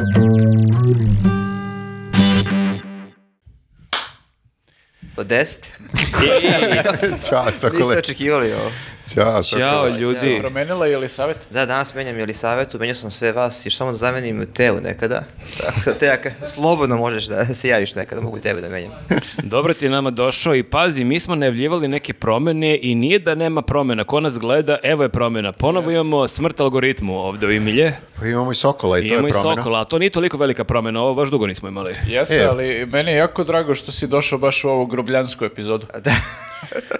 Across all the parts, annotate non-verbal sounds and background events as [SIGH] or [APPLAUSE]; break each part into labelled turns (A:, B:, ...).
A: [LAUGHS]
B: 10.
A: Ćao,
B: Niste
A: Sokole.
B: očekivali ovo.
C: Ćao
A: Ćao, Sokole.
C: ljudi.
D: Promenila je Elisaveta?
B: Da, danas menjam Jelisavetu, menjao sam sve vas, još samo da zamenim Teu nekada. Tako da, Teja, ka- slobodno možeš da se javiš nekada, mogu i tebe da
A: [LAUGHS]
B: menjam.
C: Dobro ti je nama došao i pazi, mi smo najavljivali neke promene i nije da nema promena. Ko nas gleda, evo je promena. Ponovo imamo smrt algoritmu ovde u Imilje.
A: Pa imamo i Sokola i to
C: imamo
A: je
C: i
A: promjena.
C: Sokola, a to nije toliko velika promena, ovo baš dugo nismo imali.
D: Jeste,
A: E.
D: ali meni je jako drago što si došao baš u ovu grobljansku epizodu.
B: Da.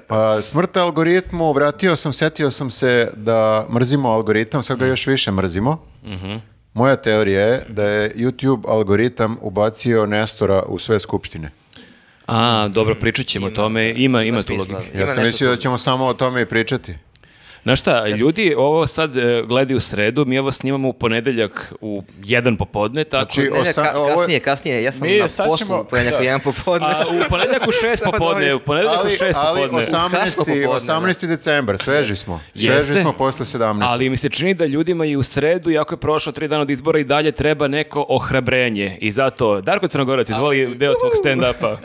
A: Pa, smrt algoritmu, vratio sam, setio sam se da mrzimo algoritam, sad ga još više mrzimo.
C: Mhm.
A: Moja teorija je da je YouTube algoritam ubacio Nestora u sve skupštine.
C: A, dobro,
A: Mm,
C: pričat ćemo o tome, ima, ima tu
B: smisla.
C: logike.
A: Ja
B: Ima
A: sam
B: nešto
A: mislio da ćemo samo o tome i pričati.
C: Znaš šta, ljudi ovo sad e, gledaju u sredu, mi ovo snimamo u ponedeljak u jedan popodne, tako
A: Znači,
B: Ne, ne,
A: Osam-
B: ka-
A: ovo je-
B: kasnije, kasnije, ja sam
D: Mi
B: na
D: sad
B: poslu
D: ćemo-
B: ćemo... ponedjeljak
D: [LAUGHS]
B: u
D: da.
B: jedan popodne.
C: A
B: [LAUGHS]
C: u ponedeljak u
A: [LAUGHS]
C: šest
B: Samo da
C: popodne,
B: ovim-
C: u ponedeljak u
A: Ali,
C: šest
A: ali
C: popodne.
A: 18.
B: Kasno popodne, da.
A: 18. decembar, sveži smo. Sveži
C: Jeste.
A: smo posle 17.
C: Ali mi se čini da ljudima i u sredu, jako je prošlo tri dana od izbora i dalje treba neko ohrabrenje. I zato, Darko Crnogorac, izvoli deo tvog stand-upa.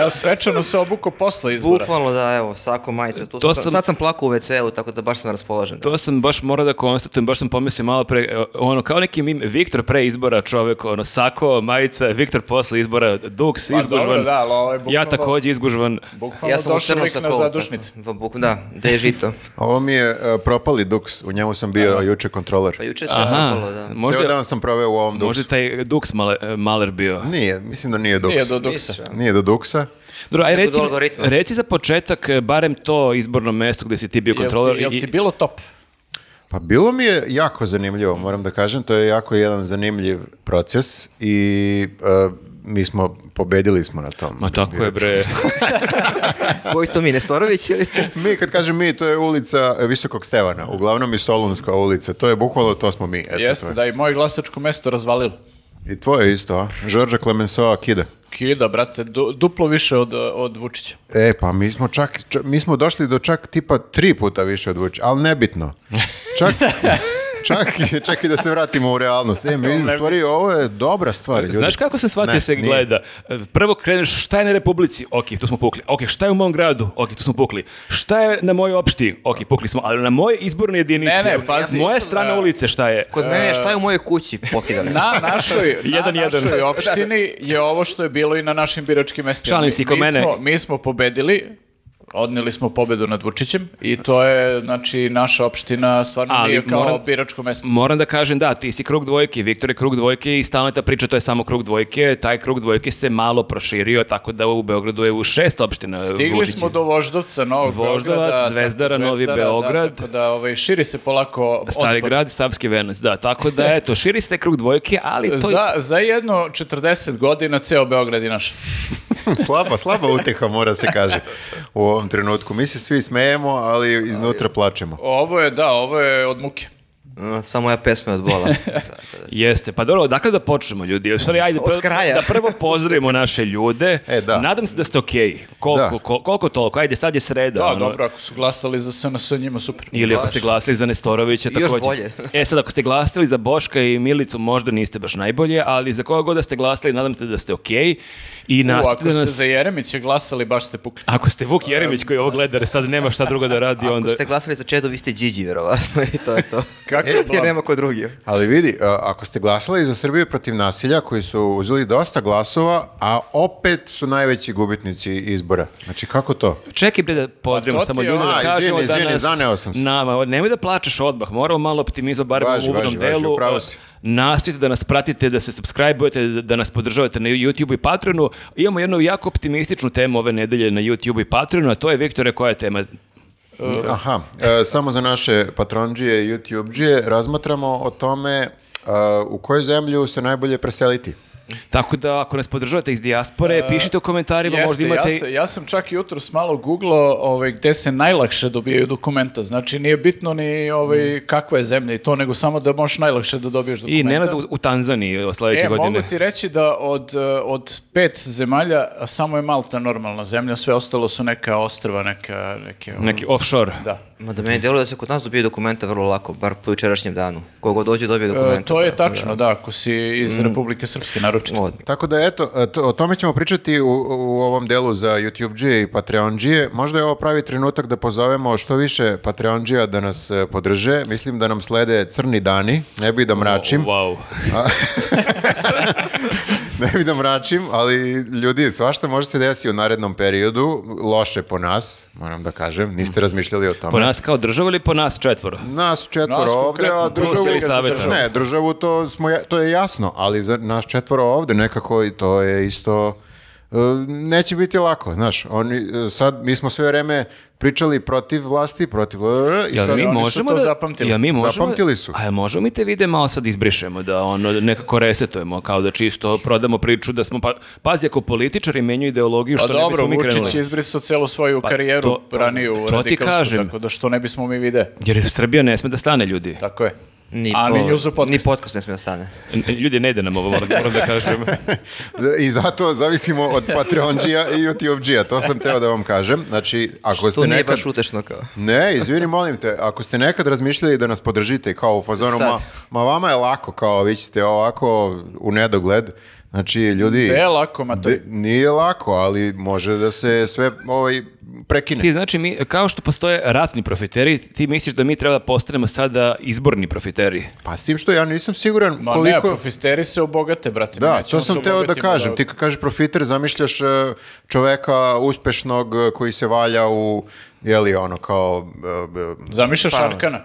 D: Evo, svečano se obuko posle izbora.
B: Bukvalno da, evo, sako majica. Tu
C: To
B: sam,
C: sam-
B: Sad sam plakao u WC-u, tako da baš sam raspoložen.
C: [LAUGHS] To sam baš morao da konstatujem, baš sam pomislio malo pre, e, ono, kao neki mim, Viktor pre izbora čovek, ono, sako, majica, Viktor posle izbora, duks,
D: Pa
C: izgužvan.
D: dobro, da, ali ovo je
C: ja
D: bukvalno-
C: takođe izgužvan.
D: Bukvalno došao lik na zadušnici.
B: Pa, bukvalno, da, gde je žito.
A: Ovo mi je e, propali duks, u njemu sam bio juče kontroler.
B: Pa juče se
C: Aha,
B: napalo, da.
C: možda,
A: Ceo dan sam proveo u ovom duksu.
C: možda je taj duks male, e, maler bio.
A: Nije, mislim da nije duks.
D: Nije do duksa.
B: Nisam.
A: Nije do duksa.
C: Dobro, aj
B: Neko
C: reci,
B: do algoritma.
C: reci za početak e, barem to izborno mesto gde si ti bio
D: Jel
C: kontroler.
D: ti, jel
C: i-
D: ti bilo top?
A: Pa bilo mi je jako zanimljivo, moram da kažem, to je jako jedan zanimljiv proces i e, mi smo, pobedili smo na tom.
C: Ma tako je
D: [LAUGHS]
C: bre.
B: Koji to mi, Nestorović ili?
A: Mi, kad kažem mi, to je ulica e, Visokog Stevana, uglavnom i Solunska ulica, to je bukvalno, to smo mi. Eto, to
D: Jeste,
A: je.
D: da i moje glasačko mesto razvalilo.
A: I tvoje isto, a? Žorža Clemensoa kida.
D: Kida, brate, du- duplo više od, od Vučića.
A: E, pa mi smo čak, čak- mi smo došli do čak tipa tri puta više od Vučića, ali nebitno.
C: [LAUGHS]
A: Čak, čak, i- čak i da se vratimo u realnost. E, mi, u stvari, ovo je dobra stvar, ljudi.
C: Znaš kako se shvatio
A: Ne,
C: se
A: nije.
C: gleda? Prvo kreneš šta je na Republici? Ok, tu smo pukli. Ok, šta je u mom gradu? Ok, tu smo pukli. Šta je na mojoj opštini? Ok, pukli smo. Ali na moje izborne jedinice?
D: Ne, ne, pazi.
C: Moja strana
D: E,
C: ulice šta je?
B: Kod mene, šta je u mojoj kući pokidali? smo.
D: Na
C: [LAUGHS]
D: našoj,
C: Jedan,
D: na
C: jedan.
D: našoj opštini je ovo što je bilo i na našim biračkim mestima.
C: Šalim se i ko
D: mi
C: mene.
D: Smo, mi smo pobedili, odnijeli smo pobedu nad Vučićem i to je, znači, naša opština stvarno
C: Ali
D: nije kao
C: moram-
D: biračko mesto.
C: Moram da kažem, da, ti si krug dvojke, Viktor je krug dvojke i stalna je ta priča, to je samo krug dvojke, taj krug dvojke se malo proširio, tako da u Beogradu je u šest opština.
D: Stigli
C: Vučić.
D: smo do Voždovca, Novog
C: Voždovac,
D: Beograda. tako,
C: Zvezdara, Novi Beograd.
D: Da, tako da ovaj, širi se polako
C: Stari
D: otpad.
C: grad, Savski venac, da, tako da, eto, širi se taj krug dvojke, ali to je...
D: Za, za jedno 40 godina ceo Beograd je naš.
A: [LAUGHS] slaba, slaba uteha mora se kaže u ovom trenutku. Mi se svi smejemo, ali iznutra plačemo.
D: Ovo je, da, ovo je od muke.
B: Mm, Sva moja pesma je od bola.
C: Jeste, pa dobro, odakle da počnemo ljudi? U stvari, ajde,
B: Od
C: prvo-
B: kraja.
C: da prvo pozdravimo naše
B: [LAUGHS]
C: ljude.
A: E, da.
C: Nadam se da ste okej. Koliko,
A: Da.
C: ko- koliko toliko? Ajde, sad je sreda.
D: Da,
C: ono.
D: dobro, ako su glasali za SNS, njima super.
C: Ili ako ste glasili za Nestorovića,
B: Još
C: takođe.
B: bolje.
C: e sad, ako ste glasili za Boška i Milicu, možda niste baš najbolje, ali za koga god da ste glasili, nadam se da ste okej. I
D: U,
C: nastavite
D: ako
C: da
D: ste
C: nas...
D: za Jeremića glasali, baš ste pukli.
C: Ako ste Vuk Jeremić koji ovo gleda, jer sad nema šta drugo da radi,
B: Ako
C: onda...
B: ste glasali za Čedu, vi ste Điđi, verovatno, i to je to. [LAUGHS]
D: Kako
B: Jer
D: blam?
B: nema ko drugi.
A: Ali vidi, a, ako ste glasali za Srbiju protiv nasilja, koji su uzeli dosta glasova, a opet su najveći gubitnici izbora. Znači, kako to?
C: Čekaj bre da pozdravimo
D: Pa to
C: samo
D: ti je
C: ljude
D: ono-
C: da
A: A,
C: kažemo
A: izvini,
C: da
A: izvini,
C: nas...
A: zaneo sam se.
C: Nama, nemoj da plačeš odmah, moramo malo optimizma barem
A: Važi,
C: u uvodnom
A: važi, važi,
C: delu.
A: upravo si.
C: Nastavite da nas pratite, da se subscribe-ujete, da- da nas podržavate na YouTube i Patreonu. Imamo jednu jako optimističnu temu ove nedelje na YouTube i Patreonu, a to je, Viktore, koja je tema?
A: Aha, e, samo za naše patronđije i YouTubeđije razmatramo o tome a, u koju zemlju se najbolje preseliti.
C: Tako da, ako nas podržavate iz dijaspore,
A: E,
C: pišite u komentarima, možda
D: Jeste,
C: imate...
D: ja, sam, ja sam čak jutros malo googlao ovaj, gde se najlakše dobijaju dokumenta. Znači, nije bitno ni ovaj, kakva je zemlja i to, nego samo da možeš najlakše da dobiješ dokumenta.
C: I Nenad u, u Tanzaniji o, sledeće
D: E,
C: godine.
D: mogu ti reći da od, eh, od pet zemalja a samo je Malta normalna zemlja, sve ostalo su neka ostrva, neka... Neke, ovaj,
C: Neki offshore.
D: Da.
B: Ma da meni djeluje da se kod nas dobije dokumenta vrlo lako, bar po jučerašnjem danu. Kogo dođe dobije
D: E,
B: dokumenta.
D: to je
B: tako da-
D: tačno, da, ako si
C: Mm.
D: iz Republike Srpske, naročito.
B: Od-
A: Tako da eto, e, to- o tome ćemo pričati u, u ovom delu za YouTube-đije i Patreon-đije. Možda je ovo pravi trenutak da pozovemo što više Patreon-đija da nas e, podrže. Mislim da nam slede crni dani, ne bi da mračim.
C: Wow.
A: [LAUGHS] ne bi da mračim, ali ljudi, svašta može se desiti u narednom periodu, loše po nas, moram da kažem, niste razmišljali o tome.
C: Po nas kao država ili po nas četvoro?
A: Nas četvoro
D: Nas
A: ovdje, a
D: konkretno,
A: državu...
C: Brusel i Saveta.
A: Ne, državu to, smo, ja- to je jasno, ali za nas četvoro ovdje nekako i to je isto... e, Neće biti lako, znaš, oni, e, sad mi smo sve vreme pričali protiv vlasti, protiv... e, I
C: Jel
A: sad,
C: mi
D: oni su
C: možemo
D: to
C: da,
D: zapamtili.
C: jel mi možemo,
A: Zapamtili su.
C: A jel možemo mi te vide malo sad izbrišemo, da ono nekako resetujemo, kao da čisto prodamo priču da smo, pa, pazi ako političari menju ideologiju
D: Pa
C: što ne
D: dobro,
C: bismo mi
D: Vučić je
C: krenuli.
D: izbrisao celu svoju
C: Pa
D: karijeru
C: to-
D: raniju
C: to
D: u
C: ti
D: radikalstvu,
C: kažem.
D: tako da što ne bismo mi vide.
C: Jer Srbija ne sme da stane, ljudi.
D: Tako je.
B: Ni,
D: A ni
B: po-
D: njuzu podcast.
B: Ni podcast ne smije da stane.
C: N- Ljudi, ne ide nam ovo, moram moram da
D: [LAUGHS]
C: kažem.
A: I zato zavisimo od Patreon-đija i YouTube-đija, to sam teo da vam kažem. Znači, ako
B: To
A: ste
B: nije
A: nekad...
B: baš utešno kao.
A: Ne, izvini, molim te, ako ste nekad razmišljali da nas podržite kao u fazonu,
B: Sad.
A: ma, ma vama je lako, kao vi ćete ovako u nedogled, znači ljudi...
D: Gde je lako, Matoj?
A: de- nije lako, ali može da se sve ovaj, prekine.
C: Ti znači, mi, kao što postoje ratni profiteri, ti misliš da mi treba da postanemo sada izborni profiteri.
A: Pa s tim što ja nisam siguran
D: Ma ne,
A: koliko...
D: profisteri se obogate, brate.
A: da,
D: nećemo
A: to
D: se
A: sam teo da
D: obogatimo
A: kažem. Ti kad kažeš profiter, zamišljaš e, čoveka uspešnog e, koji se valja u, jeli ono, kao e, e,
D: Zamišljaš
C: Pa,
D: Arkana?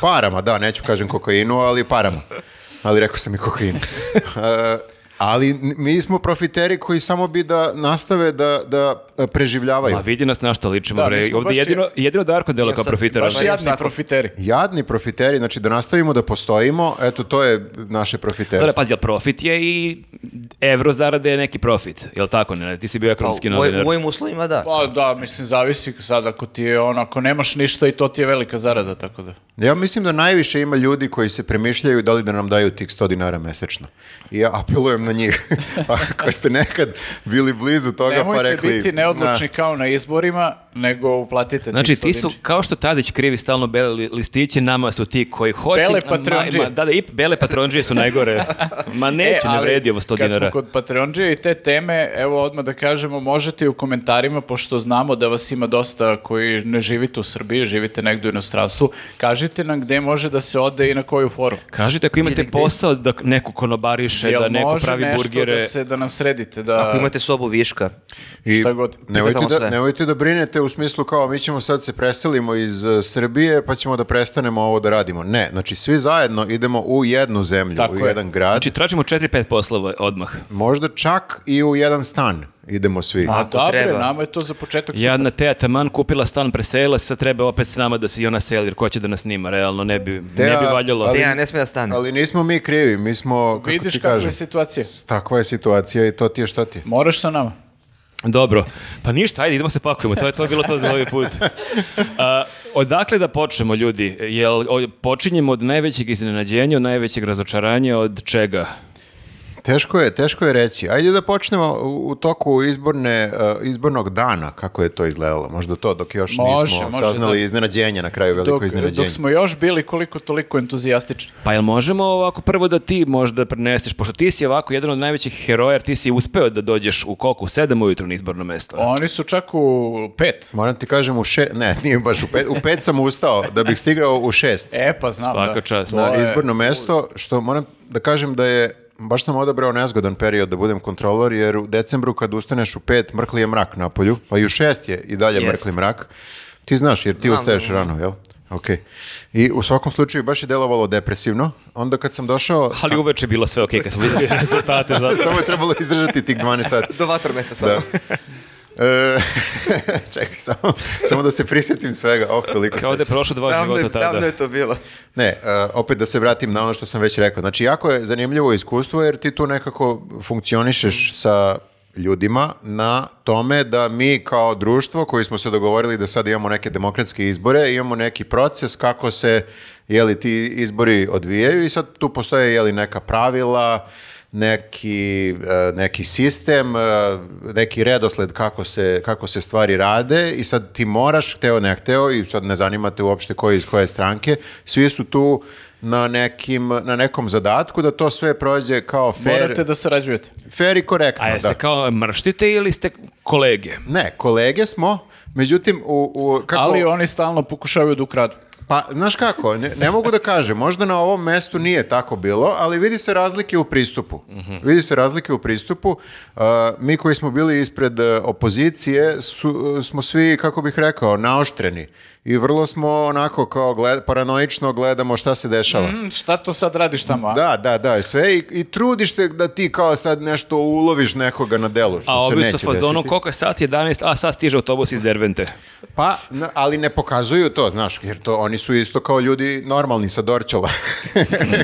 A: Parama, da, neću kažem kokainu, ali parama. Ali rekao sam i kokainu. [LAUGHS] E, ali n- mi smo profiteri koji samo bi da nastave da, da e, preživljavaju.
C: Ma vidi nas na što ličimo,
D: Pa Da,
C: bre.
D: mi smo
C: Ovdje
D: baš
C: jedino, jedino Darko delo kao
B: sad-
C: profiter.
D: Baš
B: Baš
D: jadni
B: tako.
D: profiteri.
A: Jadni profiteri, znači da nastavimo da postojimo, eto to je naše
C: Dobre,
A: profiterstvo.
C: pazi, jel profit je i evro zarade je neki profit, jel tako? Ne? Ti si bio
B: Pa,
C: ekonomski
B: u moj-
C: novinar.
B: u mojim uslovima da.
D: Pa da, mislim, zavisi sad ako ti je ono, ako nemaš ništa i to ti je velika zarada, tako da.
A: Ja mislim da najviše ima ljudi koji se premišljaju da li da nam daju tih 100 dinara mesečno. I ja apelujem na njih. [LAUGHS] Ako ste nekad bili blizu toga
D: Nemojte
A: pa rekli...
D: biti neodlučni kao na izborima, nego uplatite
C: Znači,
D: tih
C: ti
D: sto
C: su,
D: dinara.
C: kao što Tadić krivi stalno bele li- listiće, nama su ti koji hoće...
D: Bele
C: ma-
D: patronđije.
C: ma- Da, da, i bele patronđije su
D: [LAUGHS]
C: najgore. Ma
D: E,
C: neće, ne
D: ali
C: vredi ovo 100
D: Kad
C: dinara.
D: smo kod Patreonđe i te teme, evo odmah da kažemo, možete i u komentarima, pošto znamo da vas ima dosta koji ne živite u Srbiji, živite negdje u inostranstvu, kažite nam gde može da se ode i na koju foru.
C: Kažite, ako imate posao da neko konobariše,
D: Jel
C: da neko
D: može
C: pravi
D: nešto
C: burgere...
D: da, se, da nam sredite? Da...
B: Ako imate sobu viška,
A: I
D: Šta god.
A: Nemojte
B: Pitamo
A: da,
B: sve.
A: nemojte da brinete u smislu kao mi ćemo sad se preselimo iz e, Srbije pa ćemo da prestanemo ovo da radimo. Ne, znači svi zajedno idemo u jednu zemlju,
D: Tako
A: u
D: je.
A: jedan grad,
C: Znači, tražimo 4-5 poslova odmah.
A: možda čak i u jedan stan idemo svi.
B: Pa,
D: A
B: Ako
D: dobre,
B: treba.
D: nama je to za početak super.
C: Jadna Teja taman kupila stan, preselila se, sad treba opet s nama da se i ona seli, jer ko će da nas snima, realno, ne bi, ne
A: Teja,
C: bi valjalo.
A: ali-
B: ja ne smije da stane.
A: Ali nismo mi krivi, mi smo, kako
D: Vidiš
A: ti
D: kakva
A: kažem,
D: je situacija.
A: takva je situacija i to ti je šta ti je.
D: Moraš sa nama.
C: Dobro, pa ništa, ajde idemo se pakujemo, to je to bilo to za ovaj put. A, odakle da počnemo ljudi? Jel o- počinjemo od najvećeg iznenađenja, od najvećeg razočaranja, od čega?
A: Teško je, teško je reći. Ajde da počnemo u u toku izborne, e, izbornog dana, kako je to izgledalo. Možda to, dok još
D: Može,
A: nismo
D: može,
A: saznali
D: da.
A: iznenađenje na kraju, veliko
D: Dok,
A: iznenađenje.
D: dok smo još bili koliko toliko entuzijastični.
C: Pa jel možemo ovako prvo da ti možda preneseš, pošto ti si ovako jedan od najvećih heroja, jer ti si uspeo da dođeš u koliko, u sedam ujutru na izborno mesto.
D: Oni su čak u pet.
A: Moram ti kažem u še... Ne, nije baš u pet. U pet sam ustao da bih stigao u šest
D: E pa znam
C: Svaka
D: da.
C: čast.
D: To
A: na
D: je-
A: izborno mesto, što moram da kažem da je Baš sam odabrao nezgodan period da budem kontrolor, jer u decembru kad ustaneš u pet, mrkli je mrak na polju, pa i u šest je i dalje
B: Jest.
A: mrkli mrak. Ti znaš, jer ti ustaješ rano, jel? Ok. I u svakom slučaju baš je delovalo depresivno. Onda kad sam
D: [LAUGHS]
A: došao,
C: Ali uveče je bilo sve okej kad sam vidio rezultate. Zato.
A: samo je trebalo izdržati tih 12
D: [LAUGHS]
A: sati.
B: Do vatrometa samo.
A: Da. E, [LAUGHS] čekaj, samo, samo da se prisjetim svega. Oh, toliko
C: Kao da je
A: sreće.
C: prošlo dva
B: Davno je-
C: života tada.
B: davno je to bilo.
A: Ne, e, opet da se vratim na ono što sam već rekao. Znači, jako je zanimljivo iskustvo jer ti tu nekako funkcionišeš sa ljudima na tome da mi kao društvo koji smo se dogovorili da sad imamo neke demokratske izbore, imamo neki proces kako se jeli, ti izbori odvijaju i sad tu postoje jeli, neka pravila, neki, e, neki sistem, e, neki redosled kako se, kako se stvari rade i sad ti moraš, hteo ne hteo i sad ne zanimate uopšte koji iz koje stranke, svi su tu na, nekim, na nekom zadatku da to sve prođe kao fair,
D: Morate da sarađujete.
A: fair i korektno.
C: A jel
A: da.
C: se kao mrštite ili ste kolege?
A: Ne, kolege smo, međutim, u, u, kako...
D: Ali oni stalno pokušavaju da ukradu.
A: Pa, znaš kako, ne, ne mogu da kažem, možda na ovom mestu nije tako bilo, ali vidi se razlike u pristupu.
C: Mhm.
A: Vidi se razlike u pristupu. Uh, mi koji smo bili ispred uh, opozicije su, uh, smo svi, kako bih rekao, naoštreni. I vrlo smo onako kao gled, paranoično gledamo šta se dešava.
C: Mhm.
D: Mm, šta to sad radiš tamo? a?
A: Pa. Da, da, da, sve i, i trudiš se da ti kao sad nešto uloviš nekoga na delu, što
C: A
A: se
C: ovi
A: neće
C: su fazonom,
A: desiti.
C: koliko je sat 11, a sad stiže autobus iz Dervente.
A: Pa, n- ali ne pokazuju to, znaš, jer to oni su isto kao ljudi normalni
C: [LAUGHS]
A: sa Dorčola.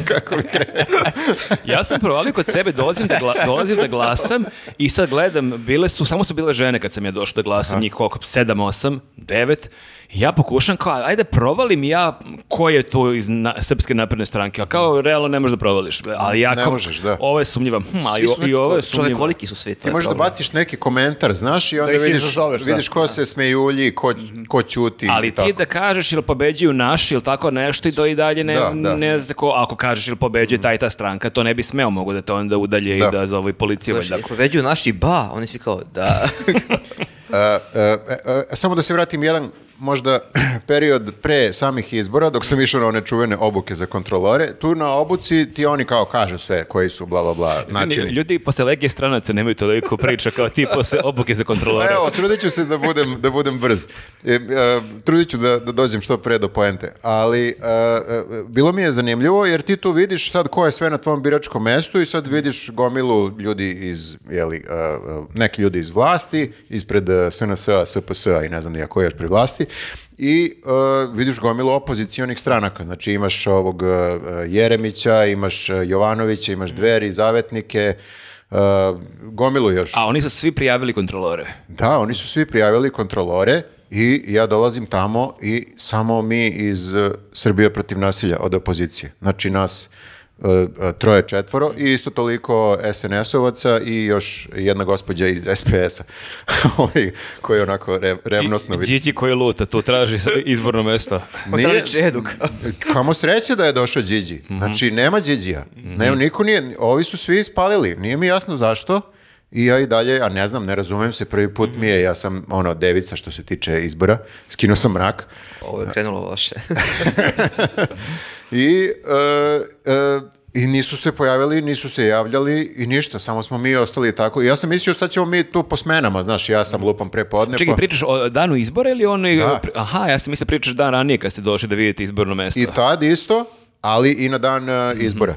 A: Kako bih rekao.
C: Ja sam provalio kod sebe, dolazim da, gla- dolazim da glasam i sad gledam, bile su, samo su bile žene kad sam ja došao da glasam, njih koliko, sedam, osam, devet. I ja pokušam kao, ajde provalim ja ko je to iz na- Srpske napredne stranke, a kao realno ne možeš da provališ. Ali ja
A: Ne
C: kao,
A: možeš, da.
C: Ovo je sumnjiva, hm, a i, o- i ovo je sumnjivo.
B: koliki su svi, to
A: Ti
B: je
A: možeš da
B: problem.
A: baciš neki komentar, znaš, i onda
D: ih
A: vidiš,
D: izazoveš, da.
A: vidiš ko se smejulji, ko, ko ćuti. i
C: Ali ti
A: tako.
C: da kažeš ili pobeđuju naši ili tako nešto i do i dalje ne,
A: Da, da.
C: ne zna ko, ako kažeš ili pobeđuje taj i ta stranka, to ne bi smeo mogu da te onda udalje
A: Da.
C: i da zove i policiju.
B: Znaš,
C: valjda.
B: ako veđu naši ba, oni svi kao
A: [LAUGHS]
B: da.
A: E, e, e, e, samo da se vratim jedan možda [CLEARS THROAT] period pre samih izbora, dok sam išao na one čuvene obuke za kontrolore, tu na obuci ti oni kao kažu sve koji su bla bla bla.
C: Mislim,
A: načini.
C: Ljudi posle legije stranaca nemaju toliko priča kao ti posle obuke za kontrolore.
D: [LAUGHS]
A: Pa evo, trudit ću se da budem, da budem brz. E, e, trudit ću da, da dođem što pre do poente. Ali e, e, bilo mi je zanimljivo jer ti tu vidiš sad ko je sve na tvom biračkom mestu i sad vidiš gomilu ljudi iz, jeli, e, e, neki ljudi iz vlasti, ispred e, SNS-a, SPS-a i ne znam nijako još pri vlasti. I e, vidiš gomilu opozicionih stranaka. Znači imaš ovog e, e, Jeremića, imaš e, Jovanovića, imaš Dveri, Zavetnike, e, gomilu još.
C: A oni su svi prijavili kontrolore.
A: Da, oni su svi prijavili kontrolore i ja dolazim tamo i samo mi iz e, Srbije protiv nasilja od opozicije. Znači nas e, e, troje četvoro i isto toliko SNS-ovaca i još jedna gospođa iz SPS-a [LAUGHS] Ovaj, koji onako re- revnosno vidi.
C: Điki koji luta, tu traži sad izborno mesto.
B: Nije... Čeduk.
A: [LAUGHS] Kamo sreće da je došao Điđi. Znači, nema Điđija. Ne, niko nije, ovi su svi ispalili. Nije mi jasno zašto. I ja i dalje, a ne znam, ne razumem se, prvi put mi je, ja sam, ono, devica što se tiče izbora, skinuo sam mrak.
B: Ovo je krenulo loše.
A: I, e, e, I nisu se pojavili, nisu se javljali i ništa, samo smo mi ostali tako. I ja sam mislio sad ćemo mi tu po smenama, znaš, ja sam lupam prepodne.
C: Čekaj,
A: pa-
C: pričaš o danu izbora ili onoj...
A: Da.
C: Aha, ja sam mislio pričaš dan ranije kad ste došli da vidite izborno mesto.
A: I tad isto, ali i na dan e, izbora.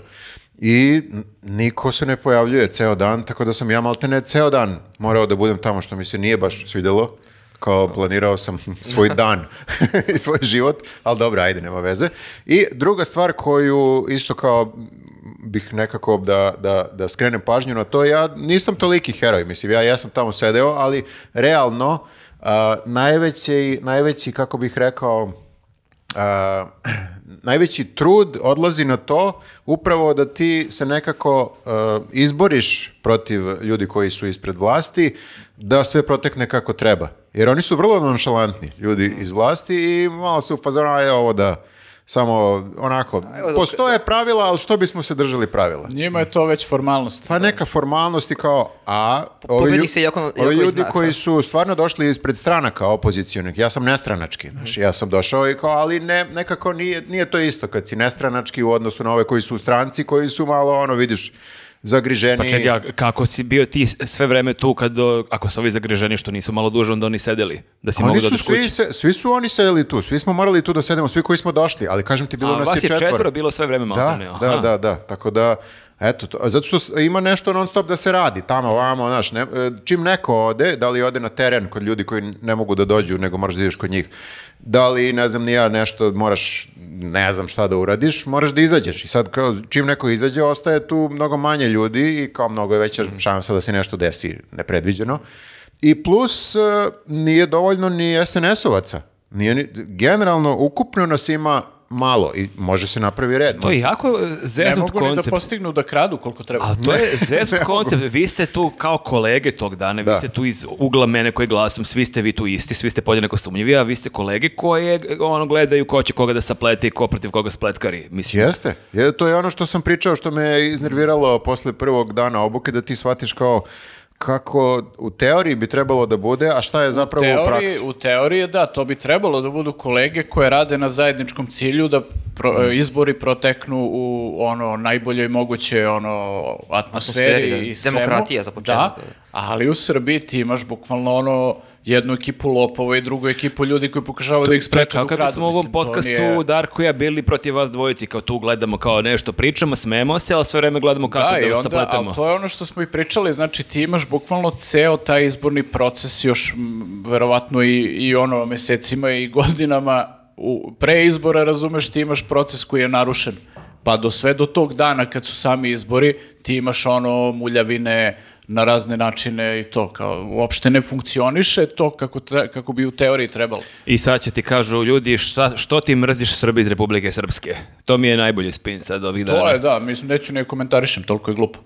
A: I n- niko se ne pojavljuje ceo dan, tako da sam ja maltene ceo dan morao da budem tamo, što mi se nije baš svidelo. Kao planirao sam svoj dan [LAUGHS] i svoj život, ali dobro, ajde, nema veze. I druga stvar koju isto kao bih nekako da, da, da skrenem pažnju na to, ja nisam toliki heroj, mislim, ja, ja sam tamo sedeo, ali realno a, najveći, najveći, kako bih rekao, a, [CLEARS THROAT] najveći trud odlazi na to upravo da ti se nekako a, izboriš protiv ljudi koji su ispred vlasti da sve protekne kako treba. Jer oni su vrlo nonšalantni ljudi iz vlasti i malo su u fazonu, "Aj, ovo da samo onako, postoje pravila, ali što bismo se držali pravila?
D: Njima je to već formalnost.
A: Pa neka formalnosti kao, a ovi,
B: pobednik
A: lju-
B: se jako-
A: ovi
B: jako
A: ljudi
B: iznak,
A: koji
B: da.
A: su stvarno došli ispred stranaka opozicijonih, ja sam nestranački, znaš,
C: Mhm.
A: ja sam došao i kao, ali ne, nekako nije, nije to isto kad si nestranački u odnosu na ove koji su u stranci, koji su malo, ono, vidiš, zagriženi.
C: Pa čekaj, a kako si bio ti sve vreme tu kad, o, ako su ovi zagriženi što nisu malo duže, onda oni sedeli, da si
A: Oni
C: mogao da
A: su
C: odeš
A: svi,
C: kući.
A: se, svi su oni sedeli tu, svi smo morali tu da sedemo, svi koji smo došli, ali kažem ti, bilo
C: A
A: ono nas je četvoro.
C: četvoro bilo sve vreme malo.
A: Da, da, da, da, tako da, eto, to, zato što s- ima nešto non stop da se radi, tamo, vamo, znaš, ne, e, čim neko ode, da li ode na teren kod ljudi koji ne mogu da dođu, nego moraš da ideš kod njih, da li, ne znam, ni ja nešto, moraš, ne znam šta da uradiš, moraš da izađeš i sad, kao, čim neko izađe, ostaje tu mnogo manje ljudi i kao mnogo je veća šansa da se nešto desi nepredviđeno. I plus, e, nije dovoljno ni SNS-ovaca. Nije ni- generalno, ukupno nas ima malo i može se napravi red.
C: To je jako e,
D: Ne
C: zeznut
D: mogu ni da
C: koncept.
D: postignu da kradu koliko treba.
C: A to je zeznut koncept. Vi ste tu kao kolege tog dana, vi
A: Da.
C: ste tu iz ugla mene koji glasam, svi ste vi tu isti, svi ste podjednako sumnjivi, a vi ste kolege koje e, ono, gledaju ko će koga da saplete i ko protiv koga spletkari. Mislim,
A: Jeste. Je, to je ono što sam pričao, što me je iznerviralo posle prvog dana obuke, da ti shvatiš kao kako u teoriji bi trebalo da bude, a šta je zapravo u,
D: teoriji,
A: praksi.
D: u teoriji, da, to bi trebalo da budu kolege koje rade na zajedničkom cilju da pro- e,
C: Mm.
D: izbori proteknu u ono najboljoj moguće ono atmosferi,
B: Atmosferi, da.
D: i svemu.
B: Demokratija za početak.
D: Da, ali u Srbiji ti imaš bukvalno ono jednu ekipu lopova i drugu ekipu ljudi koji pokušavaju da ih
C: To je
D: spreču
C: kao
D: u
C: kada
D: kradu.
C: smo u ovom
D: Mislim, to
C: podcastu
D: nije-
C: Darko i ja bili protiv vas dvojici, kao tu gledamo kao nešto pričamo, smemo se, ali sve vreme gledamo kako da,
D: i
C: vas
D: onda-
C: sapletamo.
D: ali to je ono što smo i pričali, znači ti imaš bukvalno ceo taj izborni proces još m, verovatno i, i ono mesecima i godinama u, pre izbora, razumeš, ti imaš proces koji je narušen. Pa do sve do tog dana kad su sami izbori, ti imaš ono muljavine na razne načine i to kao uopšte ne funkcioniše to kako, tre- kako bi u teoriji trebalo.
C: I sad će ti kažu ljudi šta, što ti mrziš Srbi iz Republike Srpske. To mi je najbolji spin sad ovih dana.
D: To je da, mislim neću ne komentarišem, toliko je glupo.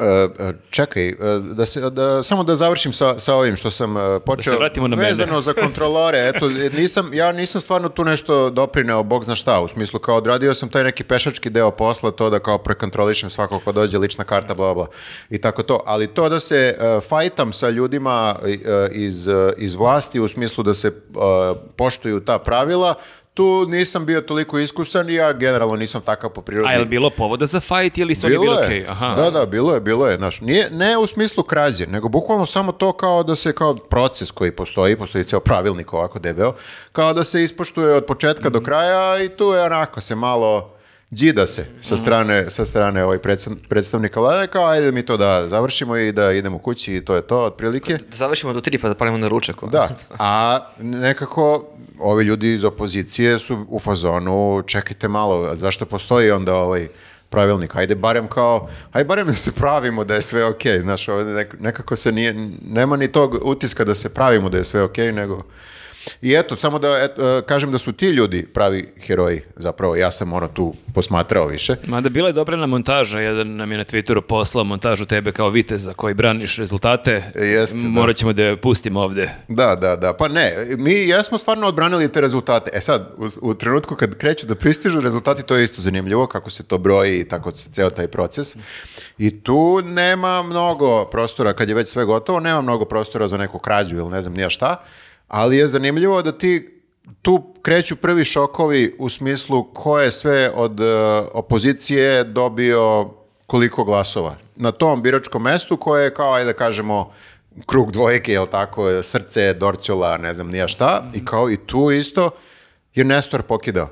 A: E, e, čekaj, e, da se, da, samo da završim sa, sa ovim što sam e, počeo.
C: vratimo na mene.
A: Vezano za
C: [LAUGHS]
A: kontrolore, eto, jer nisam, ja nisam stvarno tu nešto doprineo, bog zna šta, u smislu kao odradio sam taj neki pešački deo posla, to da kao prekontrolišem svako ko dođe, lična karta, bla, bla, i tako to. Ali to da se e, fajtam sa ljudima e, iz, e, iz vlasti, u smislu da se e, poštuju ta pravila, tu nisam bio toliko iskusan i ja generalno nisam takav po prirodi.
C: A je li bilo povoda za fight ili su oni bili okej? Aha.
A: Da, da, bilo je, bilo je, znaš, nije, ne u smislu krađe, nego bukvalno samo to kao da se kao proces koji postoji, postoji ceo pravilnik ovako debeo, kao da se ispoštuje od početka
C: Mhm.
A: do kraja i tu je onako se malo džida se
C: Mhm.
A: sa strane, sa strane ovaj predstav- predstavnika vlade, kao ajde mi to da završimo i da idemo kući i to je to otprilike.
B: Da završimo do tri pa da palimo na ručak. ono.
A: [LAUGHS] Da, a nekako ovi ljudi iz opozicije su u fazonu, čekajte malo, a zašto postoji onda ovaj pravilnik, ajde barem kao, ajde barem da se pravimo da je sve okej, znaš, ovdje nek- nekako se nije, nema ni tog utiska da se pravimo da je sve okej, nego... I eto, samo da eto, e, kažem da su ti ljudi pravi heroji, zapravo, ja sam ono tu posmatrao više.
C: Mada bila je dobra na montaža, jedan nam je na Twitteru poslao montažu tebe kao viteza koji braniš rezultate.
A: E, jeste, da.
C: Morat ćemo da je pustimo ovde.
A: Da, da, da. Pa ne, mi jesmo stvarno odbranili te rezultate. E sad, u, u trenutku kad kreću da pristižu rezultati, to je isto zanimljivo kako se to broji i tako se ceo taj proces. I tu nema mnogo prostora, kad je već sve gotovo, nema mnogo prostora za neku krađu ili ne znam nija šta, ali je zanimljivo da ti tu kreću prvi šokovi u smislu ko je sve od e, opozicije dobio koliko glasova. Na tom biračkom mestu koje je kao, ajde da kažemo, krug dvojke, jel tako, srce, dorćola, ne znam nija šta,
D: Mhm.
A: i kao i tu isto je Nestor pokidao.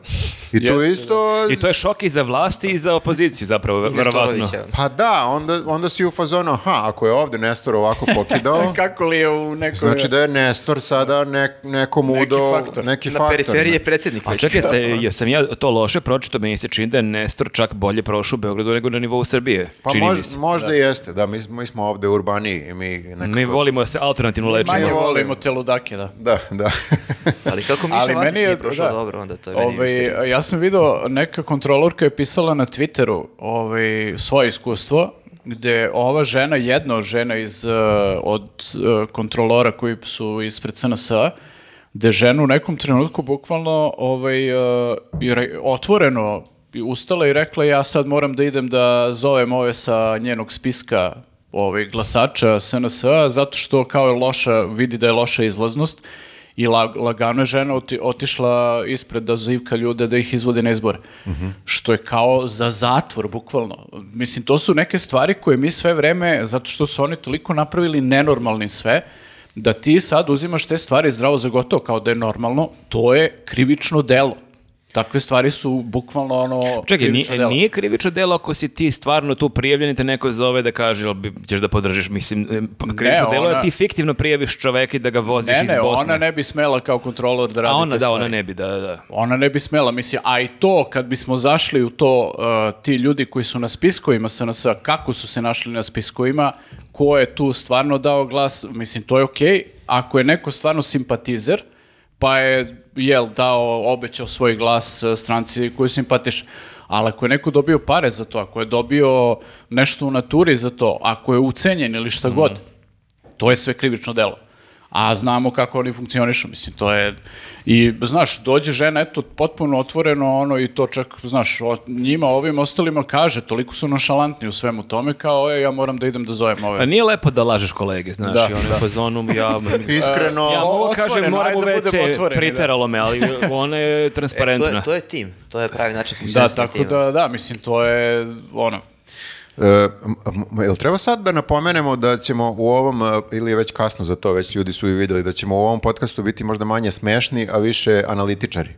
A: I tu
D: Jeste,
A: isto...
C: I to je šok i za vlast i za opoziciju zapravo,
B: I
C: verovatno.
B: Nestorovića, ono.
A: Pa da, onda, onda si u fazonu, aha, ako je ovde Nestor ovako pokidao,
D: [LAUGHS] Kako li je u nekoj...
A: znači da je Nestor sada nek, nekom
D: Neki
A: udo...
D: faktor.
A: Neki
B: Na
A: faktor,
B: periferiji
A: ne.
B: je predsjednik.
C: A
B: već.
C: čekaj, se, jesam ja to loše pročito, meni se čini da je Nestor čak bolje prošao u Beogradu nego na nivou Srbije.
A: Pa
C: čini mi
A: mož,
C: se.
A: možda i jeste, da, Mm. mi, smo- mi smo ovde urbaniji i mi nekako...
C: Mi volimo da se alternativno lečimo.
D: Manje
A: volim.
D: volimo te ludake, da.
A: [LAUGHS] Da,
B: [LAUGHS]
A: da.
B: Ali kako Miša
D: Ali
B: Vacić
D: meni je
B: nije prošao
D: da.
B: dobro, onda to je meni isto.
D: Ovaj, ja sam video neka kontrolorka je pisala na Twitteru ovaj, svoje iskustvo gde ova žena, jedna od žena iz, eh, od eh, kontrolora koji su ispred CNS, gde žena u nekom trenutku bukvalno ovaj, eh, je re- otvoreno i ustala i rekla ja sad moram da idem da zovem ove sa njenog spiska ovaj, glasača SNS-a zato što kao je loša, vidi da je loša izlaznost i la- lagano je žena oti- otišla ispred da zivka ljude da ih izvodi na izbore. Što je kao za zatvor, bukvalno. Mislim, to su neke stvari koje mi sve vreme, zato što su oni toliko napravili nenormalni sve, da ti sad uzimaš te stvari zdravo za gotovo kao da je normalno, to je krivično delo. Takve stvari su bukvalno ono
C: Čekaj,
D: krivično
C: nije,
D: delo.
C: nije krivično delo ako si ti stvarno tu prijavljen i te neko zove da kaže, jel bi, ćeš da podržiš, mislim, e, pa krivično
D: Ne,
C: delo je da
D: ona-
C: ti fiktivno prijaviš čoveka i da ga voziš
D: Ne,
C: iz
D: ne,
C: Bosne.
D: ona ne bi smela kao kontrolor da radi
C: A ona,
D: te
C: da,
D: stvari.
C: ona ne bi, da, da.
D: Ona ne bi smela, mislim, a i to kad bismo zašli u to, uh, ti ljudi koji su na spiskovima SNS, kako su se našli na spiskovima, ko je tu stvarno dao glas, mislim, to je okej. Ako je neko stvarno simpatizer, pa je jel, dao, obećao svoj glas e, stranci koju simpatiš. Ali ako je neko dobio pare za to, ako je dobio nešto u naturi za to, ako je ucenjen ili šta god, to je sve krivično delo. A znamo kako oni funkcionišu, mislim, to je... I, znaš, dođe žena, eto, potpuno otvoreno, ono, i to čak, znaš, o- njima, ovim ostalima kaže, toliko su nonšalantni u svemu tome, kao, e, ja moram da idem da zovem ove.
C: Pa nije lepo da lažeš kolege, znaš,
D: Da.
C: i ono da. fazonu, [LAUGHS] ja...
A: Iskreno,
C: Ja mogu kažem,
D: Otvoreno,
C: moram
D: ajde
C: u
D: da budemo
C: WC,
D: otvoreni, da.
C: priteralo me, ali ona [LAUGHS] je
B: E, to,
C: transparentna.
B: je, to je tim, to je pravi način
D: Da,
B: funkcioniranja
D: tako
B: tima.
A: ono.
D: da, da, mislim, to je, ono,
A: E, m- m- jel treba sad da napomenemo da ćemo u ovom, e, ili je već kasno za to, već ljudi su i vidjeli, da ćemo u ovom podcastu biti možda manje smešni, a više analitičari?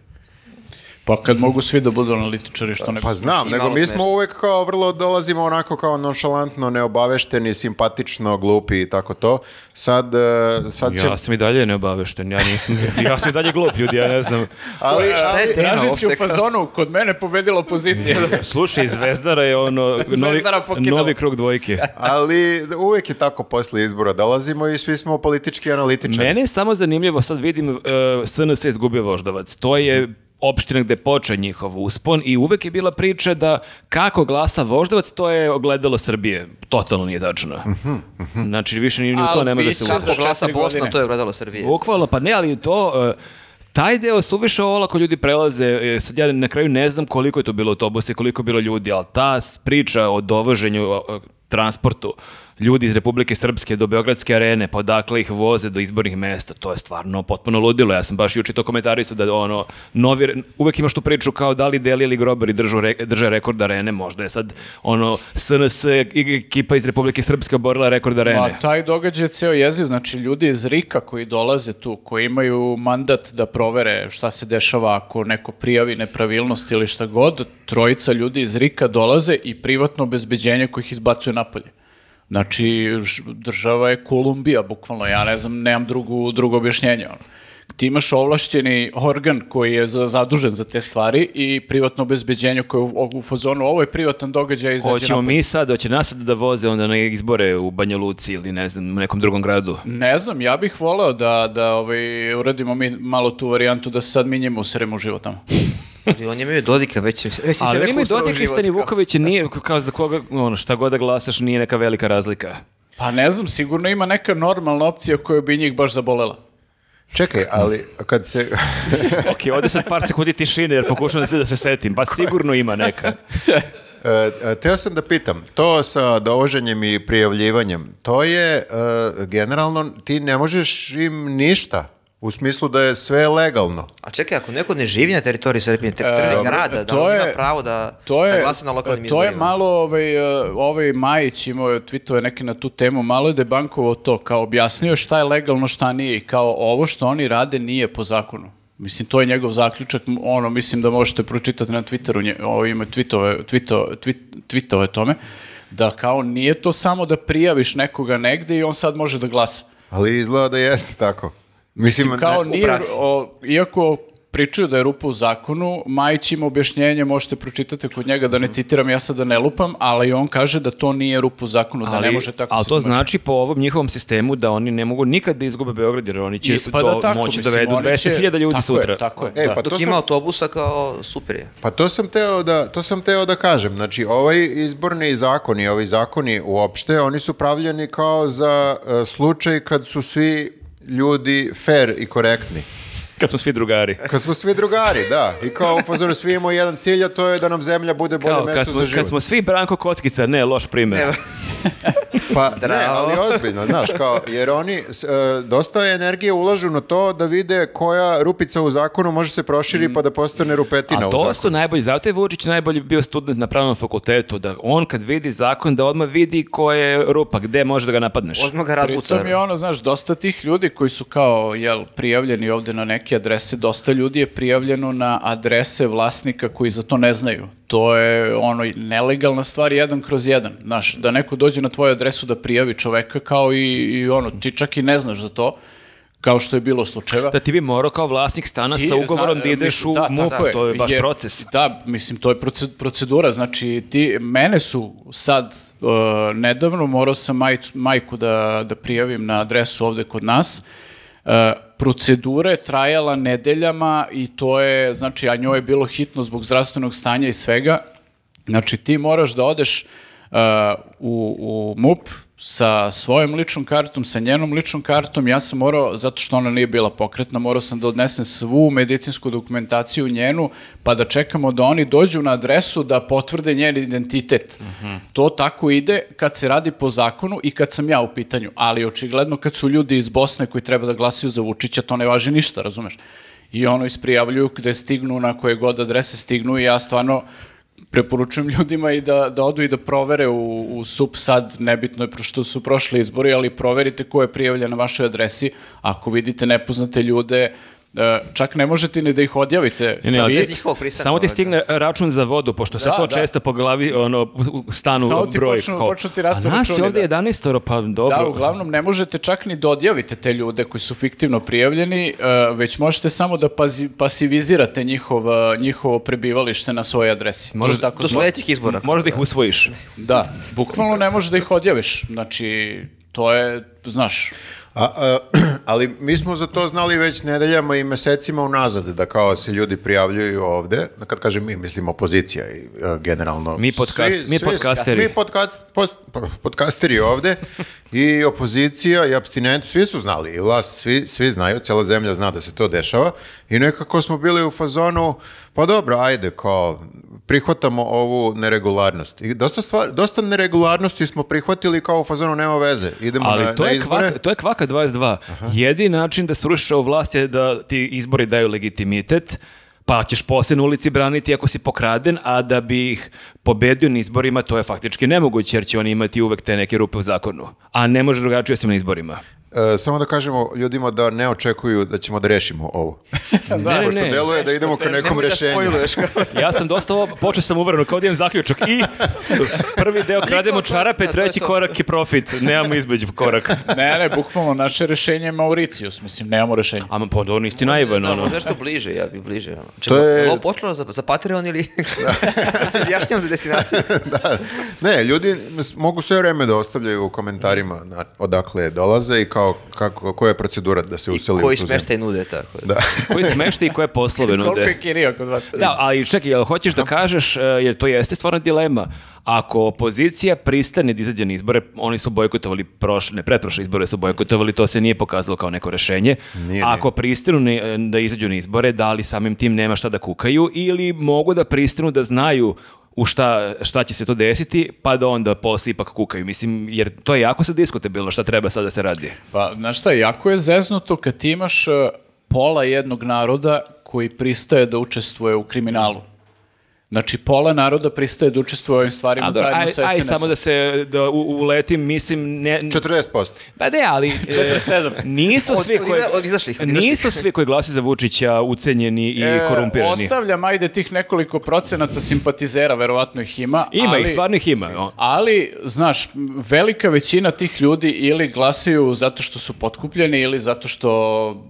D: pa kad mogu svi da budu analitičari, što ne
A: Pa znam,
B: I
A: nego
B: malo
A: mi smo
B: smešni.
A: uvek kao vrlo dolazimo onako kao nonšalantno, neobavešteni, simpatično, glupi i tako to. Sad, e, sad će...
C: Ja sam i dalje neobavešten, ja nisam, ja sam i dalje glup, ljudi, ja ne znam.
A: Ali,
B: Šta je tema
D: Dražić je u
B: uopšte?
D: fazonu, kod mene pobedila opozicija.
A: [LAUGHS]
C: Slušaj, Zvezdara je ono, novi,
D: Zvezdara pokidala.
C: novi krug dvojke.
A: ali uvek je tako posle izbora. Dolazimo i svi smo politički analitičari.
C: Mene je samo zanimljivo, sad vidim, uh, SNS je izgubio Voždovac. To je opština gde poče njihov uspon i uvek je bila priča da kako glasa Voždovac, to je ogledalo Srbije. Totalno nije tačno. Znači, više ni u to
D: Ali
C: ne može da
D: bit
C: se
D: će
C: upusti.
B: Kako glasa
D: četiri godine.
B: Bosna, to je gledalo Srbije.
C: Bukvalno, pa ne, ali to... e, taj deo suviše olako ljudi prelaze, e, sad ja na kraju ne znam koliko je to bilo autobusa i koliko je bilo ljudi, ali ta s- priča o dovoženju e, transportu ljudi iz Republike Srpske do Beogradske arene, pa odakle ih voze do izbornih mesta, to je stvarno potpuno ludilo. Ja sam baš juče to komentarisao da ono, novi, re- uvek imaš tu priču kao da li Deli ili Grobari držu, re- drže rekord arene, možda je sad ono SNS i- ekipa iz Republike Srpske oborila rekord arene.
D: Ma, taj događaj je ceo jeziv, znači ljudi iz Rika koji dolaze tu, koji imaju mandat da provere šta se dešava ako neko prijavi nepravilnost ili šta god, trojica ljudi iz Rika dolaze i privatno obezbeđenje koji ih izbacuje napolje. Znači, ž- država je Kolumbija, bukvalno, ja ne znam, nemam drugu, drugo objašnjenje. ono. Ti imaš ovlašćeni organ koji je za- zadužen za te stvari i privatno obezbeđenje koje je u, u fazonu, ovo je privatan događaj, izađe
C: Hoćemo
D: napolje."
C: mi sad, hoće nas sad da voze onda na izbore u Banja Luci ili ne znam, u nekom drugom gradu.
D: Ne znam, ja bih voleo da, da ovaj, uradimo mi malo tu varijantu da se sad mi njima useremo u život tamo.
B: Ali oni imaju Dodika, već, već im se
C: Ali
B: rekao
C: ima i
B: ustavno
C: Dodik i
B: život, kao-
C: Stanivuković i nije, kao za koga, ono, šta god da glasaš, nije neka velika
D: [LAUGHS]
C: razlika.
D: Pa ne znam, sigurno ima neka normalna opcija koja bi njih baš zabolela.
A: Čekaj, ali kad se... [LAUGHS]
C: Ok, ovdje sad par sekundi tišine jer pokušam da se, da se setim. Pa sigurno ima neka.
A: E, e, Teo sam da pitam, to sa dovoženjem i prijavljivanjem, to je e, generalno, ti ne možeš im ništa, u smislu da je sve legalno.
B: A čekaj, ako neko ne živi na teritoriju Srbije, na teritoriju
A: dobro.
B: grada, da
D: E, To
B: on
D: je-
B: ima pravo da,
D: To je,
B: da glasa na lokalnim
D: to
B: izborima.
D: je malo, ovaj, eh, ovaj Majić imao je tweetove neke na tu temu, malo je debankovao to, kao objasnio je šta je legalno, šta nije i kao ovo što oni rade nije po zakonu. Mislim, to je njegov zaključak, m- ono, mislim da možete pročitati na Twitteru, nje, ovo ima tweetove, tweeto, tweet- tweetove tome, da kao nije to samo da prijaviš nekoga negde i on sad može da glasa.
A: Ali izgleda da jeste tako. Mislim,
D: Mislim, kao
A: ne-
D: nije,
B: praksi.
D: o, iako pričaju da je rupa u zakonu, Majić ima objašnjenje, možete pročitati kod njega, da ne citiram, ja sada ne lupam, ali on kaže da to nije rupa u zakonu, da ne može tako
C: ali
D: se
C: to
D: tumači.
C: znači po ovom njihovom sistemu da oni ne mogu nikad da izgube Beograd jer oni će
D: Ispada
C: znači do,
D: pa tako,
C: moći da
D: mislim,
C: vedu
D: oni će-
C: 200.000 ljudi
D: tako
C: sutra.
D: Je, tako je,
A: E,
D: da.
A: pa
B: Dok
A: to
B: ima
A: sam-
B: autobusa, kao super je.
A: Pa to sam teo da, to sam teo da kažem. Znači, ovaj izborni zakoni, ovi zakoni uopšte, oni su pravljeni kao za e, slučaj kad su svi ljudi fair i korektni.
C: Kad smo svi drugari.
A: Kad smo svi drugari, da. I kao u fazonu svi imamo jedan cilj, a to je da nam zemlja bude bolje
C: Kao,
A: mesto
C: kad smo,
A: za život.
C: kad smo svi Branko Kockica, ne, loš primjer.
B: Evo.
A: Pa ne,
B: Zdravo.
A: ali ozbiljno, znaš, kao, jer oni s- e, dosta energije ulažu na to da vide koja rupica u zakonu može se proširi pa da postane rupetina
C: Mm. A
A: u zakonu.
C: to su najbolji, zato je Vučić najbolji bio student na pravnom fakultetu, da on kad vidi zakon, da odmah vidi ko je rupa, gde može da ga napadneš.
B: Odmah ga razbuca.
D: Pritom je ono, znaš, dosta tih ljudi koji su kao, jel, prijavljeni ovde na neke adrese, dosta ljudi je prijavljeno na adrese vlasnika koji za to ne znaju. To je, ono, i nelegalna stvar jedan kroz jedan. Znaš, da neko dođe na tvoju adresu da prijavi čoveka kao i, i ono, ti čak i ne znaš za to, kao što je bilo slučajeva.
C: Da ti bi morao kao vlasnik stana
D: Ti
C: sa ugovorom
D: zna-
C: da ideš
D: mislim,
C: u
D: da,
C: MUP,
D: tako
C: to je baš
D: jer-
C: proces.
D: Da, mislim, to je proce- procedura. Znači, ti, mene su sad, e, nedavno morao sam majicu- majku da, da prijavim na adresu ovde kod nas, E, procedura je trajala nedeljama i to je, znači, a njoj je bilo hitno zbog zdravstvenog stanja i svega. Znači, ti moraš da odeš Uh, u, u MUP sa svojom ličnom kartom, sa njenom ličnom kartom, ja sam morao, zato što ona nije bila pokretna, morao sam da odnesem svu medicinsku dokumentaciju njenu, pa da čekamo da oni dođu na adresu da potvrde njen identitet. To tako ide kad se radi po zakonu i kad sam ja u pitanju, ali očigledno kad su ljudi iz Bosne koji treba da glasaju za Vučića, to ne važi ništa, razumeš? I ono isprijavljuju gde stignu, na koje god adrese stignu i ja stvarno preporučujem ljudima i da, da odu i da provere u, u SUP sad, nebitno je pro- što su prošli izbori, ali proverite ko je prijavljen na vašoj adresi. Ako vidite nepoznate ljude, e, čak ne možete ni da ih odjavite.
C: Ne, ne,
D: Da
C: ali-
D: vi-
B: bez njihovog pristanka,
C: Samo ti
B: valjda.
C: stigne račun za vodu, pošto se
D: Da,
C: to
D: da.
C: često po glavi ono, u- u stanu
D: Samo ti
C: broj.
D: počnu-
C: kao,
D: počnu ti rastu
C: A nas je
D: računi,
C: ovdje
D: da."
C: 11, pa dobro.
D: Da, uglavnom ne možete čak ni da odjavite te ljude koji su fiktivno prijavljeni, e, već možete samo da pazi- pasivizirate njihov, e, njihovo prebivalište na svojoj adresi.
C: Možda-
D: Možda tako
B: Do
D: zva-
B: sledećih izbora.
C: Možeš da ih usvojiš.
D: Da, bukvalno ne možeš da ih odjaviš. Znači, to je, znaš,
A: A, a, e, [CLEARS THROAT] ali mi smo za to znali već nedeljama i mesecima unazad, da kao se ljudi prijavljuju ovde, kad kažem mi, mislim opozicija i e, generalno.
C: Mi podcast- mi podcasteri.
A: Mi podcast- post- po- podcasteri ovde i opozicija i abstinent, svi su znali i vlast, svi, svi znaju, cela zemlja zna da se to dešava i nekako smo bili u fazonu, pa dobro, ajde, kao prihvatamo ovu neregularnost. I dosta, stvar, dosta neregularnosti smo prihvatili kao u fazonu nema veze. Idemo na,
C: Ali to
A: na
C: je,
A: izbore.
C: kvaka, to je kvaka 22. Jedini način da srušiš ovu vlast je da ti izbori daju legitimitet, pa ćeš poslije na ulici braniti ako si pokraden, a da bi ih pobedio na izborima, to je faktički nemoguće, jer će oni imati uvek te neke rupe u zakonu. A ne može drugačije osim na izborima.
A: E, samo da kažemo ljudima da ne očekuju da ćemo da rešimo
B: [LAUGHS]
A: ovo.
C: Ne, ne,
A: Pošto
C: ne.
A: deluje da idemo ka nekom rešenju.
C: Ja sam dosta ovo, počeo sam uvereno, kao da imam zaključak. I prvi deo krademo čarape,
B: Da, to je
C: treći
B: to.
C: korak je profit. Nemamo između korak.
D: Ne, ne, bukvalno naše rešenje je Mauricius, mislim, nemamo rešenje.
C: Ama pa onda on je isti naivan,
B: Da,
C: ono.
B: možda nešto bliže, ja bi bliže. ono.
A: To
B: Čekaj,
A: je-
B: je li ovo počelo za, za Patreon ili... [LAUGHS] Da. se izjašnjam za
A: [LAUGHS]
B: destinaciju.
A: da. [LAUGHS] Ne, ljudi s- mogu sve vreme da ostavljaju u komentarima na, odakle dolaze i kao, kako, koja je procedura da se useli
B: I
A: u
B: koji
A: tu zemlju.
B: smeštaj nude, tako da.
A: Da.
C: Koji smešte i koje poslove nude.
D: Koliko je kirio kod vas?
C: Da, ali čekaj, jel hoćeš da kažeš, e, jer to jeste stvarno dilema, ako opozicija pristane da izađe na izbore, oni su bojkotovali prošle, ne, pretprošle izbore su bojkotovali, to se nije pokazalo kao neko rešenje.
A: nije.
C: Ako pristanu ni- e, da izađu na izbore, da li samim tim nema šta da kukaju ili mogu da pristanu da znaju u šta, šta će se to desiti, pa da onda posle ipak kukaju. Mislim, jer to je jako sad diskutabilno šta treba sad da se radi.
D: Pa, znaš šta, jako je zeznuto kad ti imaš e, pola jednog naroda koji pristaje da učestvuje u kriminalu. Znači, pola naroda pristaje da učestvuje u ovim stvarima
C: A, dobro,
D: zajedno
C: aj,
D: sa
C: aj
D: SNS-om.
C: samo da se da u- uletim, mislim, ne,
A: 40%.
C: Pa ne, ali... e,
D: 47.
C: Nisu
B: Od-
C: svi
B: od-
C: koji...
B: od izašlih, od izašlih.
C: Nisu svi koji glasuju za Vučića ucenjeni i
D: E,
C: korumpirani.
D: Ostavljam, ajde, tih nekoliko procenata simpatizera, verovatno ih ima.
C: Ima
D: ali,
C: ih, stvarno ih ima. o.
D: Ali, znaš, m, velika većina tih ljudi ili glasaju zato što su potkupljeni ili zato što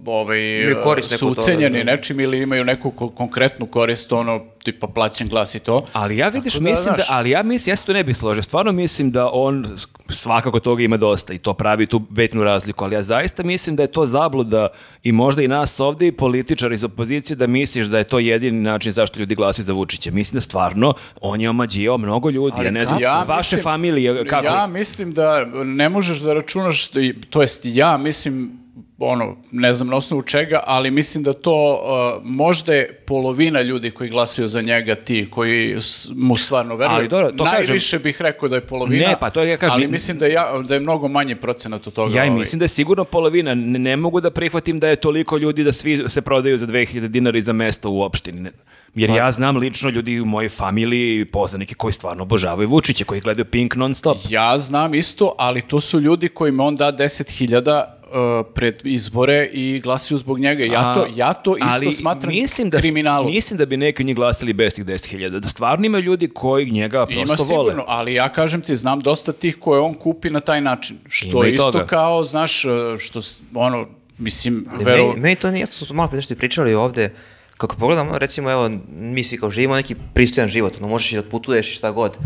D: ovaj,
B: Imaju korist neku
D: su
B: od toga, da.
D: ucenjeni nečim ili imaju neku ko- konkretnu korist, ono, tipa plaćen glas i to.
C: Ali ja vidiš,
D: Tako da,
C: mislim da,
D: znaš.
C: ali ja mislim, ja se tu ne bi složio, stvarno mislim da on s- svakako toga ima dosta i to pravi tu betnu razliku, ali ja zaista mislim da je to zabluda i možda i nas ovdje i političar iz opozicije da misliš da je to jedini način zašto ljudi glasuju za Vučića. Mislim da stvarno on je omađio mnogo ljudi, ja ne znam,
D: Ja
C: vaše
D: mislim-
C: familije, kako?
D: Ja mislim da ne možeš da računaš, i- to jest ja mislim, ono, ne znam na osnovu čega, ali mislim da to uh, možda je polovina ljudi koji glasaju za njega ti, koji s- mu stvarno veruju.
C: Ali dobro, to kažem-
D: Najviše bih rekao da je polovina,
C: Ne, pa to ja kažem-
D: ali mislim da je, ja- da je mnogo manji procenat od toga.
C: Ja i
D: ovaj.
C: mislim da je sigurno polovina. Ne, ne mogu da prihvatim da je toliko ljudi da svi se prodaju za 2000 dinara i za mesto u opštini. Ne- Jer
D: Pa-
C: ja znam lično ljudi u mojoj familiji i poznanike koji stvarno obožavaju Vučića, koji gledaju Pink non stop.
D: Ja znam isto, ali to su ljudi kojima on da 10.000 uh, pred izbore i glasaju zbog njega. Ja to, ja to isto
C: ali
D: smatram
C: mislim da,
D: kriminalom.
C: Mislim da bi neki od njih glasili bez tih 10.000. Da stvarno ima ljudi koji njega
D: Ima
C: prosto vole.
D: sigurno, ali ja kažem ti, znam dosta tih koje on kupi na taj način. Što
C: Ima i
D: je isto
C: toga.
D: kao, znaš, e, što, s- ono, mislim,
B: Ali
D: vero...
B: Meni, meni to nije jasno, smo malo pre nešto i pričali ovde, kako pogledamo, recimo, evo, mi svi kao živimo neki pristojan život, ono, možeš i da putuješ i šta god.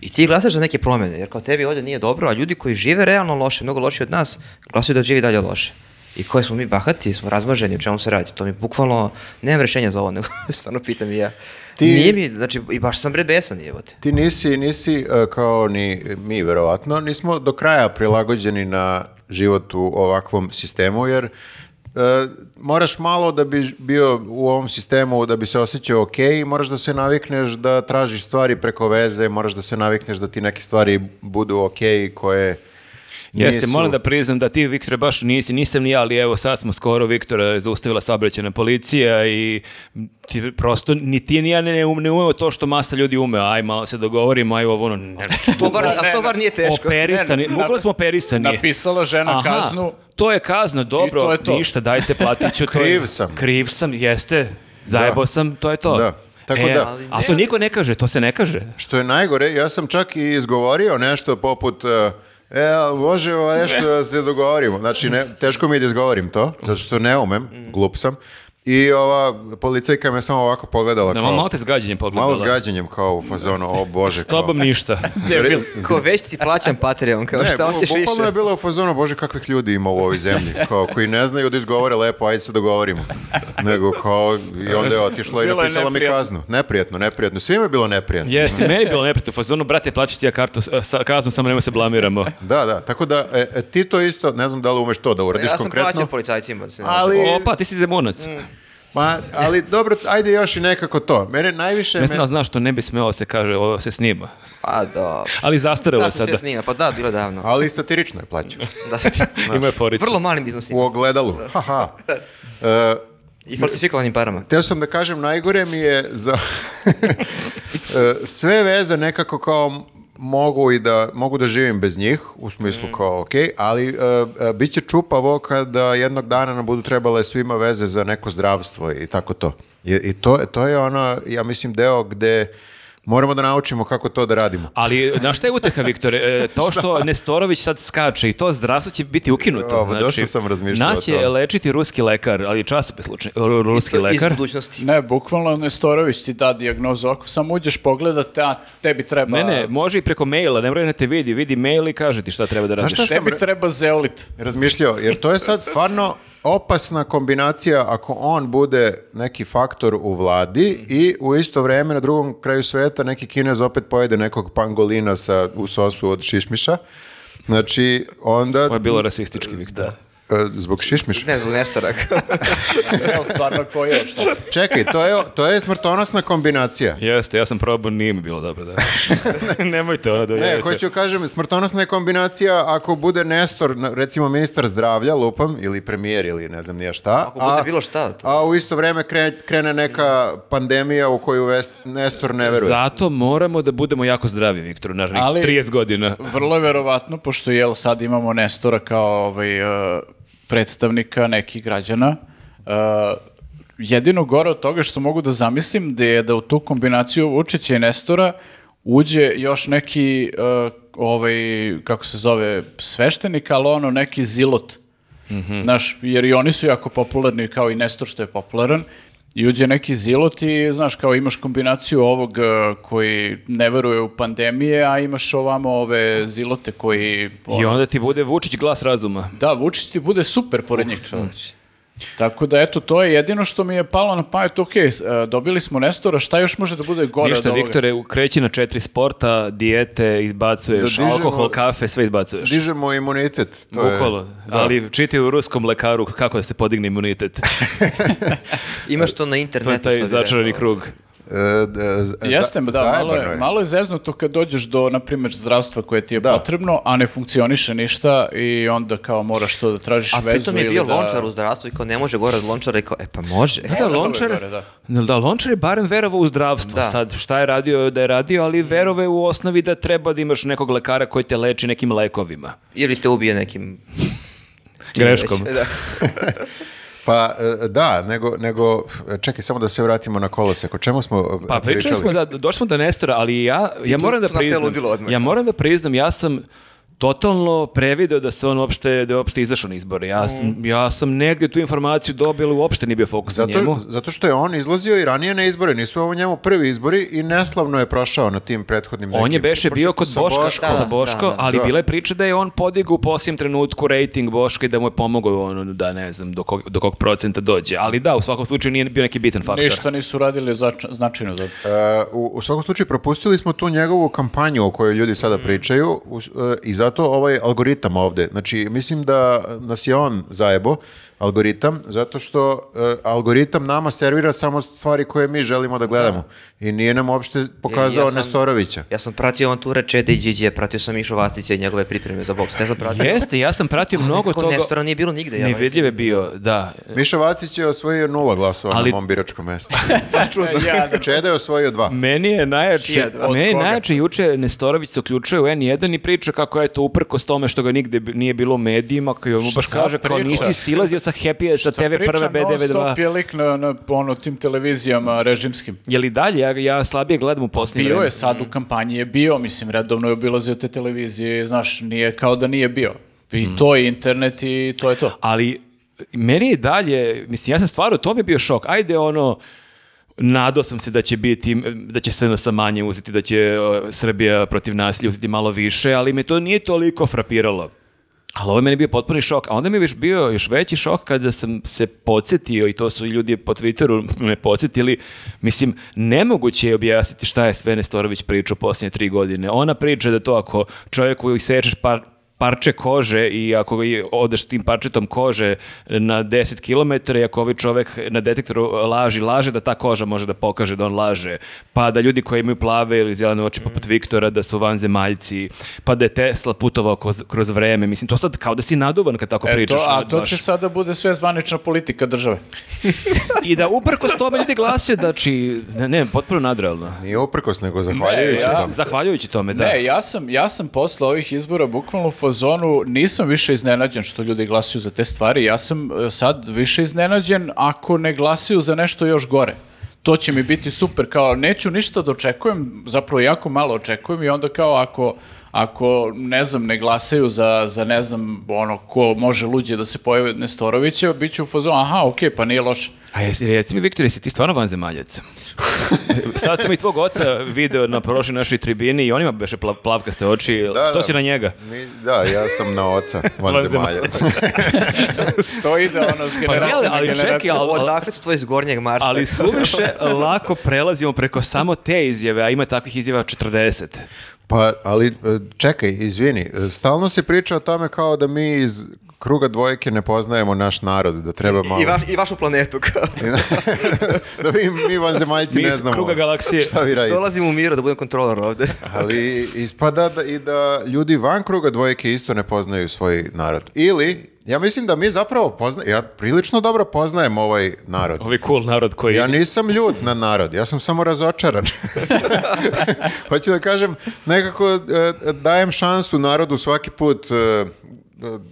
B: I ti glasaš za neke promjene, jer kao tebi ovdje nije dobro, a ljudi koji žive realno loše, mnogo lošije od nas, glasaju da živi dalje loše. I koji smo mi bahati, smo razmaženi, o čemu se radi. To mi bukvalno, nemam rešenja za ovo, nego [LAUGHS] stvarno pitam i ja.
A: Ti-
B: Nije mi, znači, i baš sam bre besan jebote.
A: Ti nisi, nisi e, kao ni mi verovatno, nismo do kraja prilagođeni na život u ovakvom sistemu, jer e, moraš malo da bi bio u ovom sistemu, da bi se osjećao ok, moraš da se navikneš da tražiš stvari preko veze, moraš da se navikneš da ti neke stvari budu ok koje
C: Jeste,
A: nisu-
C: moram da priznam da ti, Viktore, baš nisi, nisam ni ja, ali evo sad smo skoro, Viktora je zaustavila saobraćajna policija i ti prosto ni ti ni ja ne, ne, um- ne umemo to što masa ljudi ume, aj malo se dogovorimo, aj ovo ono, ne,
A: [LAUGHS]
B: To bar, a to bar nije teško.
C: operisani,
D: Ne, ne,
C: bukvalno
D: nap-
C: smo operisani.
D: Napisala žena
C: Aha,
D: kaznu.
C: To je kazna, dobro,
D: to je to.
C: ništa, dajte, platit ću to. je-
A: Kriv sam.
C: Kriv sam, jeste, zajebo sam, to je to.
A: Da, tako
C: E,
A: da-
C: ali A to niko ne kaže, to se ne kaže.
A: Što je najgore, ja sam čak i izgovorio nešto poput e, E, ali može ovo nešto da se dogovorimo. Znači, ne, teško mi je da izgovorim to, zato što ne umem, glup sam. I ova policajka me samo ovako pogledala.
C: Da,
A: kao,
C: malo te zgađenje pogledala.
A: malo s gađenjem, kao u fazonu, o bože.
C: S tobom
A: kao, [LAUGHS]
C: ništa.
B: Ko već ti plaćam Patreon, kao
A: Ne,
B: šta
A: bu-
B: hoćeš
A: bukvalno je
B: više.
A: bilo u fazonu, bože kakvih ljudi ima u ovoj zemlji, kao, koji ne znaju da izgovore lepo, ajde se dogovorimo. Nego kao, i onda je otišla i
D: Bilo je
A: napisala mi
D: neprijatno.
A: kaznu. Neprijetno, neprijetno. Svima je bilo neprijetno.
C: Jeste, meni je bilo neprijatno u fazonu, brate, plaću ti ja kartu, s- sa, kaznu, samo nema se blamiramo.
A: Da, da, tako da e, e, ti to isto, ne znam da li umeš to da uradiš
B: Ja sam
A: konkretno.
B: plaćao policajcima. da se ne
A: Ali,
C: Opa, ti si
B: Mm,
C: zemunac.
A: ma, ali dobro, ajde još i nekako to. Mene najviše...
C: Ne
A: me-
C: znam, znaš što ne bi smelo se kaže, ovo se snima.
B: Pa da.
C: [LAUGHS] Ali zastarelo
B: Da
C: je
B: se sve
C: sada.
B: snima, pa da, bilo je davno.
A: Ali satirično je plaćao.
B: Da
C: [LAUGHS]
B: se ti...
C: Ima je forica.
B: Vrlo malim iznosima
A: U ogledalu. Haha. E,
B: i falsifikovanim parama.
A: Teo sam da kažem, najgore mi je za [LAUGHS] E, sve veze nekako kao mogu i da mogu da živim bez njih u smislu kao ok, ali e, e, bit će čupavo kada jednog dana nam budu trebale svima veze za neko zdravstvo i tako to. I, i to, to je ono, ja mislim, deo gde moramo da naučimo kako to da radimo.
C: Ali, znaš šta je uteha, Viktore? E,
B: [LAUGHS]
C: to što Nestorović sad skače i to zdravstvo će biti ukinuto. Znači,
A: Jo, dosta sam razmišljao
C: nas
A: o tome.
C: će lečiti ruski lekar, ali časopis lučni- ru- ruski
B: Isto Iz
C: lekar.
B: budućnosti.
D: Ne, bukvalno Nestorović ti da dijagnozu. Ako samo uđeš pogledati, a tebi treba...
C: Ne,
B: Pa-
C: ne, može i preko maila, ne mora da te vidi, vidi mail i kaže ti šta treba da radiš.
A: šta sam
D: Tebi
A: re-
D: treba zeolit.
A: razmišljao, jer to je sad stvarno opasna kombinacija ako on bude neki faktor u vladi i u isto vrijeme na drugom kraju sveta neki kinez opet pojede nekog pangolina sa, u sosu od šišmiša. Znači, onda...
C: Ovo je bilo rasistički, Viktor.
A: e, zbog šišmiša.
B: Ne, zbog
C: [LAUGHS]
B: Nestora.
D: Jel, stvarno ko je šta?
A: Čekaj, to je, to je smrtonosna kombinacija.
C: Jeste, ja sam probao, nije mi bilo dobro, da. Nemojte ono da
A: Ne,
C: javite.
A: hoću kažem, smrtonosna je kombinacija ako bude Nestor, na- recimo ministar zdravlja, lupam, ili premijer, ili ne znam nije šta.
B: Ako bude bilo šta, to-
A: A u isto vreme kre- krene neka pandemija u koju Vest- Nestor ne veruje.
C: Zato moramo da budemo jako zdravi, Viktor, naravno,
D: Ali-
C: 30 godina.
D: [LAUGHS] Vrlo je verovatno, pošto jel sad imamo Nestora kao ovaj, e, predstavnika nekih građana, e, jedino gore od toga što mogu da zamislim da je da u tu kombinaciju Vučića i Nestora uđe još neki, e, ovaj, kako se zove, sveštenik, ali ono neki zilot. Znaš, jer i oni su jako popularni, kao i Nestor što je popularan, i uđe neki zilot i, znaš, kao imaš kombinaciju ovog e, koji ne veruje u pandemije, a imaš ovamo ove zilote koji...
C: I onda ti bude Vučić glas razuma.
D: Da, Vučić ti bude super pored njih. Tako da, eto, to je jedino što mi je palo na pamet. Ok, s- e, dobili smo Nestora, šta još može da bude gore
C: Ništa,
D: od ovoga?
C: Viktore, kreći na četiri sporta, dijete, izbacuješ,
A: Da dižemo-
C: alkohol, kafe, sve izbacuješ.
A: Dižemo imunitet. To je-
C: Bukvalno. Ali čiti u ruskom lekaru kako da se podigne imunitet.
B: Imaš to na
C: To je
B: internetu. što
C: taj
B: bi
C: začarani
B: rekao.
C: krug.
A: E, d- z-
D: Jeste,
A: za-
D: da, malo
A: zajebano
D: je, malo je zeznuto kad dođeš do, na primjer, zdravstva koje ti je
A: Da.
D: potrebno, a ne funkcioniše ništa i onda kao moraš to da tražiš
B: A
D: vezu
B: pritom je
D: ili
B: bio
D: da...
B: lončar u zdravstvu i kao ne može gore od lončara i kao, e pa može.
C: Da, da, Lončar,
D: gore, da.
C: da. Lončar je barem verovao u zdravstvo.
B: Da.
C: Sad, šta je radio da je radio, ali verove u osnovi da treba da imaš nekog lekara koji te leči nekim lekovima.
B: Ili te ubije nekim...
C: Greškom.
B: [LAUGHS] Da.
A: Pa e, da, nego, nego, čekaj, samo da se vratimo na kolosek. O čemu smo e,
C: Pa pričali smo da došli smo do Nestora, ali ja ja
B: tu-
C: moram da
B: tu nastaje
C: priznam.
B: ludilo odmah.
C: Ja moram da priznam, ja sam totalno prevideo da se on uopšte, da je uopšte izašao na izbore. Ja sam, ja sam negdje tu informaciju dobio, ali uopšte nije bio fokus na njemu.
A: Zato, zato što je on izlazio i ranije na izbore, nisu ovo njemu prvi izbori i neslavno je prošao na tim prethodnim nekim.
C: On je beše bio kod
A: Sa
C: Boška,
A: Boško.
C: sa
B: Da,
C: Boško,
B: da, da.
C: ali
A: Da.
C: bila je priča da je on podigao u posljednjem trenutku rating Boška i da mu je pomogao ono da ne znam do kog, do kog procenta dođe. Ali da, u svakom slučaju nije bio neki bitan faktor.
D: Ništa nisu radili zač- značajno da
A: E, u, u svakom slučaju propustili smo tu njegovu kampanju o kojoj ljudi sada pričaju us- e, i zato ovaj algoritam ovde. Znači, mislim da nas je on zajebo, algoritam, zato što e, algoritam nama servira samo stvari koje mi želimo da gledamo. I nije nam uopšte pokazao
B: Ja sam- E,
A: Nestorovića.
B: Ja sam pratio Antura Čede i Điđe, pratio sam Mišu Vastića i njegove pripreme za boks. Ne sam pratio.
C: Jeste, ja sam pratio mnogo
B: Nekako
C: toga.
B: Nestora nije bilo nigde. Ja
C: Nevidljiv je bio, da.
A: Miša Vacić je osvojio nula glasova
C: Ali-
A: na mom biračkom mestu.
D: Ja, da.
A: Čeda je osvojio dva.
C: Meni je najjače,
D: Od
C: meni je
D: koga?
C: najjače juče Nestorović se uključuje u N1 i priča kako je to uprkos tome što ga nigde bi- nije bilo u medijima, koji mu baš kaže kao
D: priča?
C: nisi silazio sa Happy sa TV prve
D: Priča non
C: B92.
D: stop je lik na, na ono, tim televizijama režimskim.
C: Je li dalje? Ja, ja slabije gledam u posljednje
D: Bio
C: vreme.
D: je sad
B: Mm.
D: u kampanji, je bio, mislim, redovno je obilazio te televizije, znaš, nije kao da nije bio. I
B: Mm.
D: to je internet i to je to.
C: Ali meni je dalje, mislim, ja sam stvarno, to mi je bio šok. Ajde, ono, nadao sam se da će biti, da će SNS manje uzeti, da će e, Srbija protiv nasilja uzeti malo više, ali me to nije toliko frapiralo. Ali ovo je meni bio potpuni šok. A onda mi je viš- bio još veći šok kada sam se podsjetio, i to su i ljudi po Twitteru me podsjetili, mislim, nemoguće je objasniti šta je sve Nestorović pričao posljednje tri godine. Ona priča da to ako čovjeku isečeš par, parče kože i ako i odeš tim parčetom kože na 10 km i ako ovaj čovek na detektoru laži, laže da ta koža može da pokaže da on laže, pa da ljudi koji imaju plave ili zelene oči poput
D: Mhm.
C: Viktora da su vanzemaljci, pa da je Tesla putovao kroz, kroz vreme, mislim to sad kao da si naduvan kad tako
D: E, to,
C: pričaš.
D: a
C: ono,
D: to
C: baš.
D: će sada bude sve zvanična politika države.
C: I da uprkos tome ljudi glasio, znači, ne, ne, potpuno nadrealno.
A: Nije uprkos, nego zahvaljujući
D: Ne, ja-
A: tome.
C: Zahvaljujući tome, da.
D: Ne, ja sam, ja sam posle ovih izbora bukvalno u fazonu nisam više iznenađen što ljudi glasuju za te stvari. Ja sam e, sad više iznenađen ako ne glasuju za nešto još gore. To će mi biti super, kao neću ništa da očekujem, zapravo jako malo očekujem i onda kao ako, ako ne znam, ne glasaju za, za ne znam, ono, ko može luđe da se pojave od Nestorovića, bit ću u fazonu, aha, okej, pa nije loše.
C: A jesi, reci mi, Viktor, jesi ti stvarno
A: [LAUGHS]
C: vanzemaljac? Sad sam i tvog oca video na prošloj našoj tribini i on ima beše pla- plavkaste oči.
A: Da,
C: to
A: da.
C: si na njega.
A: Mi, da, ja sam na oca, vanzemaljac.
D: To ide ono s
C: Pa jel,
D: generacije na
C: ali
D: generaciju.
C: čekaj, ali, ali,
B: Odakle su tvoji iz Gornjeg Marsa?
C: ali
A: [LAUGHS]
C: suviše lako prelazimo preko samo te izjave, a ima takvih izjava 40.
A: Pa, ali e, čekaj, izvini, e, stalno se priča o tome kao da mi iz kruga dvojke ne poznajemo naš narod, da treba malo...
B: I, vaš, I vašu planetu. kao.
A: [LAUGHS] da mi, mi vanzemaljci
C: Mi
A: ne
C: iz
A: znamo
C: kruga galaksije.
A: šta vi radite.
B: Dolazim u miro da budem kontroler ovde.
A: Ali ispada da, i da ljudi van kruga dvojke isto ne poznaju svoj narod. Ili, ja mislim da mi zapravo poznajemo, ja prilično dobro poznajem ovaj narod.
C: Ovi cool narod koji...
A: Ja nisam ljut na narod, ja sam samo razočaran. [LAUGHS] Hoću da kažem, nekako e, dajem šansu narodu svaki put e,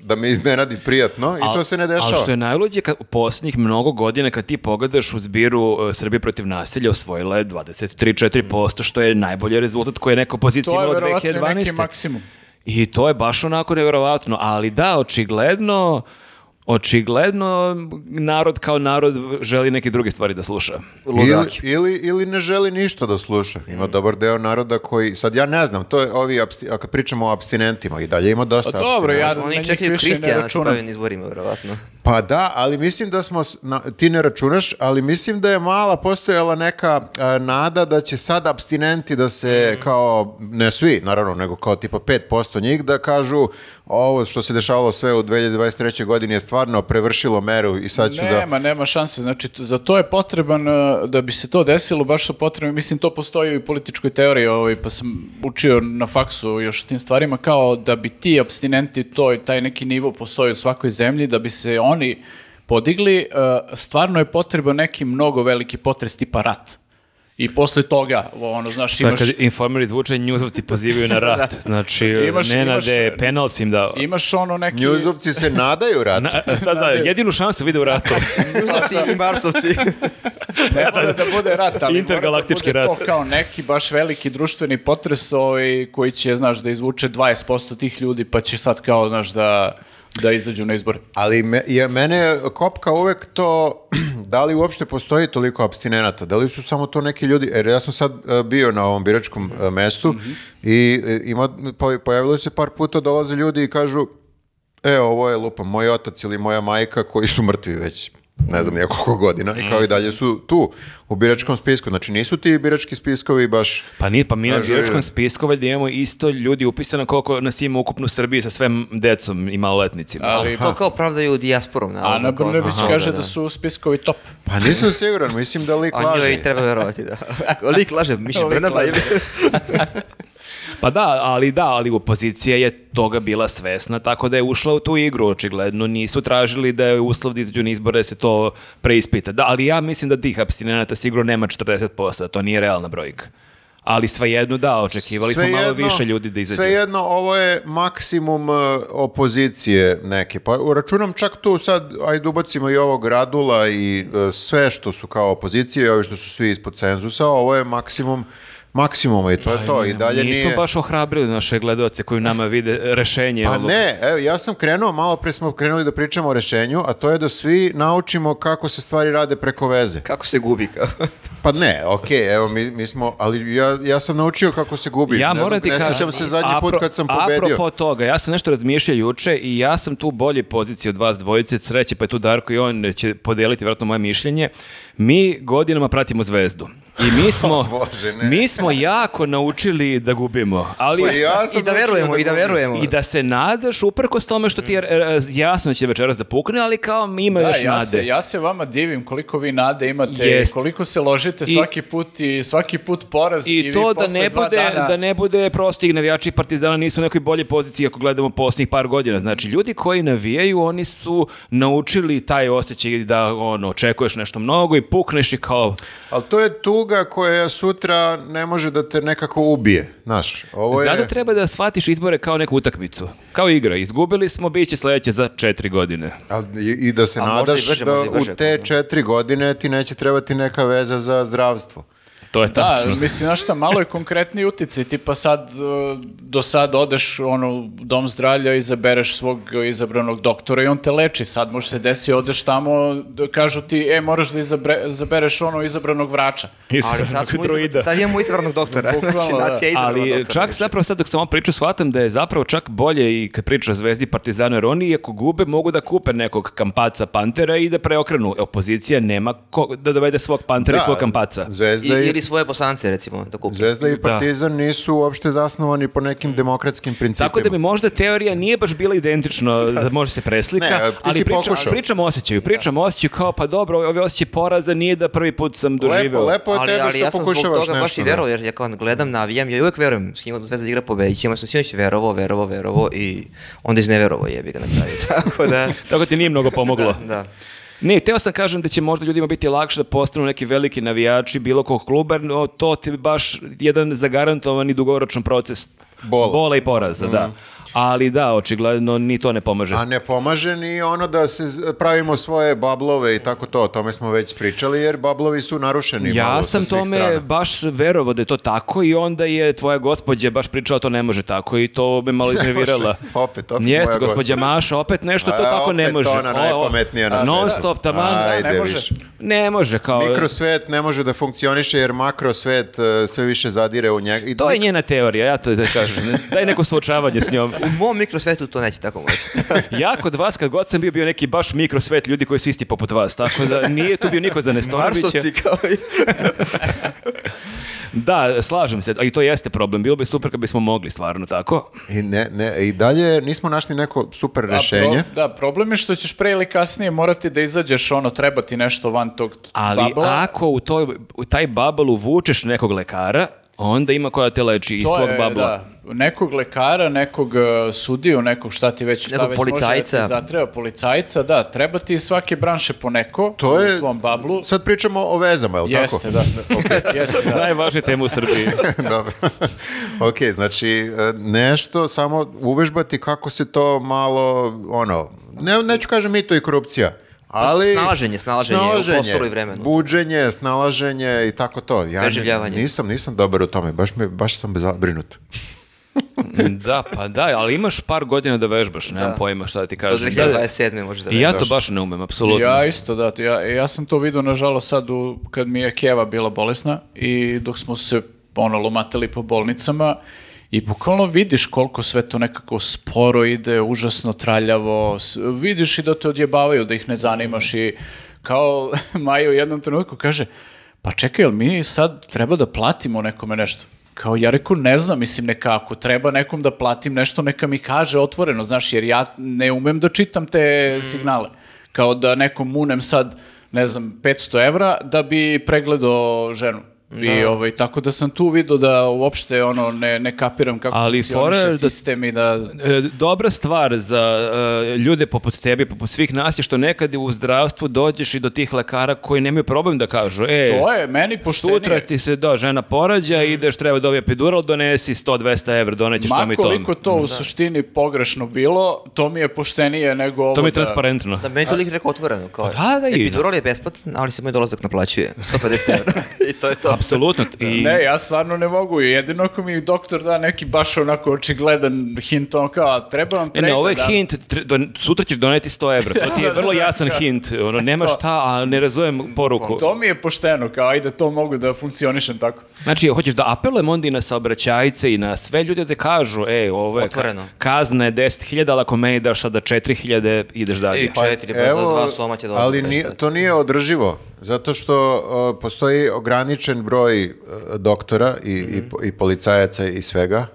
A: da me iznenadi prijatno i
C: Al-
A: to se ne dešava.
C: Ali što je najluđe, kad, u posljednjih mnogo godina kad ti pogledaš u zbiru e, Srbije protiv nasilja osvojila je 23-4%, što je najbolji rezultat koji je neka opozicija
D: To je
C: imala
D: verovatno neki
C: 2012.
D: maksimum.
C: I to je baš onako nevjerovatno, ali da, očigledno, očigledno narod kao narod želi neke druge stvari da sluša.
A: Ili,
B: Ludaki.
A: ili, ili ne želi ništa da sluša. Ima dobar deo naroda koji, sad ja ne znam, to je ovi, absti- ako pričamo o abstinentima i dalje ima dosta
D: Pa dobro, ja na
B: Oni
D: njih
B: čekaju
D: više ne
B: Kristijana da se
D: računam.
B: bavi na izborima, verovatno.
A: Pa da, ali mislim da smo, s- na- ti ne računaš, ali mislim da je mala postojala neka e, nada da će sad abstinenti da se kao, ne svi naravno, nego kao tipa 5% njih da kažu ovo što se dešavalo sve u 2023. godini je stvarno prevršilo meru i sad ću da...
D: Nema, nema šanse. Znači, t- za to je potreban, e, da bi se to desilo, baš su potrebni, mislim, to postoji i u političkoj teoriji, ovaj, pa sam učio na faksu još o tim stvarima, kao da bi ti abstinenti, to, i taj neki nivo postoji u svakoj zemlji, da bi se oni podigli, e, stvarno je potreban neki mnogo veliki potres tipa rat. I posle toga, ono, znaš,
C: Sad
D: imaš...
C: kad informer zvuče, njuzovci pozivaju [LAUGHS] na rat. Znači,
D: Imaš-
C: Nenade,
D: imaš-
C: penal si im dao.
D: Imaš ono neki...
A: Njuzovci se nadaju ratu.
C: Na- da, da, jedinu šansu vide u ratu.
D: [LAUGHS]
B: Rusovci i Pa Marsovci. [LAUGHS]
D: Ne mora da bude rat, ali
C: Intergalaktički
D: mora da bude
C: rat.
D: to kao neki baš veliki društveni potres ovaj, koji će, znaš, da izvuče 20% tih ljudi, pa će sad kao, znaš, da, da izađu na izbore.
A: Ali me, je, mene kopka uvek to, [CLEARS THROAT] da li uopšte postoji toliko abstinenata, da li su samo to neki ljudi, jer ja sam sad e, bio na ovom biračkom e, mestu
B: Mhm.
A: i e, ima, po- pojavilo se par puta, dolaze ljudi i kažu, e, ovo je lupa, moj otac ili moja majka koji su mrtvi već ne znam nekoliko godina i kao i dalje su tu u biračkom spisku. Znači nisu ti birački spiskovi baš...
C: [LAUGHS] Pa nije, pa mi na
A: Ažurirani.
C: biračkom spisku valjda imamo isto ljudi upisano koliko nas ima ukupno u Srbiji sa sve decom i maloletnicima.
D: Ali,
B: To kao pravdaju dijasporom. Na,
D: Ana
B: ono, kao-
D: Brnebić
B: Aha,
D: kaže
B: da.
D: da su spiskovi top.
A: Pa nisam siguran, mislim da lik
B: A njoj
A: laže.
B: i treba verovati,
D: [LAUGHS]
B: da. Lik laže, Miša
D: Lik
B: Brnaba.
D: laže.
B: ili-
C: Pa da, ali da, ali opozicija je toga bila svesna, tako da je ušla u tu igru, očigledno. Nisu tražili da je uslov da izađu na izbore da se to preispita. Da, ali ja mislim da tih abstinenata sigurno nema 40%, da to nije realna brojka. Ali svejedno da, očekivali smo malo
A: Svejedno-
C: više ljudi da izađu.
A: Svejedno, ovo je maksimum e, opozicije neke. Pa računam čak tu sad, ajde ubacimo i ovog Radula i e, sve što su kao opozicije, ovi što su svi ispod cenzusa, ovo je maksimum maksimuma i to je to. I dalje
C: Pa Nisu
A: nije...
C: baš ohrabrili naše gledaoce koji u nama vide rešenje.
A: Pa
C: ovog-
A: ne, evo, ja sam krenuo, malo pre smo krenuli da pričamo o rešenju, a to je da svi naučimo kako se stvari rade preko veze.
B: Kako se gubi, kao.
A: Pa ne, okej, evo, mi, mi smo, ali ja, ja sam naučio kako se gubi.
C: Ja
A: ne
C: moram
A: znam,
C: ti
A: ne
C: kažem-
A: sjećam se zadnji put
C: apro-
A: kad sam pobedio.
C: Apropo toga, ja sam nešto razmišljao juče i ja sam tu u boljoj poziciji od vas dvojice, sreće pa je tu Darko i on će podeliti vjerojatno moje mišljenje. Mi godinama pratimo zvezdu. I
A: [LAUGHS]
C: mi smo,
A: Bože, ne.
C: mi smo jako naučili da gubimo. Ali,
A: Pa ja sam
B: I da
A: naučio
B: verujemo, i da
A: gubim.
B: verujemo.
C: I da se nadaš uprkos tome što ti je e, jasno da će večeras da pukne, ali kao ima
D: Da,
C: Pa još
D: ja
C: nade.
D: se, ja se vama divim koliko vi nade imate
C: Jest.
D: i koliko se ložite svaki put i svaki put poraz i,
C: I, to
D: vi
C: da
D: posle
C: ne,
D: dva
C: bude,
D: dana...
C: da ne bude prosto i navijači Partizana nisu u nekoj bolje poziciji ako gledamo posljednjih par godina. Znači, ljudi koji navijaju, oni su naučili taj osjećaj da ono, očekuješ nešto mnogo i pukneš i kao...
A: Ali to je tuga koja sutra ne može da te nekako ubije, znaš. Ovo je...
C: Zato treba da shvatiš izbore kao neku utakmicu. Kao igra. Izgubili smo, bit će sledeće za četiri godine.
A: Ali I i da se
B: A možda i
A: nadaš
B: brže,
A: da
B: možda i brže,
A: u te
B: ako-
A: četiri godine ti neće trebati neka veza za zdravstvo.
C: To je
D: Da,
C: tačno. [LAUGHS]
D: mislim, znaš šta, malo je konkretniji uticaj, ti pa sad, e, do sad odeš ono, u dom zdravlja, izabereš svog izabranog doktora i on te leči, sad može se desi, odeš tamo, d- kažu ti, e, moraš da izabre- izabereš ono izabranog vrača.
B: Ali sad, smo izvr- sad imamo izvrnog doktora.
D: Bukvalno,
B: Znači,
D: da.
B: nacija je izvrnog
C: Ali
B: doktora.
C: čak zapravo sad dok sam ovo pričao shvatam da je zapravo čak bolje i kad priča o Zvezdi i Partizanu jer oni iako gube mogu da kupe nekog kampaca Pantera i da preokrenu. Opozicija nema ko, da dovede svog Pantera i svog kampaca.
B: I,
A: Zvezda i,
B: ili svoje poslance, recimo, da kupi.
A: Zvezda i
C: Da.
A: Partizan nisu uopšte zasnovani po nekim demokratskim principima.
C: Tako da mi možda teorija nije baš bila identična da može se preslika,
A: Ne, ti
C: ali
A: si
C: pričam,
A: pokušao.
C: pričam osjećaju, pričam osjećaju kao pa dobro, ovi osjećaj poraza nije da prvi put sam doživeo.
A: Lepo, lepo je
B: ali,
A: tebe
B: ali
A: što
B: ja sam zbog toga
A: Pa pokušavaš
B: baš i
A: nešto. da.
B: verovao, jer ja kao gledam, navijam, ja uvijek verujem s kim god Zvezda igra pobedit ćemo, ja sam sinoć verovao, verovao, verovao i onda izneverovao jebi ga na kraju. [LAUGHS] Tako da,
C: Tako ti nije mnogo pomoglo.
A: [LAUGHS]
B: da.
C: Ne, teo sam kažem da će možda ljudima biti lakše da postanu neki veliki navijači bilo kog kluba, no to ti je baš jedan zagarantovani dugoročan proces
A: Bola. Mm.
C: i poraza, da. Ali da, očigledno ni to ne pomaže.
A: A ne pomaže ni ono da se z- pravimo svoje bablove i tako to, o tome smo već pričali, jer bablovi su narušeni malo
C: Ja
A: sa
C: sam
A: svih
C: tome
A: strana.
C: baš verovao da je to tako i onda je tvoja gospođa baš pričala to ne može tako i to me
A: [LAUGHS]
C: malo iznervirala.
A: Opet, opet
C: Jeste,
A: moja
C: gospođa Maša, opet nešto to
A: A,
C: tako ne
A: opet ono
C: može.
A: ona najpametnija na
C: Non
A: svetu.
C: stop, taman.
A: Ajde,
D: Ne može.
A: više.
C: Ne može, kao...
A: Mikrosvet ne može da funkcioniše jer makrosvet e, sve više zadire u njega. I
C: To je njena teorija, ja to da kažem. Daj neko suočavanje s njom.
B: U mom mikrosvetu to neće tako
C: [LAUGHS]
B: moći.
C: Ja kod vas kad god sam bio bio neki baš mikrosvet ljudi koji su isti poput vas, tako da nije tu bio niko za Nestorovića.
B: Marsovci kao i...
C: Da, slažem se, a i to jeste problem. Bilo bi super kad bismo mogli stvarno tako.
A: I, ne, ne, I dalje nismo našli neko super
D: A pro-
A: rešenje.
D: da, problem je što ćeš pre ili kasnije morati da izađeš, ono, treba ti nešto van tog
C: Ali
D: babla.
C: ako u, toj, u taj babal uvučeš nekog lekara, onda ima koja te leči iz
D: To
C: tvog
D: je,
C: babla.
D: Da, nekog lekara, nekog e, sudiju, nekog šta ti već, šta
B: Nekog
D: već
B: policajca.
D: može da ti zatreba, policajca, da, treba ti iz svake branše po neko
A: To je,
D: u tvom bablu.
A: sad pričamo o vezama, je li
D: Jeste, da. Ok, Jeste, da.
C: Najvažnija tema u Srbiji.
A: tako? [LAUGHS] Dobro. ok, znači e, nešto samo uvežbati kako se to malo, ono, ne, neću kažem mito i korupcija, Ali,
B: Snalaženje, snalaženje u prostoru i vremenu.
A: Buđenje, snalaženje i tako to. Ja ne-
B: Preživljavanje.
A: nisam, nisam dobar u tome, baš, me, baš sam zabrinut.
C: Da, pa da, ali imaš par godina da vežbaš, nemam pojma šta da ti
B: Do
C: kažem. Da, da.
B: 2027. može da
C: I ja to
B: vežbaš.
C: baš ne umem, apsolutno.
D: Ja isto, da. Ja, ja sam to vidio, nažalost, sad u, kad mi je Keva bila bolesna i dok smo se ono, lomatali po bolnicama i bukvalno vidiš koliko sve to nekako sporo ide, užasno traljavo, s- vidiš i da te odjebavaju, da ih ne zanimaš i kao [LAUGHS] Maja u jednom trenutku kaže, pa čekaj, jel mi sad treba da platimo nekome nešto? Kao ja reku, ne znam, mislim nekako, treba nekom da platim nešto, neka mi kaže otvoreno, znaš, jer ja ne umem da čitam te signale kao da nekom munem sad, ne znam, 500 evra da bi pregledao ženu. I ovaj, tako da sam tu vidio da uopšte ono ne, ne kapiram kako
C: Ali fora je
D: funkcioniše
C: da-
D: sistem i da...
C: E, Dobra stvar za e, ljude poput tebi, poput svih nas je što nekad u zdravstvu dođeš i do tih lekara koji nemaju problem da kažu e,
D: To je Mm. meni poštenije.
C: sutra ti se da, žena porađa, ideš, treba da ovaj epidural, donesi 100-200 evra, donećeš
D: Ma
C: tom i tom.
D: koliko to u suštini pogrešno bilo, to mi je poštenije nego ovo
C: To mi je
D: da-
C: transparentno.
B: Da, meni je to lik rekao otvoreno. Kao,
C: Pa da, da, i-
B: Epidural je besplatan, ali se moj dolazak naplaćuje. 150 evra. [LAUGHS] I to je to.
C: Apsolutno. I,
D: Ne, ja stvarno ne mogu. Jedino ako mi doktor da neki baš onako očigledan hint, on kao, "A, treba vam
C: E, Ne, ne, ovo je
D: pregled, a?"
C: hint, tre- don- sutra ćeš doneti 100 evra. To ti
D: [LAUGHS]
C: je vrlo jasan hint. Ono, nema šta, a ne razumem poruku.
D: To mi je pošteno, kao ajde, to mogu da funkcionišem tako.
C: Znači, hoćeš da apelujem onda i na saobraćajce i na sve ljude da kažu, ej, ovo je ka-
B: Otvoreno.
C: kazna je 10.000, ali ako meni daš sada 4.000, ideš dalje.
B: I četiri, pa za dva soma će dolazak.
A: ali nije- to nije održivo, zato što uh, postoji ograničen broj uh, doktora i,
B: Mhm.
A: i, po- i policajaca i svega.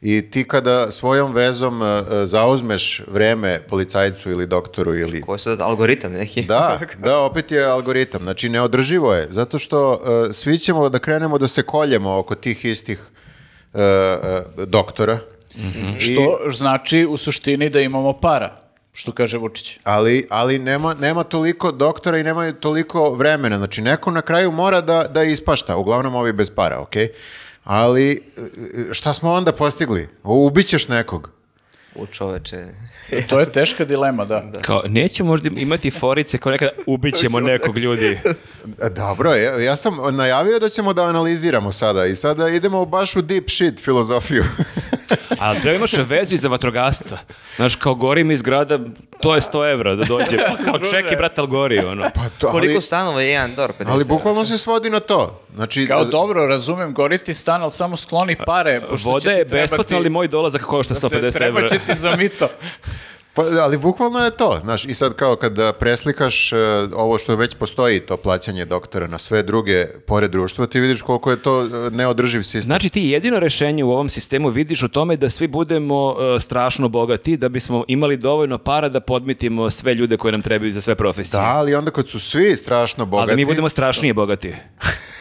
A: I ti kada svojom vezom uh, uh, zauzmeš vreme policajcu ili doktoru ili
B: Koji je sad algoritam neki. [LAUGHS]
A: Da, da, opet je algoritam. Znači, neodrživo je, zato što e, svi ćemo da krenemo da se koljemo oko tih istih e, e, doktora. I-
D: Što znači u suštini da imamo para, što kaže Vučić.
A: Ali, ali nema, nema toliko doktora i nema toliko vremena. Znači, neko na kraju mora da, da ispašta, uglavnom ovi bez para, ok? Ali, e, šta smo onda postigli? Ubićeš nekog.
B: U čoveče.
D: To je teška dilema, da.
C: Kao, neće možda imati forice kao nekada ubit ćemo nekog ljudi.
A: E, Dobro, ja, ja sam najavio da ćemo da analiziramo sada i sada idemo baš u deep shit filozofiju.
C: Ali treba imaš vezu i za vatrogasca. Znaš, kao gori mi iz grada, to je 100 evra da
D: [LAUGHS]
C: dođe. Pa kao čeki, brat, al gori, ono.
A: Pa to, ali-
B: Koliko stanova je jedan dor? 50
A: Ali
B: evra?
A: bukvalno se svodi na to. Znači,
D: Kao dobro, razumem, goriti stan, ali samo skloni pare. Pošto
C: Voda
D: će ti
C: je
D: trebati-
C: besplatna, ali moj dolazak košta 150
D: Treba
C: evra.
D: će ti za mito.
A: pa, ali bukvalno je to. Znaš, I sad kao kada preslikaš e, ovo što već postoji, to plaćanje doktora na sve druge pored društva, ti vidiš koliko je to e, neodrživ sistem.
C: Znači ti jedino rešenje u ovom sistemu vidiš u tome da svi budemo e, strašno bogati da bismo imali dovoljno para da podmitimo sve ljude koji nam trebaju za sve profesije.
A: Da, ali onda kad su svi strašno
C: Ali
A: bogati...
C: da mi budemo strašnije bogati.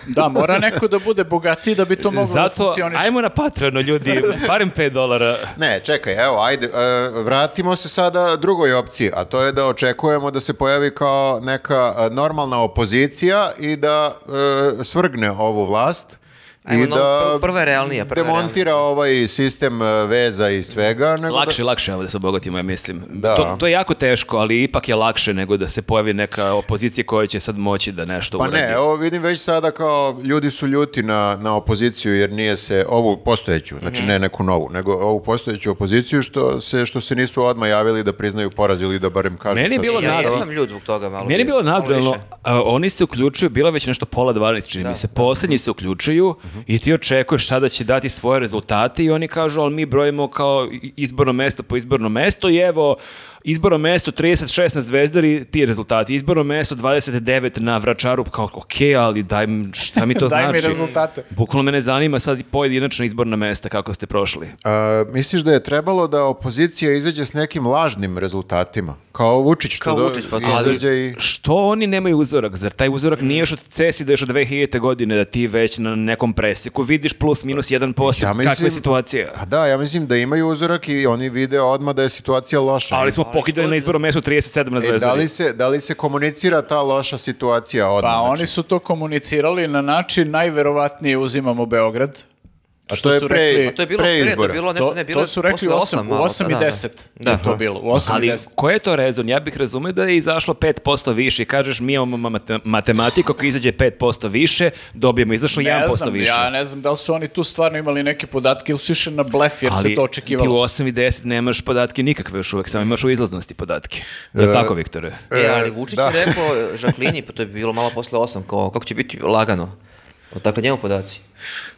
D: Da, mora neko da bude bogatiji da bi to moglo da
C: Zato,
D: funkcioniš.
C: ajmo na Patreon, ljudi, barem 5 dolara.
A: Ne, čekaj, evo, ajde, e, vratimo se sada drugoj opciji, a to je da očekujemo da se pojavi kao neka e, normalna opozicija i da e, svrgne ovu vlast
B: Ajmo
A: i
B: na-
A: da
B: pr- prva je realnija, prva je
A: demontira ovaj sistem e, veza i svega. Nego da-
C: Lakše, lakše ovo da se obogatimo, ja mislim.
A: Da.
C: To, to je jako teško, ali ipak je lakše nego da se pojavi neka opozicija koja će sad moći da nešto
A: Pa
C: uradi.
A: ne, evo vidim već sada kao ljudi su ljuti na, na opoziciju jer nije se ovu postojeću, znači
B: Mhm.
A: ne neku novu, nego ovu postojeću opoziciju što se što se nisu odmah javili da priznaju poraz ili da barem kažu
C: Meni je
A: šta
C: bilo
A: se
B: Ja, ja
C: Nadal.
B: sam ljud zbog toga malo.
C: Meni je bilo
B: malo
C: nadrealno,
B: više.
C: a, oni se uključuju, bilo je već nešto pola 12, čini mi se, poslednji se uključuju
B: Mhm.
C: i ti očekuješ sada će dati svoje rezultate i oni kažu, ali mi brojimo kao izborno mesto po izborno mesto i evo, izborno mesto 36 na Zvezdari, ti rezultati, izborno mesto 29 na Vračaru, kao, ok, ali daj, mi- šta mi to
D: [LAUGHS] Daj mi
C: znači?
D: rezultate.
C: Bukvalno mene zanima sad i pojedinačna izborna mesta, kako ste prošli.
A: A, misliš da je trebalo da opozicija izađe s nekim lažnim rezultatima? Kao Vučić. što
B: Kao
A: do-
B: Vučić, pa to-
A: izađe i...
C: Što oni nemaju uzorak? Zar taj uzorak nije još od CESI da još od 2000. godine da ti već na nekom preseku vidiš plus minus 1%
A: Ja mislim-
C: kakva je situacija?
A: Pa da, ja mislim da imaju uzorak i oni vide odmah da je situacija loša.
C: Ali smo
B: ali
C: pokidali
B: što-
C: na izboru mesu 37 na
A: E,
C: zvezdu.
A: da, li se, da li se komunicira ta loša situacija odmah?
D: Pa
A: Znači,
D: oni su to komunicirali na način najverovatnije uzimamo Beograd,
A: A
D: Što
A: to je
D: su
A: pre,
D: rekli-
B: A to je bilo
A: pre
B: pre, to je
A: izbora.
B: bilo nešto,
D: To,
B: ne, bilo
D: to
B: je
D: su rekli
B: posle
D: 8,
B: osam malo, pa
D: 8 i
B: da, da.
D: 10
B: Da.
D: je to bilo. 8 i
C: Ali
D: 10.
C: koji je to rezon? Ja bih razumio da je izašlo 5% više. Kažeš, mi imamo mate- matematiku, ako izađe 5% više, dobijemo izašlo
D: Ne
C: 1%
D: znam,
C: Pa više.
D: ja ne znam da li su oni tu stvarno imali neke podatke ili su išli na blef jer se
C: Ali ti
D: to
C: u
D: očekivalo.
C: 8 i 10 nemaš podatke nikakve još uvek, samo imaš u izlaznosti podatke. Je li tako, Viktore?
B: E,
A: E,
B: ali Vučić
A: da.
B: je rekao e, Žaklini, pa to je bilo malo posle osam, kao, kako će biti lagano. Odakle njemu podaci.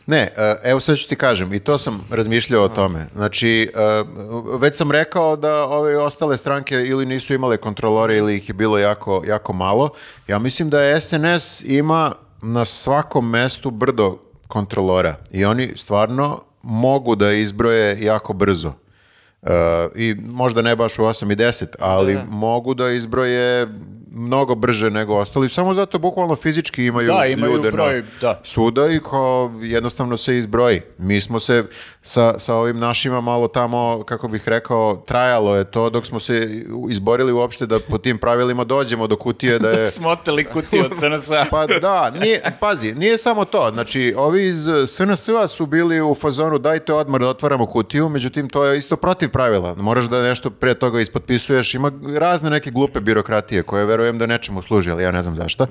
A: Ne, e, evo sad ću ti kažem, i to sam razmišljao o tome. Znači, e, već sam rekao da ove ostale stranke ili nisu imale kontrolore ili ih je bilo jako, jako malo. Ja mislim da SNS ima na svakom mestu brdo kontrolora i oni stvarno mogu da izbroje jako brzo. E, I možda ne baš u 8 i 10, ali mogu da izbroje mnogo brže nego ostali. Samo zato bukvalno fizički imaju,
D: Da, imaju
A: ljude na-
D: broj, da.
A: suda i kao jednostavno se izbroji. Mi smo se sa, sa ovim našima malo tamo, kako bih rekao, trajalo je to dok smo se izborili uopšte da po tim pravilima dođemo do kutije
D: [LAUGHS]
A: da je...
D: Smo oteli kutiju od SNS-a.
A: [LAUGHS] Pa da, nije, pazi, nije samo to. Znači, ovi iz SNS-a su bili u fazonu dajte odmor da otvaramo kutiju, međutim, to je isto protiv pravila. Moraš da nešto pre toga ispotpisuješ. Ima razne neke glupe birokratije koje verujem da nečemu služi, ali ja ne znam zašta.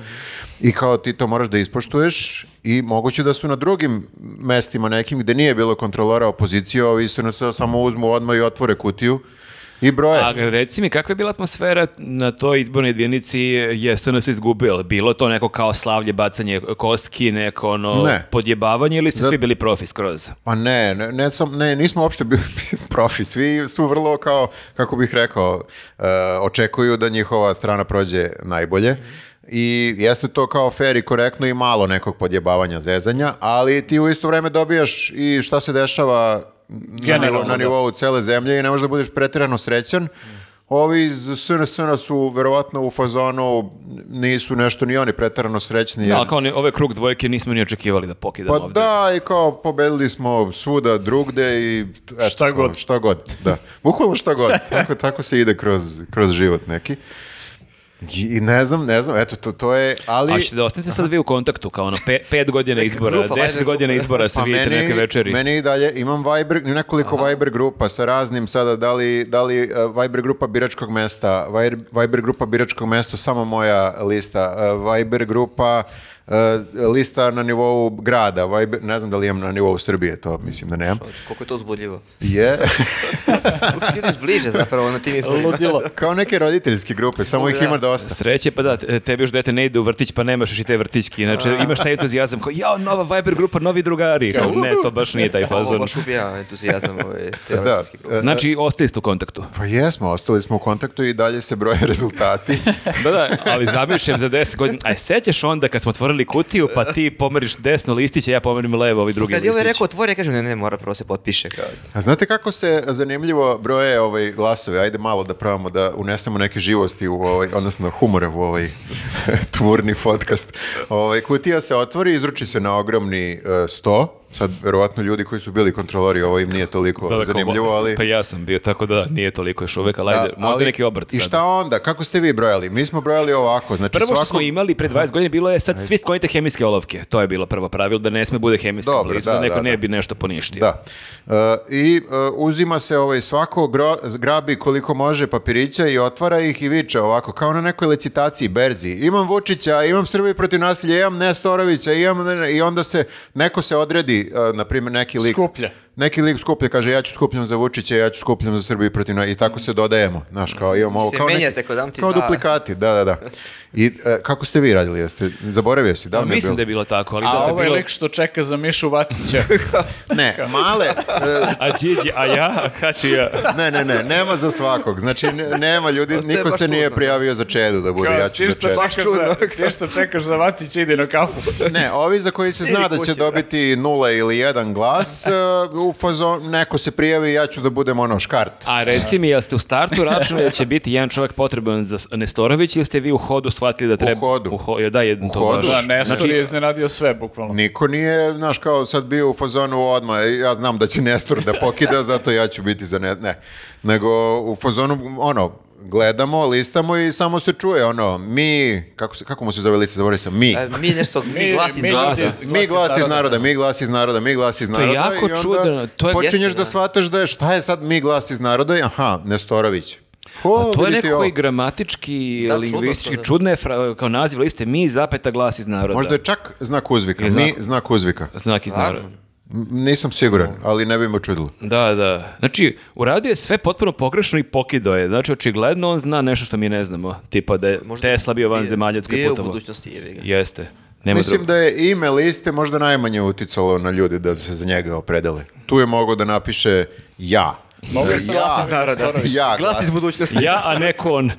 A: I kao ti to moraš da ispoštuješ i moguće da su na drugim mestima nekim gde nije bilo kontrolora opozicije, ovi iz SNS-a samo uzmu odmah i otvore kutiju i [LAUGHS] broje.
C: A reci mi, kakva je bila atmosfera na toj izbornoj jedinici je SNS izgubio? Je li Bilo to neko kao slavlje, bacanje koski, neko ono
A: Ne.
C: podjebavanje ili su
A: Za-
C: svi bili profi skroz?
A: Pa ne, ne, ne, sam, ne, nismo uopšte bili [LAUGHS] profi, svi su vrlo kao, kako bih rekao, e, očekuju da njihova strana prođe najbolje i jeste to kao fair i korektno i malo nekog podjebavanja, zezanja, ali ti u isto vreme dobijaš i šta se dešava na,
D: Generalno,
A: nivo- na
D: da.
A: nivou cele zemlje i ne možeš da budeš pretirano srećan. Ovi iz SNS-a su verovatno u fazonu, nisu nešto ni oni pretirano srećni. jer-
C: Ali kao oni, ove krug dvojke nismo ni očekivali da pokidamo
A: pa
C: ovdje.
A: da, i kao pobedili smo svuda drugde i... eto,
D: Šta
A: kao,
D: god.
A: Šta god, da. Bukvalno šta
C: [LAUGHS]
A: god. Tako, tako se ide kroz, kroz život neki. I, i ne znam, ne znam, eto, to, to je... Ali...
C: A ćete da ostanete sad vi u kontaktu, kao ono, pe- pet godina izbora,
B: grupa,
C: deset
B: Viber
C: godina
B: grupa.
C: izbora se vidite neke večeri.
A: pa Meni i dalje, imam Viber, nekoliko Viber grupa sa raznim sada, da li, da li e, Viber grupa biračkog mesta, Viber, Viber grupa biračkog mesta, samo moja lista, e, Viber grupa e, lista na nivou grada, Viber, ne znam da li imam na nivou Srbije, to mislim da nemam.
B: Znači, koliko je to uzbudljivo.
A: Je,
B: Kako se ljudi zbliže zapravo na tim
D: [LAUGHS]
B: izborima.
D: Ludilo.
A: kao neke roditeljske grupe, samo ih ima dosta.
C: Sreće, pa da, te- tebi još dete ne ide u vrtić, pa nemaš još i te vrtićke. Inače,
A: [LAUGHS]
C: imaš taj entuzijazam kao, jao, nova Viber grupa, novi drugari. Kao, ne, to baš nije
A: [LAUGHS]
C: taj
B: Ovo
C: fazon.
B: baš ubija entuzijazam ove
A: Da,
B: teoretske grupe.
A: e,
C: Znači, ostali ste u kontaktu.
A: pa jesmo, ostali smo u kontaktu i dalje se broje [LAUGHS] rezultati.
C: Da, da, ali zamišljam za 10 godina. Aj, sećaš onda kad smo otvorili kutiju, pa ti pomeriš desno listiće, ja pomerim levo, ovi drugi
B: Kad je
C: listići.
B: ovaj rekao otvori, ja kažem ne, ne, mora prvo se potpiše. Kao.
A: A znate kako se zanimljivo broje ovaj glasove? Ajde malo da probamo da unesemo neke živosti u ovaj, odnosno humora u ovaj [LAUGHS] tvorni podcast. Ovaj, kutija se otvori, izruči se na ogromni eh, sto. Sad, verovatno, ljudi koji su bili kontrolori, ovo im nije
C: Da,
A: toliko
C: da, kao,
A: zanimljivo, ali...
C: Pa ja sam bio, tako da nije toliko još uvek, ali ajde,
A: Da,
C: možda
A: ali-
C: neki obrt
A: I
C: sad.
A: šta onda? Kako ste vi brojali? Mi smo brojali ovako. Znači,
C: Prvo što
A: svako-
C: smo imali pre 20 godina bilo je sad svi sklonite hemijske olovke. To je bilo prvo pravilo da ne sme bude hemijska
A: Dobro,
C: blizu, da,
A: da,
C: neko
A: da,
C: ne
A: da.
C: bi nešto poništio.
A: Da. E, I e, uzima se ovaj svako gro, grabi koliko može papirića i otvara ih i viče ovako, kao na nekoj licitaciji, berzi. Imam Vučića, imam Srbi protiv nasilja, imam Nestorovića, imam... ne- ne- I onda se, neko se odredi, e, na primjer, neki lik...
D: Skuplja.
A: Neki lik skuplja, kaže ja ću skupljam za Vučića, ja ću skupljam za Srbiju protiv na- i tako se dodajemo, znaš, kao imamo ovo
B: Se
A: kao neki-
B: menjate ko dam ti
A: kao
B: dva.
A: duplikati, da, da, da. I e, kako ste vi radili, jeste, zaboravio si, davno je
C: Mislim
A: bilo.
C: da je bilo tako, ali da,
D: A
C: da je
D: ovaj
C: bilo...
D: lik što čeka za Mišu Vacića.
A: Ne, male, e,
C: A Điđi, a [LAUGHS] ja, a ću ja.
A: Ne, ne, ne, nema za svakog. Znači, ne- nema ljudi,
B: je
A: niko
B: baš
A: se nije
B: čudno, da.
A: prijavio za čedu da bude, ja ću
D: ti,
A: za
D: što
A: čedu.
B: Baš
D: čekaš
B: čudno.
D: za, ti što čekaš za Vacića ide na kafu.
A: Ne, ovi za koji se zna da će
B: kući, brate.
A: dobiti nula ili jedan glas, e, u fazon, neko se prijavi, ja ću da budem ono škart.
C: A reci mi, jel ste u startu računali da će biti jedan čovjek potreban za Nestorović ili ste vi u hodu shvatili da treba...
A: hodu.
C: ho- da, jedno
A: U
C: to
A: hodu.
C: baš.
D: Da, Nestor
C: Znači,
D: je iznenadio sve, bukvalno.
A: Niko nije, znaš, kao sad bio u fazonu odmah, e, ja znam da će Nestor da pokida, zato ja ću biti za ne, ne. Nego u fazonu, ono, gledamo, listamo i samo se čuje ono, mi, kako, se, kako mu se zove lista, zaboravio sam, mi.
B: E, Mi nešto, mi glas iz
D: mi-
B: glasa.
D: mi-
A: Mi glas iz naroda, mi glas iz naroda, mi glas iz naroda.
C: jako
A: i onda
C: čudno, to je-
A: počinješ
B: Jeste,
A: da
B: da.
A: shvataš da je šta je sad mi glas iz naroda i aha, Nestorović. Ko,
C: A Pa to je
A: vidi ti
C: nekako
A: ovo?
C: i gramatički,
B: Da,
C: lingvistički,
B: čudno to, da.
C: čudno je fra- kao naziv liste mi zapeta glas iz naroda.
A: Možda je čak znak uzvika, mi znak uzvika.
C: Znak iz naroda.
A: M- Nisam siguran, ali ne bi me čudilo.
C: Da, da. Znači, uradio je sve potpuno pogrešno i pokido je. Znači, očigledno on zna nešto što mi ne znamo. Tipa da je Tesla bio van zemaljac koji je
B: Bio u
C: putovao.
B: budućnosti, jebi ga.
C: Jeste. Nema
A: Mislim
C: drugog.
A: da je ime liste možda najmanje uticalo na ljudi da se za njega opredele. Tu je mogao da napiše ja.
D: Mogu se
B: Glas iz naroda.
A: Ja,
B: Glas
A: glas.
B: iz budućnosti.
C: Ja, a ne
A: [LAUGHS]
C: kon.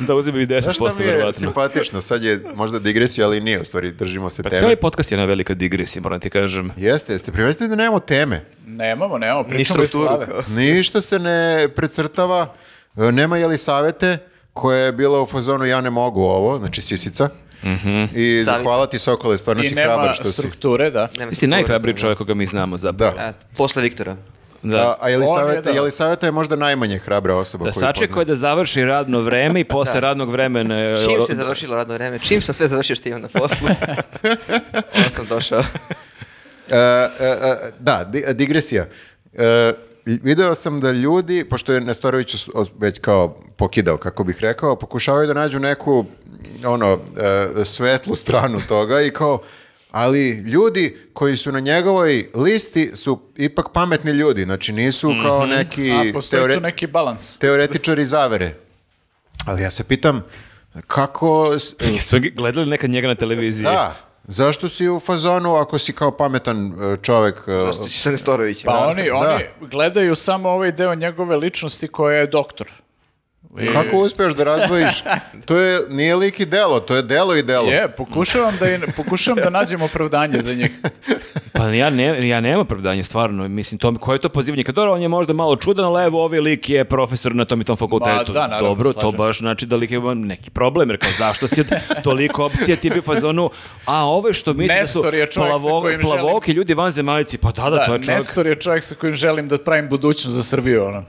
C: da uzme i
A: Znaš šta
C: 10%
A: mi je
C: verovatno.
A: simpatično? Sad je možda digresija, ali nije u stvari, držimo se
C: Pa
A: teme.
C: cijeli podcast je jedna velika digresija, moram ti kažem.
A: Jeste, jeste primetili da nemamo teme.
D: Nemamo, nemamo,
B: Ni
D: pričamo iz
B: strukturu.
D: glave.
B: kao.
A: [LAUGHS] Ništa se ne precrtava, e, nema je li savete koja je bila u fazonu ja ne mogu ovo, znači sisica.
C: Mhm.
A: I hvala ti Sokole, stvarno
D: I
A: Ono si hrabar
D: nema
A: što si.
D: strukture, da.
B: Nema
C: Ti si
B: strukture,
C: najhrabriji čovjek koga mi znamo zapravo.
A: Da.
B: A, E, Posle Viktora.
C: Da.
A: A, a Jelisaveta,
D: On je, da.
A: Jelisaveta je možda najmanje hrabra osoba
C: Da
A: koju poznam.
C: sačekao je da završi radno
D: [LAUGHS]
C: vreme i posle
B: Da.
C: radnog vremena... e, je-
B: Čim se završilo radno vreme, čim sam sve završio što imam na
C: [LAUGHS]
B: poslu, onda sam došao.
A: E, e, e, da, di- digresija. E, video sam da ljudi, pošto je Nestorović os- os- već kao pokidao, kako bih rekao, pokušavaju da nađu neku ono, e, svetlu stranu toga i kao, ali ljudi koji su na njegovoj listi su ipak pametni ljudi, znači nisu kao neki
D: Mhm. A postoji
A: Znači, teore-
D: tu neki balans.
A: teoretičari zavere. Ali ja se pitam, kako... s-
C: Jesu gledali nekad njega na televiziji?
A: Da, zašto si u fazonu ako si kao pametan e, čovek e,
B: Zašto si sa Nestorovićem?
D: Pa oni,
A: da.
D: oni gledaju samo ovaj deo njegove ličnosti koja je doktor.
A: Kako uspeš da razdvojiš? To je, nije lik i delo, to je delo i delo.
D: Je, pokušavam da, i- pokušavam da nađem opravdanje za njih.
C: Pa ja, ne, ja nemam opravdanje, stvarno. Mislim, to, koje je to pozivanje? Kad dobro, on je možda malo čudan, ali evo, ovaj lik je profesor na tom i tom fakultetu.
D: Ma, da, naravno,
C: dobro, to
D: slažem
C: baš znači da lik ima neki problem, jer kao zašto si toliko opcija ti bi u fazonu, a ove što misli da su
D: Nestor je čovjek sa
C: plavo-
D: kojim želim-
C: plavoki ljudi van zemaljci, pa da, da, to
D: Da,
C: je čovjek.
D: Nestor je čovjek sa kojim želim da pravim budućnost za Srbiju. Ono.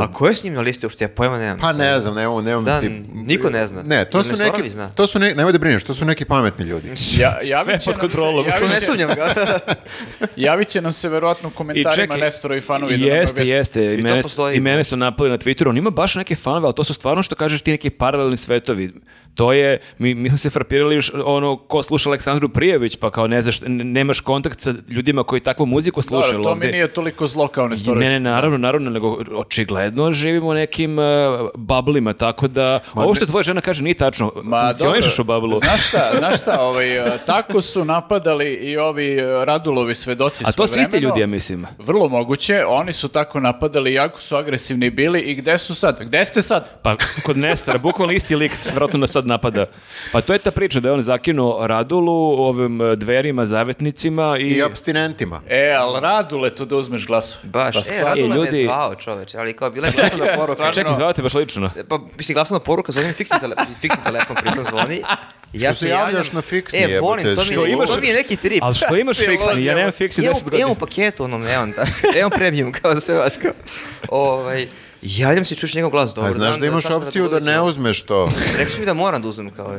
B: A ko je s njim na listi uopšte? Ja pojma nemam.
A: Pa ne znam, nemam, nemam
B: Da,
A: ti-
B: niko ne zna.
A: Ne, to
B: Ili
A: su
B: Nestorović
A: neki,
B: zna.
A: to su ne, nemoj da brineš, to su neki pametni
B: [LAUGHS]
A: ljudi.
D: Ja, javit
C: [LAUGHS] Sve je
D: će
C: pod
D: nam
C: kontrolom.
D: Se,
B: To ne
D: javit, će,
B: sumnjam
A: [LAUGHS]
B: ga.
D: javit će nam se verovatno u komentarima Nestora i fanovi. da nam
C: Jeste,
D: objasne.
C: jeste. I,
B: to
C: mene,
B: postoji.
C: I mene su napali na Twitteru. On ima baš neke fanove, ali to su stvarno što kažeš ti neki paralelni svetovi. To je, mi, mi smo se frapirali još ono ko sluša Aleksandru Prijević, pa kao ne znaš, n- nemaš kontakt sa ljudima koji takvu muziku slušaju.
D: Dobro, to
C: ovde.
D: mi nije toliko zlo kao Nestorović.
C: Ne, ne, naravno, naravno, nego očigledno živimo u nekim uh, bablima, tako da ovo što tvoja žena kaže nije tačno.
D: Ma,
C: Funkcionišeš u
D: dobro.
C: bablu.
D: Znaš šta, znaš šta, ovaj, e, tako su napadali i ovi e, Radulovi svedoci
C: A to svi isti
D: svojevremeno.
C: ljudi, ja mislim.
D: Vrlo moguće, oni su tako napadali, jako su agresivni bili i gde su sad? Gde ste sad?
C: Pa kod Nestora, bukvalno isti lik vjerojatno nas sad napada. Pa to je ta priča da je on zakinuo Radulu ovim eh, dverima, zavetnicima i...
A: I abstinentima.
D: E, al Radule to da uzmeš glasove.
B: Baš,
D: Pa
B: e,
D: stvarno-
B: Radula me
C: ljudi-
B: je zvao čoveč, ali kao bila je glasovna poruka.
C: Čekaj, zvao te baš lično.
B: Pa, mislim, glasovna poruka, zovem fiksni, tele, fiksni telefon, pritom
A: [LAUGHS]
B: zvoni. I Ja
A: Što se javljaš
B: javljam.
A: na fiksni,
B: E, volim, to mi,
A: jebote,
B: je-
A: što imaš-
B: to mi je neki trip.
C: Ali što imaš fiksni? Ja nemam fiksni
B: Imam,
C: 10 godina.
B: imam u paketu onom neon, da. [LAUGHS] Eon premium, kao za sve vas. Kao. Ovaj, javljam se, čuješ njegov glas. Dobro,
A: A znaš
B: dan,
A: da imaš
B: Saša
A: opciju da
B: Radulović,
A: ne
B: ja. [LAUGHS]
A: uzmeš to.
B: Rekao su mi da moram da uzmem kao.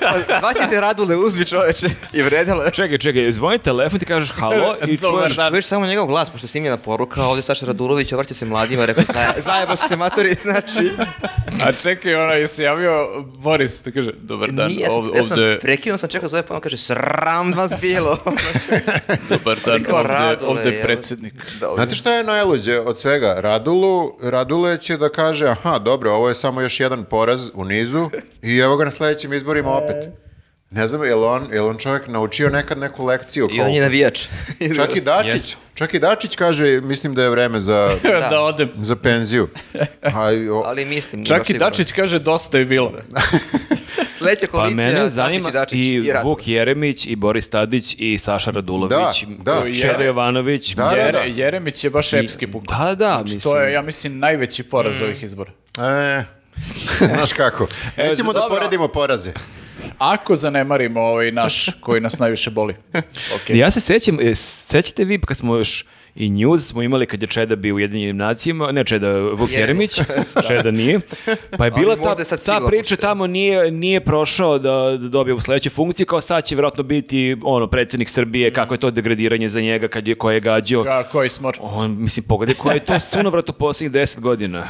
B: Pa, Zvaćete Radule, uzmi čoveče. I vredilo je.
C: Čekaj, čekaj, zvoni telefon, ti kažeš halo i
D: Dobar
C: čuješ...
D: dan.
B: Čuješ samo njegov glas, pošto je snimljena poruka, ovdje Saša Radulović obraća se mladima, rekao, "Zaje- zajebo se maturi, znači,
D: A čekaj, ona je se javio Boris, da kaže, dobar dan,
B: nije, sam-
D: ov-
B: ja sam
D: ovde,
B: prekinuo, sam čekao zove, pa on kaže, sram vas bilo. [LAUGHS]
D: dobar dan,
B: Kao
D: ovde,
B: Radule,
D: ovde
B: jebote.
D: predsednik.
B: Da, ovdje-
A: Znate šta je najluđe od svega? Radulu, Radule će da kaže, aha, dobro, ovo je samo još jedan poraz u nizu i evo ga na sledećim izborima opet. Ne znam, je li on, je li on čovjek naučio nekad neku lekciju?
B: I
A: kao-
B: on je navijač.
A: Čak i Dačić, čak i Dačić kaže, mislim da je vreme za,
D: [LAUGHS] Da.
B: Da.
D: odem.
A: za
B: [LAUGHS]
A: penziju. A, i o-
B: Ali mislim,
D: Čak i Dačić kaže, dosta je bilo.
B: Sledeća
C: Pa
B: koalicija,
C: mene
B: Dačić
C: zanima
B: i Dačić
C: i,
B: Radulović.
C: Vuk Jeremić i Boris Tadić i Saša Radulović,
A: Da, da.
C: Čedo Jovanović.
A: Da, da,
D: Jere-
A: da.
D: Jeremić je baš epski puk. Znači,
C: Da, da, mislim.
D: To je, ja mislim, najveći
B: Mm.
D: poraz ovih izbora.
A: E, [LAUGHS] znaš kako.
B: E,
A: Recimo da
D: dobro.
A: poredimo poraze.
D: Ako zanemarimo
A: [LAUGHS]
D: ovaj naš koji nas najviše boli.
C: Ja se sjećam, e, sećate vi kad smo još i News smo imali kad je Čeda bio u Jedinjenim nacijama, ne Čeda, Vuk Jeremić,
B: [LAUGHS]
C: Čeda nije. Pa je
B: Ali
C: bila ta,
B: možda je sad
C: ta
B: sigurno
C: priča
B: što-
C: tamo nije, nije prošao da, da dobije u sledećoj funkciji, kao sad će vjerojatno biti ono, predsjednik Srbije, kako je to degradiranje za njega kad je koje gađio.
D: Ka- koji smor.
C: On, mislim, pogledaj koje je to sunovrat u posljednjih deset godina.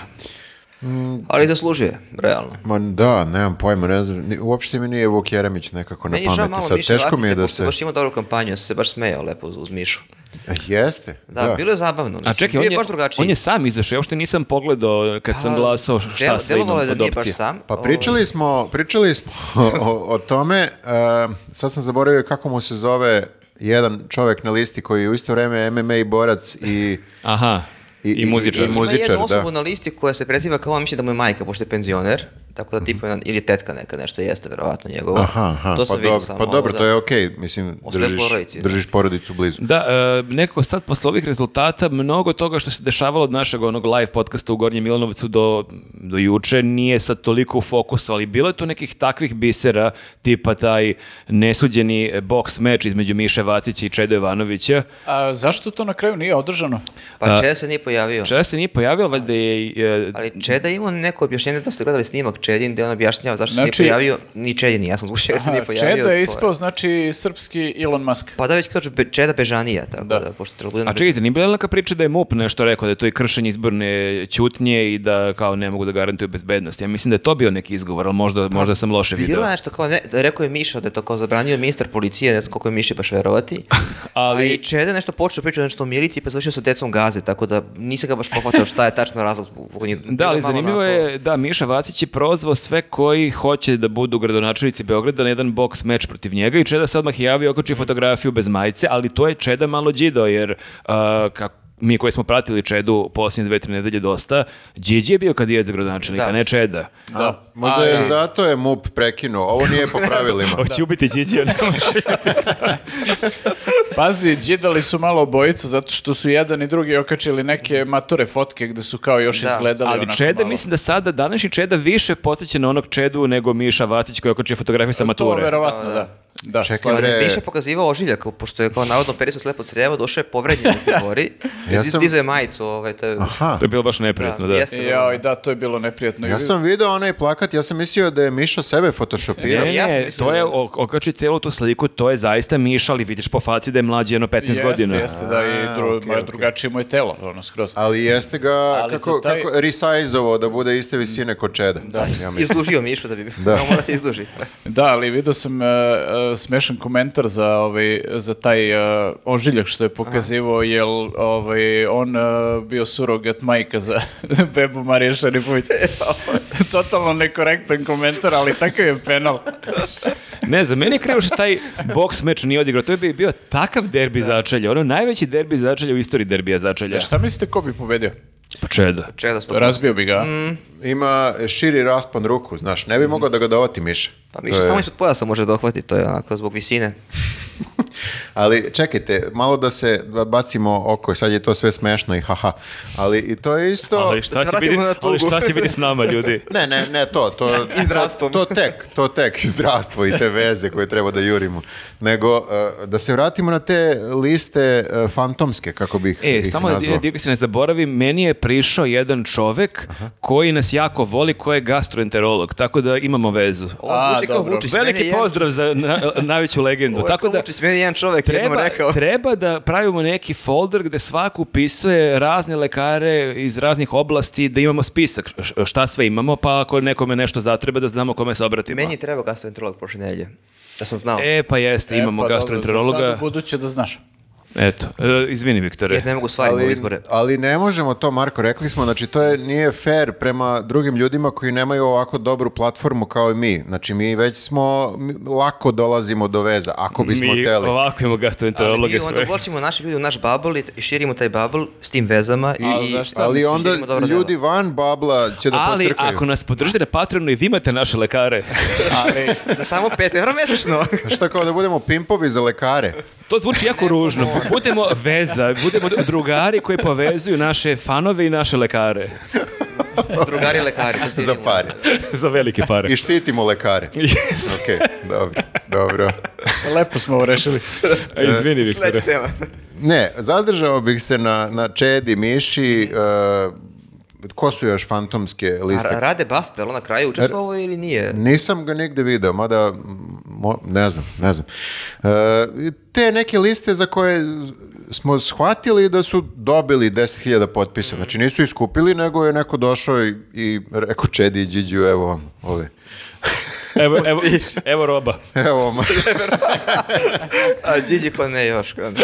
B: Ali zaslužuje, realno.
A: Ma da, nemam pojma, ne znam, ni- uopšte mi nije Vuk Jeremić nekako na
B: Meni je žao
A: pameti.
B: malo
A: Sad,
B: Miše
A: teško mi je
B: Vacice,
A: da
B: pošto
A: se... E,
B: je Baš imao dobru kampanju, ja sam se baš smejao lepo uz, uz Mišu.
A: Jeste,
B: Da, bilo je zabavno. Mislim,
C: A čekaj,
B: bio
C: on je,
B: baš drugačiji.
C: on je sam izašao, ja uopšte nisam pogledao kad sam glasao šta
B: Del-
C: sve imam
B: delovalo je da
C: od
B: nije baš
C: opcije.
B: sam.
A: Pa
B: Ovo-
A: pričali smo, pričali smo [LAUGHS] o, o tome, e, sad sam zaboravio kako mu se zove jedan čovek na listi koji je u isto vreme MMA borac i,
C: Aha, i, muzičar.
A: i muzičar,
B: Ima jednu osobu
A: da.
B: na listi koja se preziva kao, mislim da mu je majka, pošto je penzioner, tako da tipa, ili je tetka neka, nešto jeste verovatno njegova.
A: Mhm. Aha, aha,
B: to sam
A: pa,
B: vidio
A: dobro,
B: samo,
A: pa
B: ovo,
A: dobro,
B: da.
A: to je okej, mislim,
B: Ostaje
A: držiš,
B: porodici, da.
A: držiš porodicu blizu.
C: Da, e, nekako sad posle ovih rezultata mnogo toga što se dešavalo od našeg onog live podcasta u Gornjem Milanovcu do, do juče nije sad toliko u fokusu, ali bilo je tu nekih takvih bisera tipa taj nesuđeni boks meč između Miše Vacića i Čedo Jovanovića.
D: A zašto to na kraju nije održano?
B: Pa Čeda se nije pojavio.
C: Čeda se nije pojavio, valjda je... e,
B: Ali Čeda je imao neko objašnjenje da ste gledali snimak Čedin gde on objašnjava zašto se
D: Znači-
B: nije pojavio, ni Čedin, ja sam zvučio da se nije
D: Aha,
B: pojavio.
D: Čeda
B: to
D: je ispao, znači, srpski Elon Musk.
B: Pa da već kažu Be- Čeda Bežanija, tako
D: Da.
B: da, pošto treba bude na
C: A čekajte, nije bila neka priča da je MUP nešto rekao, da je to i kršenje izborne ćutnje i da kao ne mogu da garantuju bezbednost. Ja mislim da je to bio neki izgovor, ali možda, možda sam loše video.
B: Bilo je nešto kao, ne, da je rekao je Miša da je to kao zabranio ministar policije, ne znam koliko je Miši baš verovati.
C: [LAUGHS] Ali-
B: Ali... A i Čede nešto počeo pričati nešto o milici pa završio sa decom gaze, tako da nisam ga baš pohvatao šta je tačno razlog. zbog kog nije-
C: Da,
B: bilo
C: ali
B: malo
C: zanimljivo
B: onako-
C: je da Miša Vacić je prozvao sve koji hoće da budu gradonačelnici Beograda na jedan boks meč protiv njega i Čeda se odmah javio okoči fotografiju bez majice, ali to je Čeda malo džido jer a, kako mi koji smo pratili Čedu posljednje dve, tri nedelje dosta, Điđi je bio kandidat za gradonačelnika,
B: Da.
C: ne Čeda.
D: Da.
A: A, Pa, možda
D: A,
A: je
D: da.
A: zato je MUP prekinuo, ovo nije po pravilima.
C: Pa [LAUGHS] Hoće
B: [LAUGHS]
C: ubiti Điđija, ne može.
D: Pazi, džidali su malo obojica zato što su jedan i drugi okačili neke mature fotke gde su kao još
B: Da.
D: izgledali
C: Ali
D: onako
C: Čeda,
D: malo.
C: mislim da sada, današnji Čeda više podsjeća na onog Čedu nego Miša Vacić koji okočio fotografiju sa
D: To
C: mature.
D: verovatno, da. da.
A: Čekaj,
D: slažem
A: bre.
D: se.
B: Ali Miša je pokazivao ožiljak, pošto je kao navodno perisao slepo crevo, došao je povrednjen da se bori.
A: [LAUGHS] Ja
B: ja
A: sam- Ah,
B: Dizao je majicu, ovaj, to je...
A: Aha,
C: To je bilo baš neprijatno, da.
B: Da, jeste.
D: Joj, da, to je bilo neprijatno.
A: ja sam video onaj plakat, ja sam mislio da je Mišo sebe
C: Ne,
A: photoshopirao.
C: ne,
B: Ja sam
C: ne,
B: mislio
C: to je,
B: da-
C: ok- okači celu tu sliku, to je zaista Miša, ali vidiš po faci da je mlađi jedno 15
D: Jeste,
C: godina.
D: Jeste, da, i dru, moje drugačije moje telo, ono, skroz.
A: Ali jeste ga, kako,
D: za taj-
A: kako resizeovao da bude iste visine ko Čeda. Da.
B: [LAUGHS]
A: Ja mislim.
B: Izdužio Mišu da bi...
A: Da.
B: [LAUGHS] Da. mora se izdužiti.
D: Da, ali vidio sam e, e, smešan komentar za, ovaj, za taj e, ožiljak što je pokazivao, jel ovaj, on e, bio surogat majka za [LAUGHS] bebu Marije [LAUGHS] Šarifović. Totalno nekorektan komentar, ali takav je penal.
C: Ne, za mene je krivo što taj boks meč nije odigrao. To bi bio takav derbi začelja. Ono najveći derbi začelja u istoriji derbija začelja.
D: Šta mislite ko bi pobedio?
C: Pa čeda.
B: Čeda sto...
D: Razbio bi ga.
A: Ima širi raspon ruku, znaš, ne bi mogao da ga dovati Miša.
B: Pa
A: To
B: Miša
A: je-
B: samo ispod pojasa može dohvati, to je onako zbog visine.
A: Ali čekajte, malo da se ba- bacimo oko, sad je to sve smešno i haha. Ali i to je isto...
C: Ali šta,
B: Da
C: će
B: se
C: biti,
B: vratimo na
C: ali
B: tugu.
C: šta će biti s nama,
B: [LAUGHS]
C: ljudi?
A: Ne, ne, ne, to, to,
B: I zdravstvom.
A: to tek, to tek, i zdravstvo i te veze koje treba da jurimo. Nego, eh, da se vratimo na te liste eh, fantomske, kako bih
C: E,
A: ih
C: samo da
A: nazvao.
C: Dirk se ne zaboravi, meni je prišao jedan čovek koji nas jako voli, koji je gastroenterolog, tako da imamo vezu.
B: Ovo zvuči
D: A,
B: kao
D: dobro.
B: Vučić. meni
C: Veliki
B: je-
C: pozdrav za na- najveću legendu.
B: Ovo je
C: Tako
B: kao
C: da,
B: Vučić, meni je jedan čovek jednom
C: treba,
B: rekao.
C: treba da pravimo neki folder gde svako upisuje razne lekare iz raznih oblasti, da imamo spisak š- šta sve imamo, pa ako nekome nešto zatreba da znamo kome se obratimo.
B: Meni je trebao gastroenterolog prošle nedelje. Da sam znao.
C: E, pa jeste, imamo
D: E, pa dobro, za
C: gastroenterologa.
D: sad buduće da znaš.
C: Eto, e, izvini Viktore.
B: Jer ne mogu stvari
A: ali,
B: ali... izbore.
A: ali ne možemo to, Marko, rekli smo, znači to je, nije fair prema drugim ljudima koji nemaju ovako dobru platformu kao i mi. Znači mi već smo, mi lako dolazimo do veza, ako bismo
C: Mi
A: hteli.
C: ovako imamo
B: Ali mi
C: gastroenterologe
B: onda
C: sve.
B: vločimo naše ljudi u naš bubble i- i širimo taj bubble s tim vezama. I,
D: Ali znaš šta,
A: Ali
B: mislim,
A: onda
B: širimo dobra
A: ljudi
B: dela.
A: van babla će da
C: Ali
A: pocrkaju.
C: ako nas podržite na Patreonu i vi imate naše lekare,
D: Ali,
C: [LAUGHS]
B: Za samo pet evra mesečno.
A: Pa Šta kao da budemo pimpovi za lekare?
C: to zvuči jako ružno. Budemo veza, budemo drugari koji povezuju naše fanove i naše lekare [LAUGHS]
B: Drugari lekari. to se
A: za
B: vidimo.
A: pare.
C: za velike pare.
A: I štitimo lekare.
C: Yes.
A: Ok, dobro, dobro.
D: lepo smo ovo rešili.
C: A, E, Izvini, Viktore.
B: Sledeća tema.
A: Ne, zadržao bih se na, na Čedi, Miši, e, ko su još fantomske liste?
B: A Rade Bastel, on na kraju učestvovao ili nije?
A: Nisam ga nigde video, mada m, mo- ne znam, ne znam. E, te neke liste za koje smo shvatili da su dobili 10.000 potpisa, znači nisu iskupili, nego je neko došao i, i rekao Čedi i Điđu, evo vam, ove.
C: Evo, evo, evo roba.
A: Evo vam.
B: A Gigi ko ne još. ko
C: [LAUGHS]
B: ne.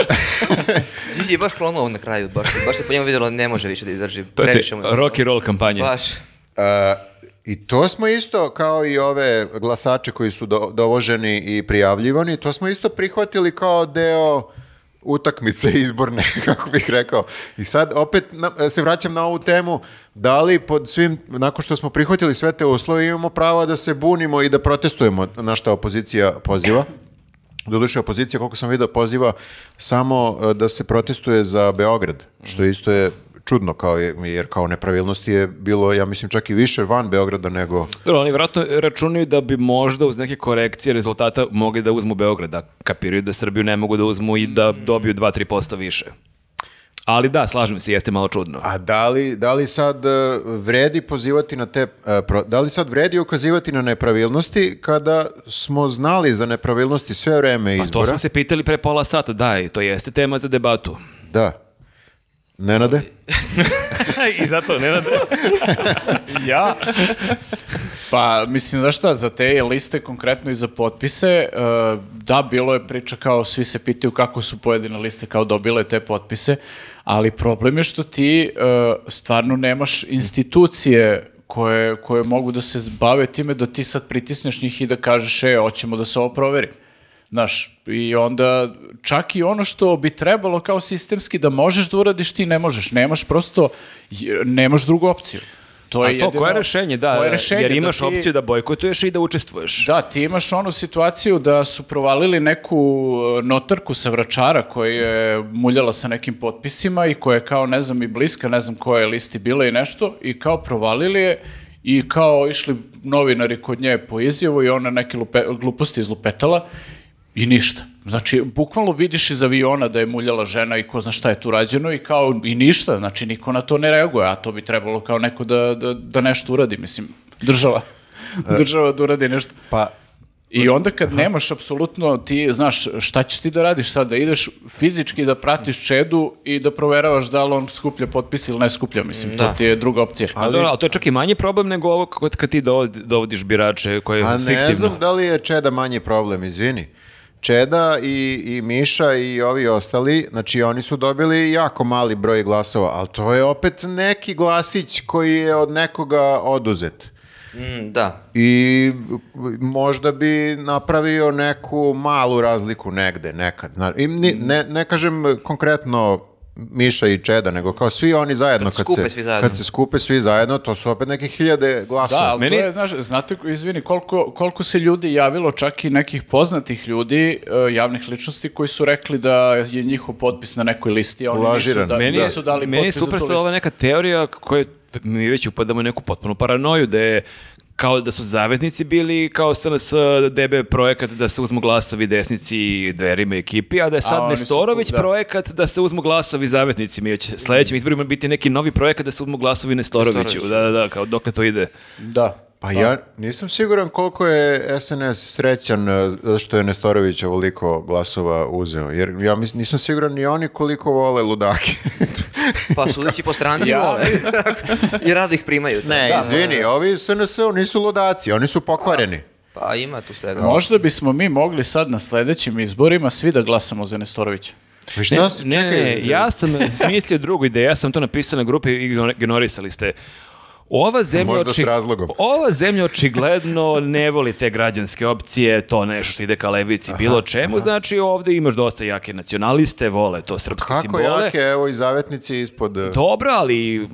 B: Gigi je baš klonuo na kraju, baš, baš se po njemu vidjelo ne može više da izdrži.
C: To je ti
B: previše mu je-
C: rock and roll kampanja.
B: Baš.
A: E, I to smo isto, kao i ove glasače koji su do- dovoženi i prijavljivani, to smo isto prihvatili kao deo utakmice [LAUGHS] izborne, kako bih rekao. I sad opet na- e, se vraćam na ovu temu, da li pod svim, nakon što smo prihvatili sve te uslove, imamo pravo da se bunimo i da protestujemo na što opozicija poziva. Doduše, opozicija, koliko sam vidio, poziva samo e, da se protestuje za Beograd, što
C: Mhm.
A: isto je čudno, kao je, jer kao nepravilnosti je bilo, ja mislim, čak i više van Beograda nego...
C: Dobro, oni vjerojatno računaju da bi možda uz neke korekcije rezultata mogli da uzmu Beograd, da kapiraju da Srbiju ne mogu da uzmu i da dobiju 2-3% više. Ali da, slažem se, jeste malo čudno.
A: A da li, da li sad e, vredi pozivati na te... e, pro- Da li sad vredi ukazivati na nepravilnosti kada smo znali za nepravilnosti sve vreme
C: Pa to
A: izbora?
C: smo se pitali pre pola sata, da, i to jeste tema za debatu.
A: Da. Nenade?
C: I zato, ne
D: Ja? [LAUGHS] Pa, mislim, znaš šta, za te liste konkretno i za potpise, e, da, bilo je priča kao svi se pitaju kako su pojedine liste kao dobile te potpise, ali problem je što ti e, stvarno nemaš institucije koje, koje mogu da se bave time da ti sad pritisneš njih i da kažeš, e, hoćemo da se ovo proveri. Znaš, i onda čak i ono što bi trebalo kao sistemski da možeš da uradiš, ti ne možeš. Nemaš prosto, j- nemaš drugu opciju. To
C: A
D: je
C: to
D: jedino-
C: koje je rešenje, da,
D: koje je rešenje,
C: jer imaš
D: ti-
C: opciju da bojkotuješ i da učestvuješ.
D: Da, ti imaš onu situaciju da su provalili neku e, notarku sa vračara koja je muljala sa nekim potpisima i koja je kao, ne znam, i bliska, ne znam koje listi bila i nešto, i kao provalili je i kao išli novinari kod nje po izjavu i ona neke lupe, gluposti izlupetala i ništa. Znači, bukvalno vidiš iz aviona da je muljala žena i ko zna šta je tu rađeno i kao i ništa, znači niko na to ne reaguje, a to bi trebalo kao neko da, da, da nešto uradi, mislim, država. Država da uradi nešto.
A: Pa
D: I onda kad nemaš apsolutno, ti znaš šta ćeš ti da radiš sad, da ideš fizički da pratiš čedu i da proveravaš da li on skuplja potpis ili ne skuplja, mislim, to
B: Da.
D: ti je druga opcija.
C: Ali, Dobro, ali to je čak i manji problem nego ovo kad, kad ti dovod- dovodiš birače koje je
A: A
C: fiktivno.
A: ne znam da li je Čeda manji problem, izvini. Čeda i, i Miša i ovi ostali, znači oni su dobili jako mali broj glasova, ali to je opet neki glasić koji je od nekoga oduzet.
B: Mm, da.
A: I možda bi napravio neku malu razliku negde, nekad. Zna- I ni- ne, ne kažem konkretno Miša i Čeda, nego kao svi oni zajedno. Kad,
B: skupe
A: se,
B: svi zajedno.
A: Kad se skupe svi zajedno, to su opet neke hiljade glasova.
D: Da, ali
C: Meni-
D: to je, znaš, znate, izvini, koliko, koliko se ljudi javilo, čak i nekih poznatih ljudi, e, javnih ličnosti, koji su rekli da je njihov potpis na nekoj listi, a oni
A: Lažiran.
D: nisu, da,
C: meni, je-
D: nisu dali
C: meni je
D: potpis za tu
C: super
D: listu.
C: ova neka teorija koja mi već upadamo u neku potpunu paranoju da je kao da su zavetnici bili kao SNS DB projekat da se uzmu glasovi desnici i dverima i ekipi, a da je sad
D: oni su
C: Nestorović
D: tu, da.
C: projekat da se uzmu glasovi zavetnicima i će sledećim izborima biti neki novi projekat da se uzmu glasovi Nestoroviću. Da, da, da, kao dokle to ide.
D: Da.
A: Pa ja nisam siguran koliko je SNS srećan e, zato što je Nestorović ovoliko glasova uzeo, jer ja mis- nisam siguran ni oni koliko vole ludake. E, [LAUGHS]
B: Pa sudeći po stranci
D: Ja.
B: vole. [LAUGHS] I rado ih primaju.
A: ne, izvini, ovi SNS -u nisu ludaci, oni su pokvareni.
B: Pa ima tu svega.
D: Možda bismo mi mogli sad na sledećim izborima svi da glasamo za Nestorovića.
A: Pa šta si-
C: Ne, ne,
A: čekaj,
C: ne, ja sam smislio drugu ideju, ja sam to napisao na grupi i igno- ignorisali ste. Ova zemlja,
A: Možda s razlogom.
C: Ova zemlja očigledno ne voli te građanske opcije, to nešto što ide ka levici, bilo čemu, znači ovdje imaš dosta jake nacionaliste, vole to srpske
A: Kako
C: simbole.
A: jake, evo i zavetnici ispod... e,
C: Dobro, ali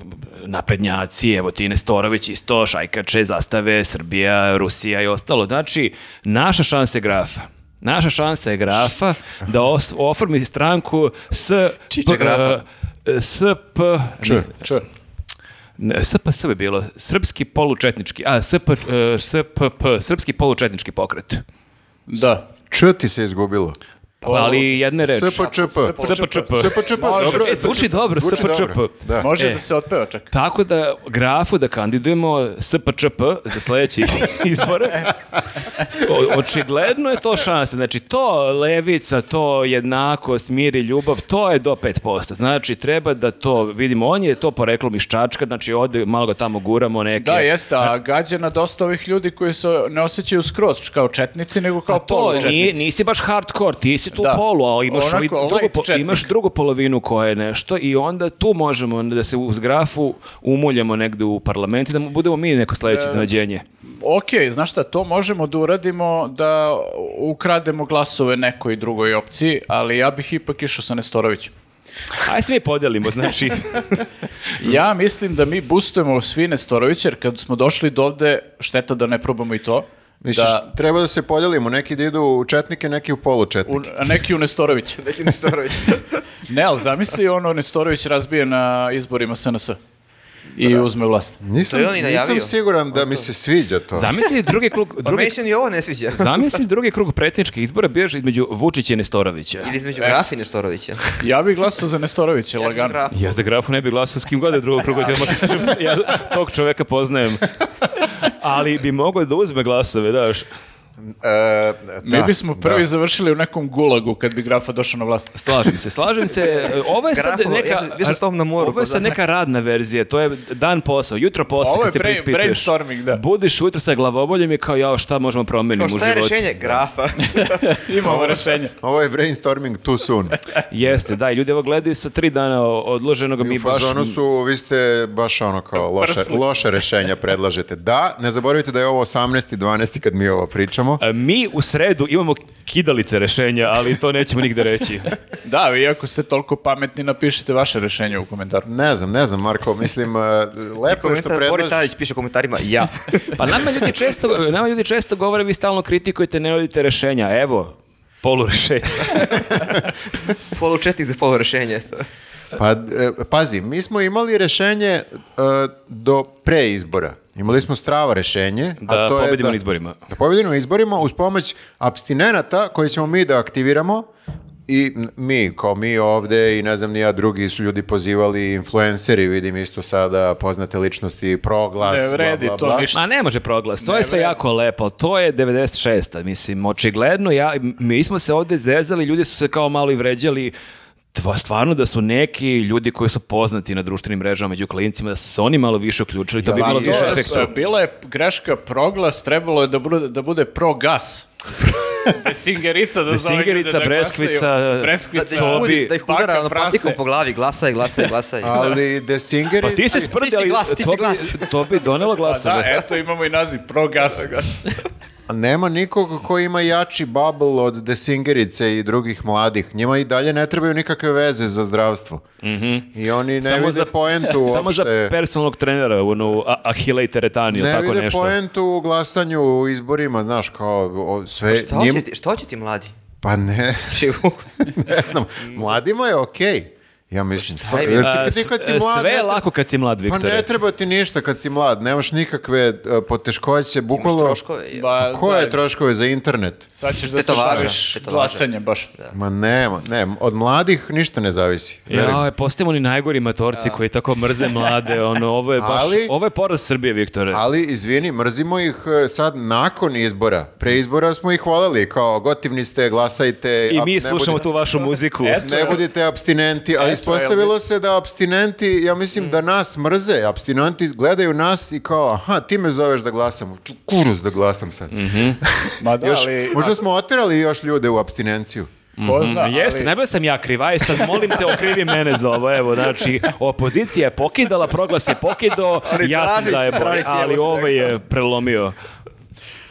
C: naprednjaci, evo ti Nestorović isto, Šajkače, Zastave, Srbija, Rusija i ostalo. Znači, naša šansa je grafa. Naša šansa je grafa da os- oformi stranku s... p-
B: grafa?
C: e, S... P...
A: Č.
D: Čuj.
C: Ne, SPS bi bilo. Srpski polučetnički... A, SP, e, SPP, Srpski polučetnički pokret.
D: Da.
A: Č ti se izgubilo.
C: Pa, ali
A: E,
C: jedne reči.
A: SPČP.
C: SPČP.
A: SPČP,
D: Može.
A: dobro.
C: E, zvuči dobro,
A: Zvuči
C: SPČP.
A: dobro, Da.
D: Može
C: E.
D: da se otpeva čak.
C: Tako da grafu da kandidujemo SPČP za
D: [LAUGHS]
C: sledeći izbore.
D: E.
C: O- očigledno je to šansa. Znači, to levica, to jednako, smiri, ljubav, to je do 5%. Znači, treba da to vidimo. On je to poreklom iz Čačka, znači, ode, malo ga tamo guramo neke.
D: Da, jeste, a gađa na dosta ovih ljudi koji se ne osjećaju skroz kao četnici, nego kao
C: Pa to,
D: polučetnici.
C: nije, nisi baš hardcore, ti si tu
D: Da.
C: u polu, a imaš,
D: Onako,
C: ovi drugu,
D: light
C: po-
D: četnik.
C: imaš drugu polovinu koja je nešto i onda tu možemo da se uz grafu umuljamo negde u parlament i da mu budemo mi neko sledeće
D: E.
C: iznenađenje.
D: Ok, znaš šta, to možemo da uradimo da ukrademo glasove nekoj drugoj opciji, ali ja bih ipak išao sa Nestorovićem.
C: Ajde se mi podelimo, znači.
D: Ja mislim da mi boostujemo svi Nestorovića, jer kad smo došli do ovde, šteta da ne probamo i to.
A: Misliš,
D: da,
A: treba da se podelimo, neki da idu u četnike, neki u
D: u,
A: polučetnike.
D: a neki u Nestorovića.
B: Neki Nestorović.
D: Ne, ali zamisli ono Nestorović razbije na izborima SNS i uzme vlast.
A: Nisam,
B: To je on i najavio.
A: nisam siguran da mi se sviđa to.
C: [LAUGHS] Zamisli drugi krug,
B: Pa
C: [LAUGHS] drugi,
B: meni se ni ovo ne sviđa.
C: zamisli drugi krug predsjedničkih izbora biraš između Vučića i Nestorovića.
B: Ili između Grafi i Nestorovića.
C: [LAUGHS]
D: Ja bih glasao za Nestorovića, lagano.
B: Graf.
C: Ja za grafu ne bih glasao s kim god je drugog kruga, ja vam kažem, ja tog čoveka poznajem. Ali bi mogao da uzme glasove, daš.
A: E,
D: Mi
A: da,
D: bismo prvi
A: da.
D: završili u nekom gulagu kad bi grafa došao na vlast.
C: Slažem se, slažem se. E, Ovo je sad
B: Grafovo,
C: neka...
B: ja sam- ja sam s tobom na moru, pa
C: Ovo je
B: ko
C: sad
B: zna.
C: neka radna verzija, to je dan posao, jutro posao
D: Ovo je
C: kad se
D: brain-
C: preispituješ.
D: brainstorming, da.
C: Budiš ujutro sa glavoboljem i kao, jao, šta možemo promeniti
B: Kao
C: u životu?
B: šta je rješenje? Grafa.
D: Imamo rešenje.
A: Ovo je brainstorming too
D: [LAUGHS]
A: soon.
C: Jeste, da, i ljudi ovo gledaju sa tri dana o- odloženog, a mi
A: U
C: baš...
A: fazonu su, vi ste baš ono kao loše,
D: Prsli.
A: loše rešenja predlažete. Da, ne zaboravite da je ovo 18. 12. kad mi ovo pričamo.
C: E, Mi u sredu imamo kidalice rešenja, ali to nećemo nigde reći.
D: Da, vi ako ste toliko pametni, napišite vaše rješenje u komentaru.
A: Ne znam, ne znam, Marko, mislim, e, lepo je što
B: Komentar, Boris
A: predlažete.
B: Tadić piše u komentarima
C: [LAUGHS]
B: ja.
C: Pa nama ljudi često, nama ljudi često govore, vi stalno kritikujete, ne nudite rešenja. Evo, polu rešenja.
B: Polučetnik za polu
C: [LAUGHS]
B: rešenje.
A: Pa, e, pazi, mi smo imali rešenje e, do pre izbora. Imali smo strava rešenje.
C: Da
A: a to je
C: pobedimo na izborima.
A: Da pobedimo na izborima uz pomoć abstinenata koje ćemo mi da aktiviramo i n- mi, kao mi ovde i ne znam ni ja, drugi su ljudi pozivali influenceri, vidim isto sada poznate ličnosti, proglas,
D: Ne vredi
A: bla, bla,
D: to
A: bla.
D: ništa.
C: Ma ne može proglas, to
D: Ne,
C: je sve
D: bre.
C: jako lepo, ali to je 96. Mislim, očigledno, ja, mi smo se ovde zezali, ljudi su se kao malo i vređali, Tva, stvarno da su neki ljudi koji su poznati na društvenim mrežama među klincima, da su se oni malo više uključili, to bi
A: Jel,
C: bilo
A: ali
C: više
A: to je
C: efekta.
D: To, bila je greška proglas, trebalo je da bude, da bude progas. Desingerica da zove ljude
C: Desingerica,
D: da glasaju.
C: Breskvica,
B: Da,
D: Breskvica.
B: da, ih budi- da ih
D: baka,
B: udara ono
D: prase.
B: patikom po glavi, glasaj, glasaj, glasaj.
A: Ali
D: [LAUGHS]
A: The Singeri...
C: Pa ti Pa se
B: ti si
C: sprdjali,
B: glas, ti si
C: to,
B: glas.
C: bi, to bi donelo
D: Pa Da,
C: glasove.
D: eto imamo i naziv, progas.
A: Nema nikog ko ima jači bubble od desingerice i drugih mladih. Njima i dalje ne trebaju nikakve veze za zdravstvo. I oni ne vide poentu uopšte.
C: [LAUGHS] Samo Mhm. za personalnog trenera, ono, a- Ahile i Teretani, ili
A: ne
C: tako
A: vide
C: nešto.
A: poentu u glasanju u izborima, znaš, kao o, sve...
B: Šta
A: njim-
B: hoće ti, šta hoće ti mladi? [LAUGHS]
A: Pa ne, [LAUGHS]
B: Šivu.
A: ne znam. Mladima je okej. Ja mislim,
B: Pa je
A: jer
B: bilo?
A: ti-
C: A,
A: ti kad si
C: s-
A: mlad,
C: sve
A: ne
C: je
A: treba-
C: lako kad si mlad,
A: Pa
C: Viktore.
A: ne treba ti ništa kad si mlad, nemaš nikakve e, poteškoće, bukvalo... Pa,
B: Troškove. je.
D: Ba,
C: Pa,
A: Koje
D: da,
A: troškove za internet?
D: Sad ćeš da se
B: Tetovaža,
D: baviš
B: tetovaža.
D: glasanjem baš.
A: Ma nema, ne, od mladih ništa ne zavisi. Verujem.
C: Ja, postajemo e, oni najgori matorci koji tako mrze mlade, ono, ovo je baš,
A: Ali-
C: ovo je poraz Srbije, Viktore.
A: Ali, izvini, mrzimo ih e, sad nakon izbora. Pre izbora smo ih hvalili, kao gotivni ste, glasajte.
C: I
A: a
C: mi
A: ne
C: slušamo
A: budite-
C: tu vašu muziku.
A: Ne budite abstinenti,
D: jel
A: ali
D: vi-
A: ispostavilo se da abstinenti, ja mislim da nas mrze, abstinenti gledaju nas i kao, aha, ti me zoveš da glasam, Ču, kurus da glasam sad.
C: Mhm.
D: Ma da,
A: Još,
D: ali...
A: možda smo oterali još ljude u abstinenciju.
D: Ko zna,
C: Mm, Jeste,
D: ali-
C: ne bio sam ja kriv, aj sad molim te okrivi mene za ovo, evo, znači, opozicija je pokidala, proglas je pokidao, ja sam
B: traži se,
C: zajebao,
B: traži se, evo
C: ali
B: sve.
C: ovo je prelomio.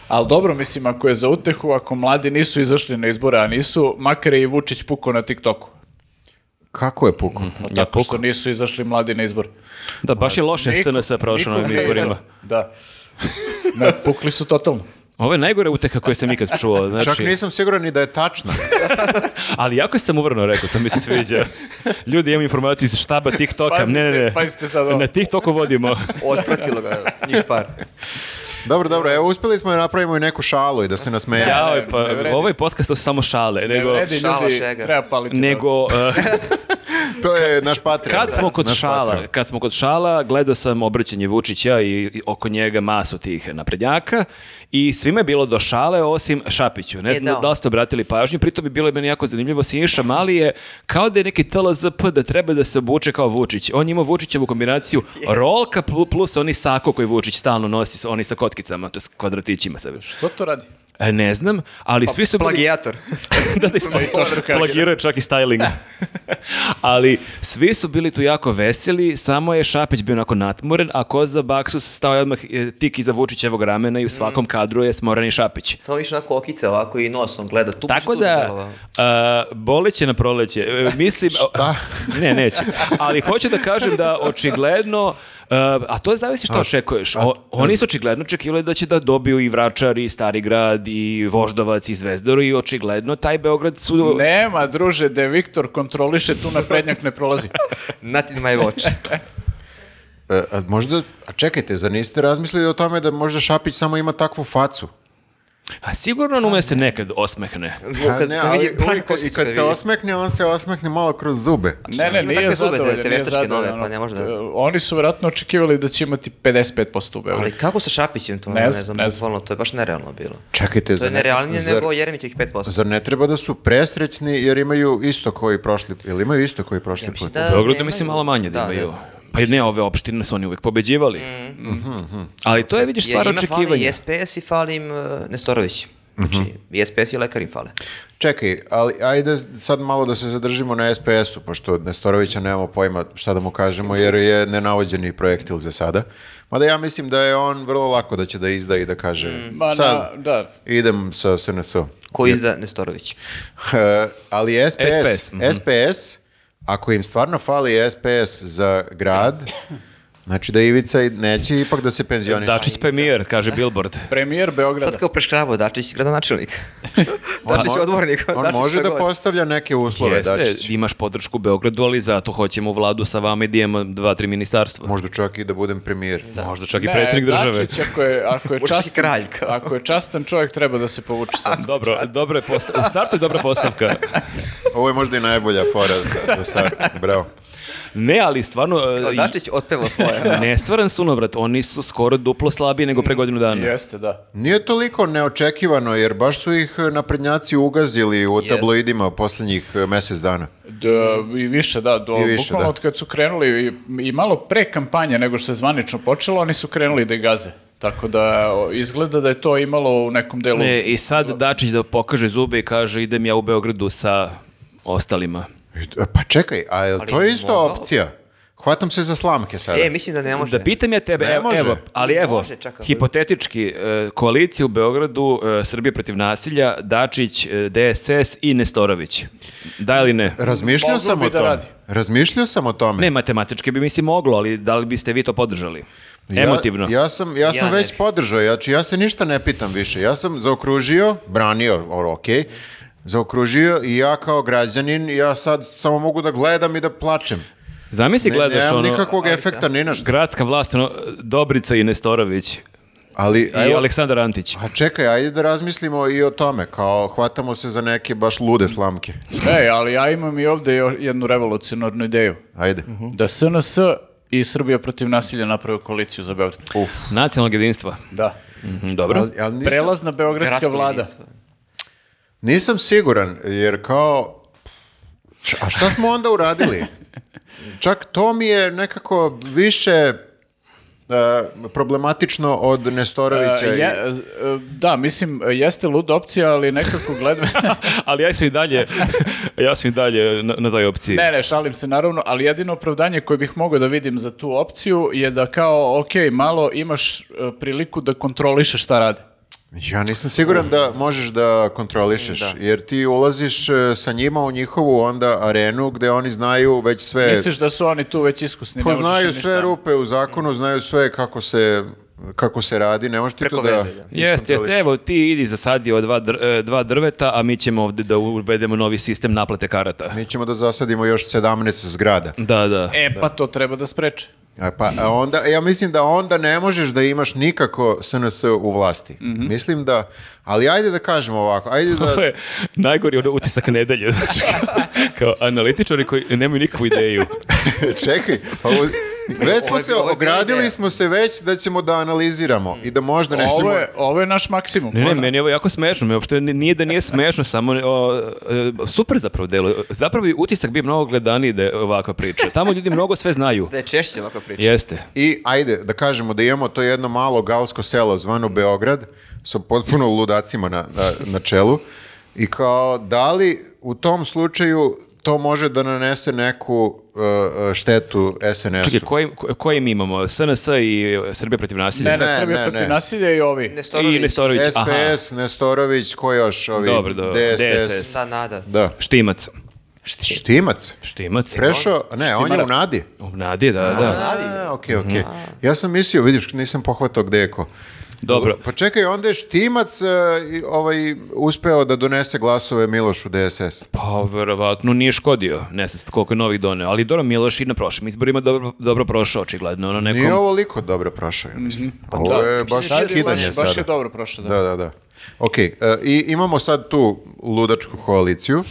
D: Ali dobro, mislim, ako je za utehu, ako mladi nisu izašli na izbore, a nisu, makar je i Vučić pukao na TikToku.
A: Kako je puko?
C: Mhm.
D: Pa tako što nisu izašli mladi na izbore.
C: Da, baš je loše
D: Niko-
C: SNS prošao na ovim
D: niko-
C: izborima.
D: Da. Ne, pukli su totalno.
C: Ovo je najgore uteha koju sam ikad čuo,
A: Čak
C: znači,
A: nisam siguran ni da je tačna.
C: ali jako sam uvrno rekao, to mi se sviđa. Ljudi, imam informaciju iz štaba TikToka, ne, ne, ne,
D: Pazite, pazite sad ovo.
C: na TikToku vodimo.
B: Otpratilo ga njih par.
A: Dobro, dobro, evo uspjeli smo da napravimo i neku šalu i da se nasmejemo.
C: Ja, ovaj, pa,
D: ne vredi.
C: ovaj podcast su samo šale,
D: Ne
C: nego...
D: vredi,
B: šala,
D: ljudi,
B: šega.
D: treba paliti.
C: Nego, eh,
A: To je naš Patreon.
C: kad smo kod
A: Naš
C: šala,
A: Patreon.
C: kad smo kod šala, gledao sam obraćanje Vučića i, i oko njega masu tih naprednjaka i svima je bilo do šale osim Šapiću. Ne
B: E,
C: znam
B: da.
C: da li ste obratili pažnju, pritom je bilo meni jako zanimljivo. Siniša Mali je kao da je neki TLZP da treba da se obuče kao Vučić. On ima Vučićevu kombinaciju rolka plu- plus oni sako koji Vučić stalno nosi, oni sa kotkicama, to je s kvadratićima sa
D: Što to radi?
C: E, ne znam,
B: Pa
C: ali svi su bili...
B: Plagijator.
C: [LAUGHS] da, da, ispa-
D: to što kaže.
C: plagirao je čak i styling. ali svi su bili tu jako veseli, samo je Šapić bio onako natmoren, a koza Baksus stao je odmah e, tik iza Vučićevog ramena i u svakom kadru je smoreni Šapić.
B: Samo više onako okice ovako i nosom gleda. Tu ono,
C: Tako da, a, boleće na proleće. E, Mislim...
A: Šta?
C: [LAUGHS] Ne, neće. Ali hoću da kažem da očigledno e, a to zavisi što očekuješ. O- oni su očigledno očekivali da će da dobiju i Vračar, i Starigrad, i Voždovac, i Zvezdaru i očigledno taj Beograd su...
D: Nema, druže, da je Viktor kontroliše, tu naprednjak ne
C: [LAUGHS]
D: prolazi.
B: Not in my watch.
A: E, a možda, a čekajte, zar niste razmislili o tome da možda Šapić samo ima takvu facu?
C: A sigurno Nume se nekad osmehne.
A: A
B: Kad-
A: ne,
B: kad
A: ali
B: vidi Branko
A: uvijek- I
B: Kosić
A: kad
B: vidi.
A: se osmehne, on se osmehne malo kroz zube.
D: Ne, ne,
B: Ima
D: nije
B: takve zube, te-
D: zadovoljan,
B: te
D: nije
B: veštačke nove,
D: zadovoljan.
B: pa ne može da-
D: E, Oni su vjerojatno očekivali da će imati 55% u Beogradu.
B: Ali kako sa Šapićem to?
D: Ne
B: Ne, ne
D: znam,
B: znam,
D: ne znam.
B: bukvalno, to je baš nerealno bilo.
A: Čekajte,
B: To je
A: ne-
B: nerealnije
A: zar-
B: nego Jeremićih 5%.
A: Zar ne treba da su presrećni jer imaju isto koji prošli, ili imaju isto koji prošli
B: Ja mislim
A: put?
B: da-
C: U Beogradu
B: nemaju.
C: mislim malo manje da
B: Da,
C: imaju.
B: da.
C: Pa i ne, ove opštine su oni uvek pobeđivali. Mhm. Ali to je, vidiš,
B: Jer
C: stvar
B: njima fali
C: očekivanja.
B: i SPS i fali im e, Nestorović. Znači, i SPS i lekar im fale.
A: Čekaj, ali ajde sad malo da se zadržimo na SPS-u, pošto od Nestorovića nemamo pojma šta da mu kažemo, jer je nenavođeni projektil za sada. Mada ja mislim da je on vrlo lako da će da izda i da kaže,
B: Mm.
D: Ma, na-
A: sad
D: da.
A: idem sa SNS-om.
B: Ko izda Nestorović?
A: E, [LAUGHS] ali SPS,
C: SPS,
A: SPS,
C: mhm.
A: ako im stvarno fali SPS za grad, znači da Ivica i- neće ipak da se penzioniše.
C: Dačić premijer, kaže Billboard.
D: Premijer Beograda.
B: Sad kao preškrabo, Dačić gradonačelnik. Dačić
A: mo-
B: odbornik.
A: On
B: Dačić
A: može
B: šta
A: da
B: god.
A: postavlja neke uslove,
C: Jeste,
A: Dačić.
C: imaš podršku u Beogradu, ali zato hoćemo u vladu sa vama i da imamo dva, tri ministarstva.
A: Možda čak i da budem premijer.
C: Možda čak i
D: Ne,
C: predsjednik države.
D: Dačić, ako je, ako je
B: Vučić
D: častan,
B: kralj, kao.
D: ako je častan čovjek, treba da se povuče
C: [LAUGHS]
D: sad.
C: Dobro, dobro je posta- u startu je dobra postavka.
A: Ovo je možda i najbolja fora do sada. Bravo.
C: Ne, ali stvarno... e,
B: Kao Dačić otpevo svoje.
C: Nestvaran sunovrat, oni su skoro duplo slabiji nego pre godinu dana.
D: Jeste, da.
A: Nije toliko neočekivano, jer baš su ih naprednjaci ugazili u tabloidima posljednjih e, mjesec dana.
D: D- I više, da. Do,
A: I više,
D: bukvalno
A: da.
D: od kad su krenuli i, i malo pre kampanje nego što je zvanično počelo, oni su krenuli da je gaze. Tako da o, izgleda da je to imalo u nekom delu.
C: Ne, I sad Dačić da pokaže zube i kaže idem ja u Beogradu sa ostalima.
A: E, Pa čekaj, a je li to je isto
B: mogao?
A: opcija? Hvatam se za slamke sada.
B: e, mislim da ne može.
C: Da pitam ja tebe,
A: Ne
C: evo,
A: može.
C: evo, ali
B: Ne
C: evo,
B: može, čekaj.
C: hipotetički, e, koalicija u Beogradu, e, Srbije protiv nasilja, Dačić, e, DSS i Nestorović. Da ili ne?
A: Razmišljao
D: Moglo
A: sam
D: bi
A: o
D: da
A: tome.
D: radi.
A: Razmišljao sam o tome.
C: Ne, matematički bi mislim moglo, ali da li biste vi to podržali?
A: Ja-
C: Emotivno.
A: Ja, sam, ja sam
B: Ja ne
A: već
B: bi.
A: podržao, znači ja se ništa ne pitam više. Ja sam zaokružio, branio, o, ok, zaokružio i ja kao građanin, ja sad samo mogu da gledam i da plačem.
C: Zamisli
A: Ne,
C: gledaš
A: nemam
C: ono,
A: nikakvog
B: ali
A: efekta,
B: sad-
A: ni na šta.
C: gradska vlast, ono, Dobrica i Nestorović
A: Ali,
C: i
A: evo,
C: Aleksandar Antić.
A: a čekaj, ajde da razmislimo i o tome, kao hvatamo se za neke baš lude slamke.
D: Ej, E, ali ja imam i ovdje jo- jednu revolucionarnu ideju.
A: Ajde.
D: Da SNS i Srbija protiv nasilja naprave koaliciju za Beograd. Uf.
C: Nacionalnog jedinstva.
D: Da.
C: Mhm, dobro.
A: Ali, ali nisam,
D: Prelazna beogradska
B: Gradsko
D: vlada.
B: jedinstvo.
A: nisam siguran, jer kao... A šta smo onda uradili? Čak to mi je nekako više e, problematično od Nestorovića.
D: E,
A: i-
D: je- z- e, da, mislim, e, jeste luda opcija, ali nekako
A: [LAUGHS]
D: gledam... [LAUGHS]
C: ali ja sam i dalje, ja sam i dalje na, na toj opciji.
D: ne, ne, šalim se naravno, ali jedino opravdanje koje bih mogao da vidim za tu opciju je da kao, ok, malo imaš e, priliku da kontrolišeš šta rade.
A: Ja nisam siguran da možeš da kontrolišeš, jer ti ulaziš e, sa njima u njihovu onda arenu gde oni znaju već sve...
D: Misliš da su oni tu već iskusni? ne možeš im
A: Poznaju
D: ništa.
A: E. Pa sve rupe u zakonu, znaju sve kako se, kako se radi, ne možeš ti
B: Preko
A: to da...
B: veze, da.
C: Jeste, jeste, evo ti idi zasadi ova dva, dr- e, dva drveta, a mi ćemo ovdje da uvedemo novi sistem naplate karata.
A: Mi ćemo da zasadimo još 17 zgrada.
C: Da, da.
D: E, pa to treba da spreče.
A: E, Pa a onda, ja mislim da onda ne možeš da imaš nikako SNS u vlasti.
B: Mhm.
A: Mislim da, ali ajde da kažemo ovako, ajde
B: [LAUGHS]
A: da...
C: To je najgori ono utisak nedelje, [LAUGHS] znači, kao, kao analitičari koji nemaju nikakvu ideju.
A: [LAUGHS] Čekaj, pa ovo- već smo
B: je
A: se,
B: bila- ovo je bila
A: ogradili
B: ideja.
A: smo se već da ćemo da analiziramo i da možda
D: Ovo
A: nesemo...
D: je, ovo je naš maksimum.
C: Ne, ne, meni je ovo jako smešno, me uopšte nije da nije smešno, samo o, e, super zapravo delo. Zapravo i utisak bi mnogo gledaniji da je ovakva priča. Tamo ljudi mnogo sve
B: [LAUGHS]
C: znaju.
B: Da je češće ovakva priča.
C: Jeste.
A: I ajde, da kažemo da imamo to jedno malo galsko selo zvano Beograd, sa potpuno ludacima na, na, na čelu. I kao, da li u tom slučaju to može da nanese neku uh, uh, štetu
C: Čekaj,
A: SNS-u?
C: koji, ko- koji mi imamo? SNS i Srbija protiv nasilja?
D: Ne, ne,
A: Ne,
D: Srbija
A: ne,
D: protiv
A: ne.
D: nasilja i ovi.
B: Nestorović.
C: I Nestorović. Aha,
A: SPS, Nestorović, ko još? Ovi,
C: Dobro, dobro,
A: DSS.
C: DSS.
B: Da, nada.
A: Da.
C: Štimac.
A: Štimac?
C: Štimac.
A: Prešao? Ne, on je u
D: Štimarac.
A: Nadi.
C: U Nadi, da, da.
A: A, okej, okej.
C: Mhm.
A: Ja sam mislio, vidiš, nisam pohvatao gde je ko.
C: Dobro.
A: Pa čekaj, onda je Štimac e, i- ovaj, uspeo da donese glasove Milošu DSS.
C: Pa, verovatno nije škodio. Ne znam sad koliko je novih doneo. Ali dobro, Miloš i na prošlim izborima dobro, dobro prošao, očigledno. Ono nekom...
A: Nije ovoliko dobro prošao, ja mislim. Ovo je baš
B: Mislim Mhm. Pa da je
A: kidanje
B: baš-
A: sada.
D: Baš je dobro prošlo. Da.
A: Da, da, da. Ok, e, i imamo sad tu ludačku koaliciju.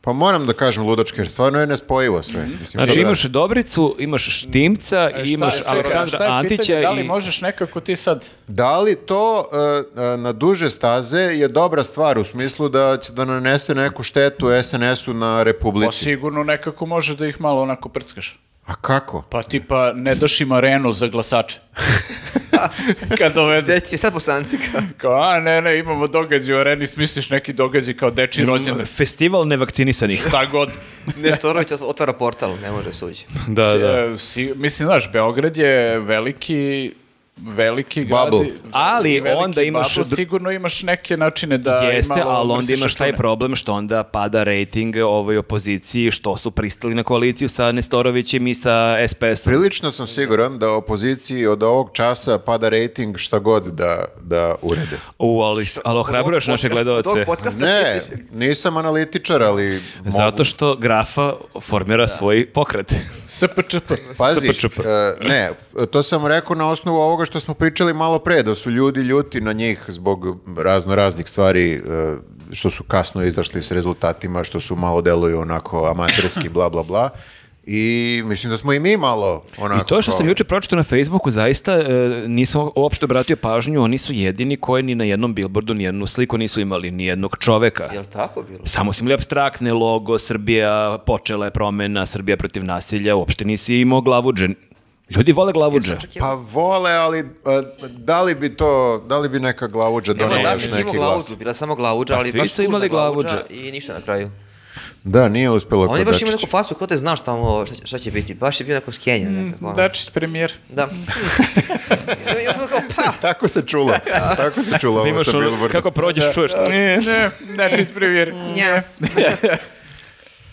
A: Pa moram da kažem ludačku, jer stvarno je nespojivo sve. Mislim,
C: Znači
A: to da-
C: imaš Dobricu, imaš Štimca, i imaš
D: E, Šta- šta je-
C: Aleksandra
D: šta je pitanje,
C: Antića
D: Da li
C: i...
D: možeš nekako ti sad...
A: Da li to e, e, na duže staze je dobra stvar u smislu da će da nanese neku štetu SNS-u na
D: Pa
A: Republici?
D: sigurno nekako možeš da ih malo onako prckaš.
A: A kako?
D: Pa tipa ne daš im arenu za
C: [LAUGHS]
D: glasače. Kad dovedu.
B: Gde će sad poslanci kao?
D: Kao, a ne, ne, imamo događaj u areni, smisliš neki događaj kao deči rođendan.
C: Festival
D: [LAUGHS]
C: nevakcinisanih.
D: Šta god.
B: [LAUGHS] Nestorović otvara portal, ne može suđi.
C: da,
D: Si-
C: da.
D: e, si- mislim, znaš, Beograd je veliki veliki grad.
A: Bubble.
D: i-
C: Ali
D: veliki
C: onda imaš
D: bubble,
C: dru-
D: sigurno imaš neke načine da
C: Jeste,
D: malo
C: ali onda
D: mrsiš
C: imaš taj
D: račune.
C: problem što onda pada rating ovoj opoziciji, što su pristali na koaliciju sa Nestorovićem i sa SPS-om.
A: Prilično sam siguran da opoziciji od ovog časa pada rating šta god da, da urede.
C: U, ali, ali ohrabruješ naše
B: Od
C: gledalce.
B: ovog podcasta
A: Ne,
B: misliš?
A: nisam analitičar, ali mogu.
C: Zato što grafa formira svoj pokret.
D: SPČP.
C: [LAUGHS]
A: Pazi,
C: SPČP.
A: e, ne, f- to sam rekao na osnovu ovoga što smo pričali malo pre, da su ljudi ljuti na njih zbog razno raznih stvari, e, što su kasno izašli s rezultatima, što su malo deluju onako amaterski, bla, bla, bla. I mislim da smo i mi malo onako...
C: I to što
A: kao-
C: sam juče pročitao na Facebooku, zaista e, nisam uopšte obratio pažnju, oni su jedini koji ni na jednom billboardu ni jednu sliku nisu imali, ni jednog čoveka.
B: Jel tako bilo?
C: Samo si imali abstraktne logo, Srbija, počela je promena, Srbija protiv nasilja, uopšte nisi imao glavuđe. Ljudi vole glavuđe.
A: Pa vole, ali e, da li bi to, da li bi neka glavuđa
B: Nema
A: donela
B: da,
A: još
B: mi
A: neki glas?
B: glavuđu, bila samo glavuđa,
C: Pa
B: ali
C: svi
B: baš
C: su imali
B: tužna glavuđa
C: glavuđe.
B: I ništa na kraju.
A: Da, nije uspelo
B: On je
A: kod
B: baš imao
A: Dačića.
B: neku facu, ko te znaš tamo šta, će- šta će biti. Baš je bio neko skenja.
D: Mm,
B: nekako, ono.
D: Dačić premijer.
B: Da. I onda kao, pa,
A: Tako se čulo, [LAUGHS] tako se čulo ovo sa Billboarda.
C: ono, kako prođeš, čuješ. Ne,
D: Ne, Dačić premijer. Nja.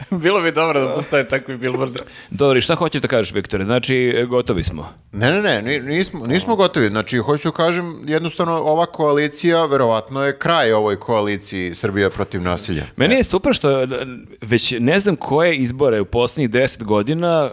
D: Bilo bi dobro da postoje takvi billboardi.
C: Dobro, i šta hoćeš da kažeš, Viktore? Znači, e, gotovi smo.
A: Ne, ne, ne, ni- nismo, nismo gotovi. Znači, hoću kažem, jednostavno ova koalicija, verovatno je kraj ovoj koaliciji Srbija protiv nasilja.
C: Meni je super što e, već ne znam koje izbore u posljednjih deset godina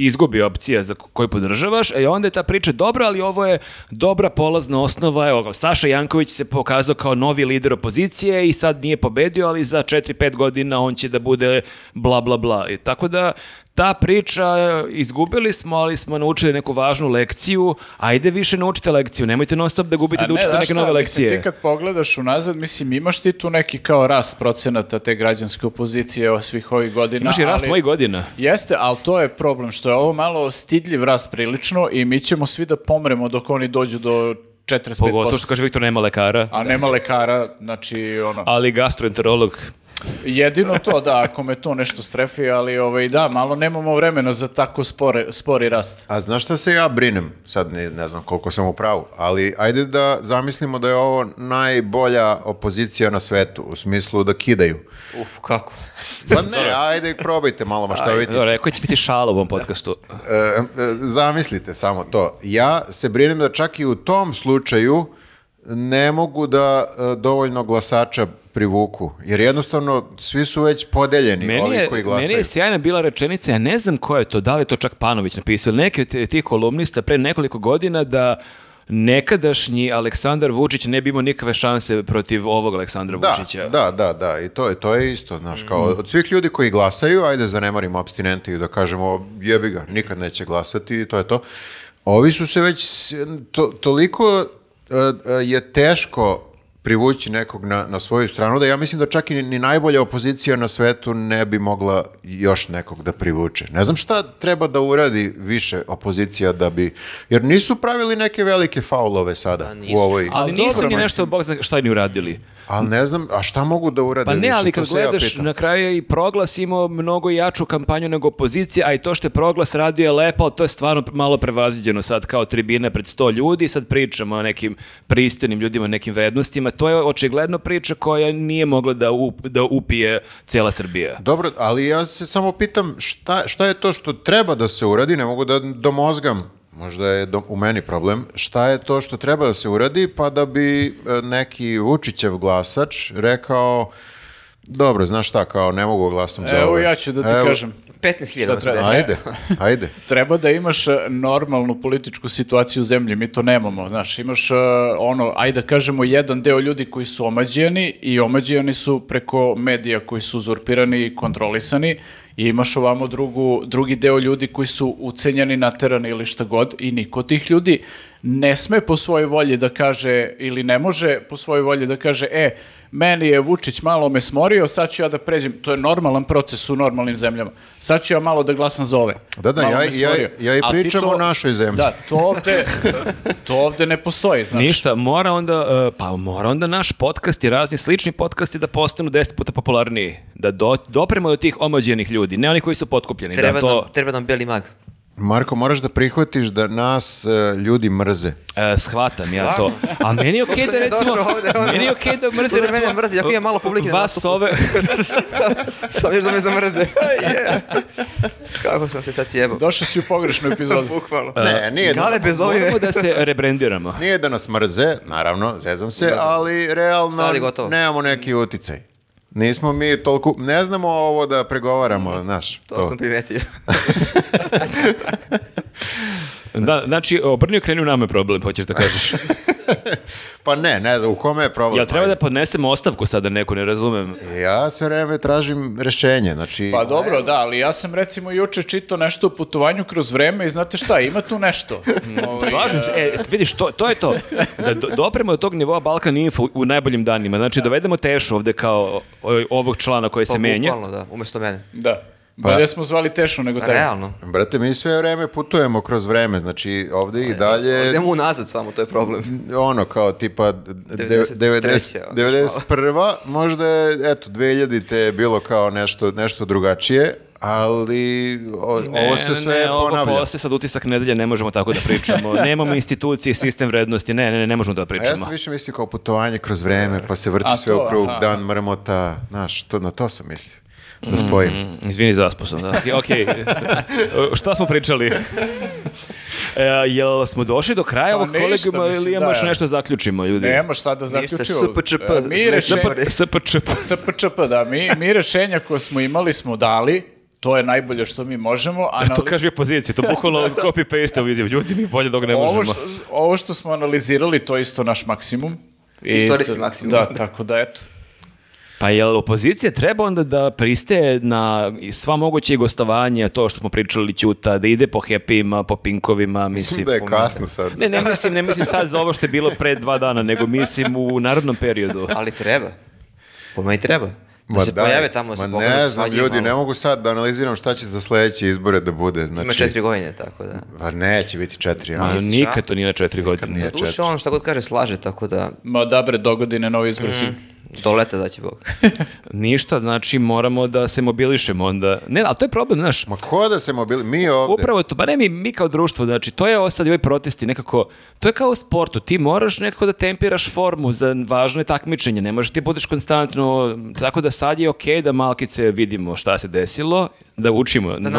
C: izgubi opcija za ko- koju podržavaš, e onda je ta priča dobra, ali ovo je dobra polazna osnova. Evo, ga, Saša Janković se pokazao kao novi lider opozicije i sad nije pobedio, ali za 4-5 godina on će da bude bla bla bla. I tako da ta priča e, izgubili smo, ali smo naučili neku važnu lekciju. Ajde više naučite lekciju, nemojte non stop da gubite da učite
D: znaš
C: neke
D: šta,
C: nove lekcije.
D: Mislim, ti kad pogledaš unazad, mislim, imaš ti tu neki kao rast procenata te građanske opozicije o svih ovih godina.
C: Imaš i rast
D: ali-
C: mojih godina.
D: Jeste, ali to je problem, što je ovo malo stidljiv rast prilično i mi ćemo svi da pomremo dok oni dođu do 45%.
C: Pogotovo što kaže Viktor, nema lekara.
D: A nema lekara, znači ono...
C: Pa. ali gastroenterolog.
D: Jedino to, da, ako me to nešto strefi, ali ovaj, da, malo nemamo vremena za tako spore, spori rast.
A: A znaš šta se ja brinem? Sad ne, ne znam koliko sam u pravu, ali ajde da zamislimo da je ovo najbolja opozicija na svetu, u smislu da kidaju.
B: uf, kako.
A: Pa ne, ajde probajte malo maštoviti.
C: Dobro, rekao će biti šala u ovom podcastu.
A: E, e, zamislite samo to. Ja se brinem da čak i u tom slučaju ne mogu da e, dovoljno glasača privuku. Jer jednostavno svi su već podeljeni,
C: Meni
A: ovi
C: je,
A: koji glasaju.
C: meni je sjajna bila rečenica, ja ne znam ko je to, da li je to čak Panović napisao, ili neki od t- tih kolumnista pre nekoliko godina da nekadašnji Aleksandar Vučić ne bi imao nikakve šanse protiv ovog Aleksandra
A: Da,
C: Vučića. Mhm.
A: da, da, da, i to je, to je isto, znaš, kao od svih ljudi koji glasaju, ajde zanemarimo abstinente i da kažemo jebi ga, nikad neće glasati i to je to. Ovi su se već, s- to- toliko e, e, je teško privući nekog na, na svoju stranu, da ja mislim da čak i ni, ni najbolja opozicija na svetu ne bi mogla još nekog da privuče. Ne znam šta treba da uradi više opozicija da bi, jer nisu pravili neke velike faulove sada u
B: nisu.
A: ovoj...
C: Ali
D: A
C: Pa nisu
D: dobro,
C: ni
D: mislim.
C: nešto, Bog zna šta ni uradili.
A: Ali ne znam, a šta mogu da urade?
C: Pa ne,
A: više?
C: ali
A: To
C: kad
A: se ja
C: gledaš,
A: pitam.
C: na kraju je i Proglas imao mnogo jaču kampanju nego opozicija, a i to što je Proglas radio je lepo, ali to je stvarno malo prevaziđeno sad kao tribina pred 100 ljudi, sad pričamo o nekim pristojnim ljudima, nekim vrednostima, to je očigledno priča koja nije mogla da, up- da upije cijela Srbija.
A: Dobro, ali ja se samo pitam šta, šta je to što treba da se uradi, ne mogu da domozgam, možda je do- u meni problem, šta je to što treba da se uradi pa da bi e, neki Vučićev glasač rekao dobro, znaš šta, kao ne mogu glasam za ovo.
C: ovaj.
D: Evo ja ću da ti
A: Evo,
D: kažem.
B: 15.000
D: Šta treba?
B: vas desi.
A: Ajde, ajde.
D: Treba da imaš e, normalnu političku situaciju u zemlji, mi to nemamo, znaš, imaš e, ono, ajde da kažemo, jedan deo ljudi koji su omađijani i omađijani su preko medija koji su uzurpirani i kontrolisani i imaš ovamo drugu, drugi deo ljudi koji su ucenjeni, naterani ili šta god i niko od tih ljudi ne sme po svojoj volji da kaže ili ne može po svojoj volji da kaže e, meni je Vučić malo me smorio, sad ću ja da pređem, to je normalan proces u normalnim zemljama, sad ću ja malo da glasam za ove.
A: Da, da,
D: Malo
A: ja-
D: me
A: ja-
D: smorio.
A: ja i
D: A ti
A: pričam o našoj zemlji.
D: Da, to ovde, to ovde ne postoji, znaš.
C: Ništa, mora onda, e, pa mora onda naš podcast i razni slični podcasti da postanu 10 puta popularniji, da do, dopremo do tih omađenih ljudi, ne oni koji su potkupljeni.
B: Treba,
C: da to...
B: nam, treba nam beli mag.
A: Marko, moraš da prihvatiš da nas e, ljudi mrze.
C: E, shvatam ja to. A meni je okej
B: Što
C: da
B: sam ja
C: recimo...
B: došao ovde, ono?
C: meni je okej da mrze
B: Što da
C: recimo...
B: mene mrzi, ako ima malo publike na
C: Vas
B: nastupu.
C: ove...
B: Sam još da me zamrze. [LAUGHS] Je. Kako sam se sad sjebao.
D: Došao si u pogrešnu epizodu.
B: Bukvalno.
A: Ne, nije da,
B: E, Gale bez ovih...
C: Moramo da se rebrendiramo.
A: nije da nas mrze, naravno, zezam se, ali realno
B: Sad je gotovo.
A: nemamo neki uticaj. Nismo mi toliko, ne znamo ovo da pregovaramo, znaš.
B: Mm, To sam primetio.
C: Da, znači, obrni kreni u nama je problem, hoćeš da kažeš.
A: Pa ne, ne znam, u kome je problem?
C: Jel treba da
A: Ajde.
C: podnesemo ostavku sada neku, ne razumem.
A: Ja sve vreme tražim rešenje, znači...
D: Pa dobro, da, ali ja sam recimo juče čitao nešto o putovanju kroz vreme i znate šta, ima tu nešto. Ovaj,
C: Slažem se, e, vidiš, to, to je to. Da do, dopremo do tog nivoa Balkan Info u najboljim danima. Znači, dovedemo Tešu ovde kao o- ovog člana koji se
B: Pa
C: menja.
B: bukvalno, da, umjesto mene. Pa
D: Da.
A: Pa-
D: Pa, smo zvali Tešu nego taj.
B: Realno.
A: Brate, mi sve vreme putujemo kroz vreme, znači ovde
B: Pa
A: i dalje...
B: Idemo unazad samo, to je
A: [LAUGHS]
B: problem.
A: ono kao tipa de-
B: 93.,
A: 90
B: ono,
A: 91. možda je eto 2000 je bilo kao nešto nešto drugačije, ali o- ovo se sve
C: E, ne, ovo
A: ponavlja.
C: posle sad utisak nedelje, ne možemo tako da pričamo. Nemamo institucije, sistem vrednosti, ne, ne, ne, ne možemo da
A: A ja
C: pričamo.
A: sam više mislio kao putovanje kroz vreme, pa se vrti
D: A
A: sve
D: to,
A: u krug,
D: aha.
A: dan mrmota, znaš, to, na to sam mislio. Da spojim.
B: Mhm.
C: Mm, Izvini, zaspao sam, [LAUGHS] da. Okej, okej. E, Šta smo pričali? E, jel smo došli do kraja
D: Pa
C: ovog
D: ništa,
C: kolegama ili
D: mislim,
C: imamo
D: da.
C: još nešto da zaključimo, ljudi?
D: Nema šta da
B: Ništa,
D: zaključio.
B: SPČP,
D: E, Mi
B: znači,
D: rešenje,
B: SPČP.
C: SPČP.
D: SPČP, da, mi, mi rešenja koje smo imali smo dali, to je najbolje što mi možemo. Anali...
C: [LAUGHS] To kaže opozicija, to
D: [LAUGHS]
C: bukvalno copy-paste ovu izjavu. Ljudi, mi bolje dok ne možemo.
D: Ovo što, ovo što smo analizirali, to je isto naš maksimum. I
B: Istorijski
D: t-
B: maksimum.
D: Da, tako da, eto.
C: Pa jel opozicija treba onda da pristaje na i sva moguće gostovanja, to što smo pričali Ćuta, da ide po hepijima, po pinkovima, mislim.
A: Mislim da je
C: po-
A: kasno sad.
C: Ne, ne mislim, ne mislim sad za ovo što je bilo pre dva dana, nego mislim u narodnom periodu.
B: Ali treba. Po meni treba. Da
A: Ma
B: se
A: daj,
B: pojave tamo, da
A: ma
B: se
A: ne
B: pogledaju,
A: znam,
B: svađaju
A: ljudi,
B: malo.
A: ne mogu sad da analiziram šta će za sledeće izbore da bude. Znači,
B: Ima četiri godine, tako da.
A: Pa neće biti četiri, ja
C: Ma,
A: mislim.
C: nikad to nije na četiri godine.
A: nije. četiri.
B: Duše on šta ono god kaže slaže, tako da
D: Ma da bre, dogodine novi izbor
C: Mhm.
D: sigurno.
B: dolete da će Bog. [LAUGHS]
C: Ništa, znači moramo da se mobilišemo onda. Ne, ali to je problem, znaš.
A: Ma ko da se mobili... Mi ovde...
C: Upravo to, ba ne mi, mi kao društvo, znači to je ovo sad i ovi protesti nekako, to je kao u sportu, ti moraš nekako da tempiraš formu za važne takmičenje, ne možeš ti budeš konstantno, tako da sad je okej da malkice vidimo šta se desilo, da učimo,
B: naučimo,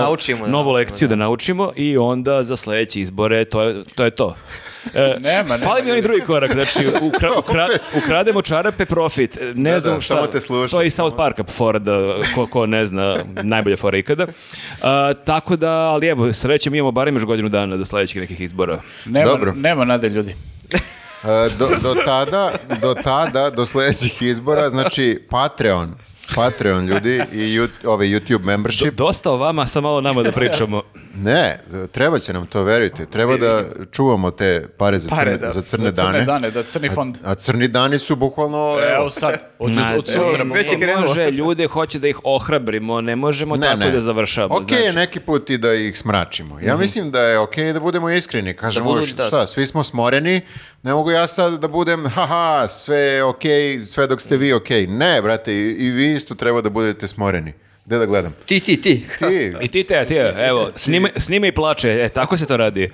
B: da
C: novu
B: naučimo,
C: lekciju da. naučimo i onda za sledeće izbore to je to. Je to. E,
D: Nema, nema
C: Fali mi onaj
D: ljudi.
C: drugi korak, znači ukra,
B: [LAUGHS]
C: ukra- ukrademo čarape, profit. E, Ne
A: Da,
C: znam
A: da,
C: šta.
A: samo te slušam.
C: To je iz South Parka fora da, ko, ko ne zna, [LAUGHS] najbolja fora ikada. A, tako da, ali evo, srećem imamo barem još godinu dana do sledećih nekih izbora.
D: Nema,
A: Dobro.
D: nema nade ljudi.
A: E, do, do tada, do tada, do sledećih izbora, znači Patreon. Patreon ljudi i Yout- ovaj YouTube membership.
C: Dosta o vama, sad malo nama da pričamo.
A: Ne, treba će nam to, verujte. Treba da čuvamo te pare za,
B: Pare,
A: crne,
B: da.
A: za crne,
D: Crne
A: dane.
D: dane, da crni fond.
A: A crni dani su bukvalno...
D: Evo sad, od,
C: Ma,
D: od sutra.
B: već je krenulo.
C: Može, ljude hoće da ih ohrabrimo, ne možemo
A: Ne,
C: tako
A: ne.
C: da završavamo. znači.
A: Ok, je neki put i da ih smračimo. Ja mislim da je ok da budemo iskreni. Kažemo,
B: Da budu-
A: "Š-
B: da.
A: šta, svi smo smoreni, ne mogu ja sad da budem, haha, sve je ok, sve dok ste vi ok. Ne, brate, i, i vi isto treba da budete smoreni. Gde da gledam?
B: Ti, ti, ti.
A: Ti,
C: I ti te, ti, evo, snime, snime i plače, e, tako se to radi.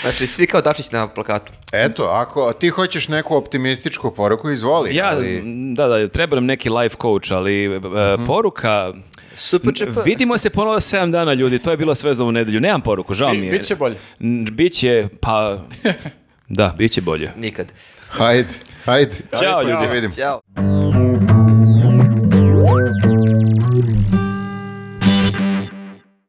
B: Znači, svi kao Dačić na plakatu.
A: eto, ako ti hoćeš neku optimističku poruku, izvoli.
C: Ja,
A: ali-
C: da, da, treba nam neki life coach, ali e, poruka...
B: Super
C: N- Vidimo se ponovo za 7 dana, ljudi, to je bilo sve za ovu nedelju. Nemam poruku, žao
D: Bi-
C: mi je.
D: biće bolje.
C: N- Biće, pa... da, biće bolje.
B: Nikad.
A: Hajde, hajde.
C: Ćao,
A: Pa se
C: ljudi.
A: vidimo.
B: Ćao.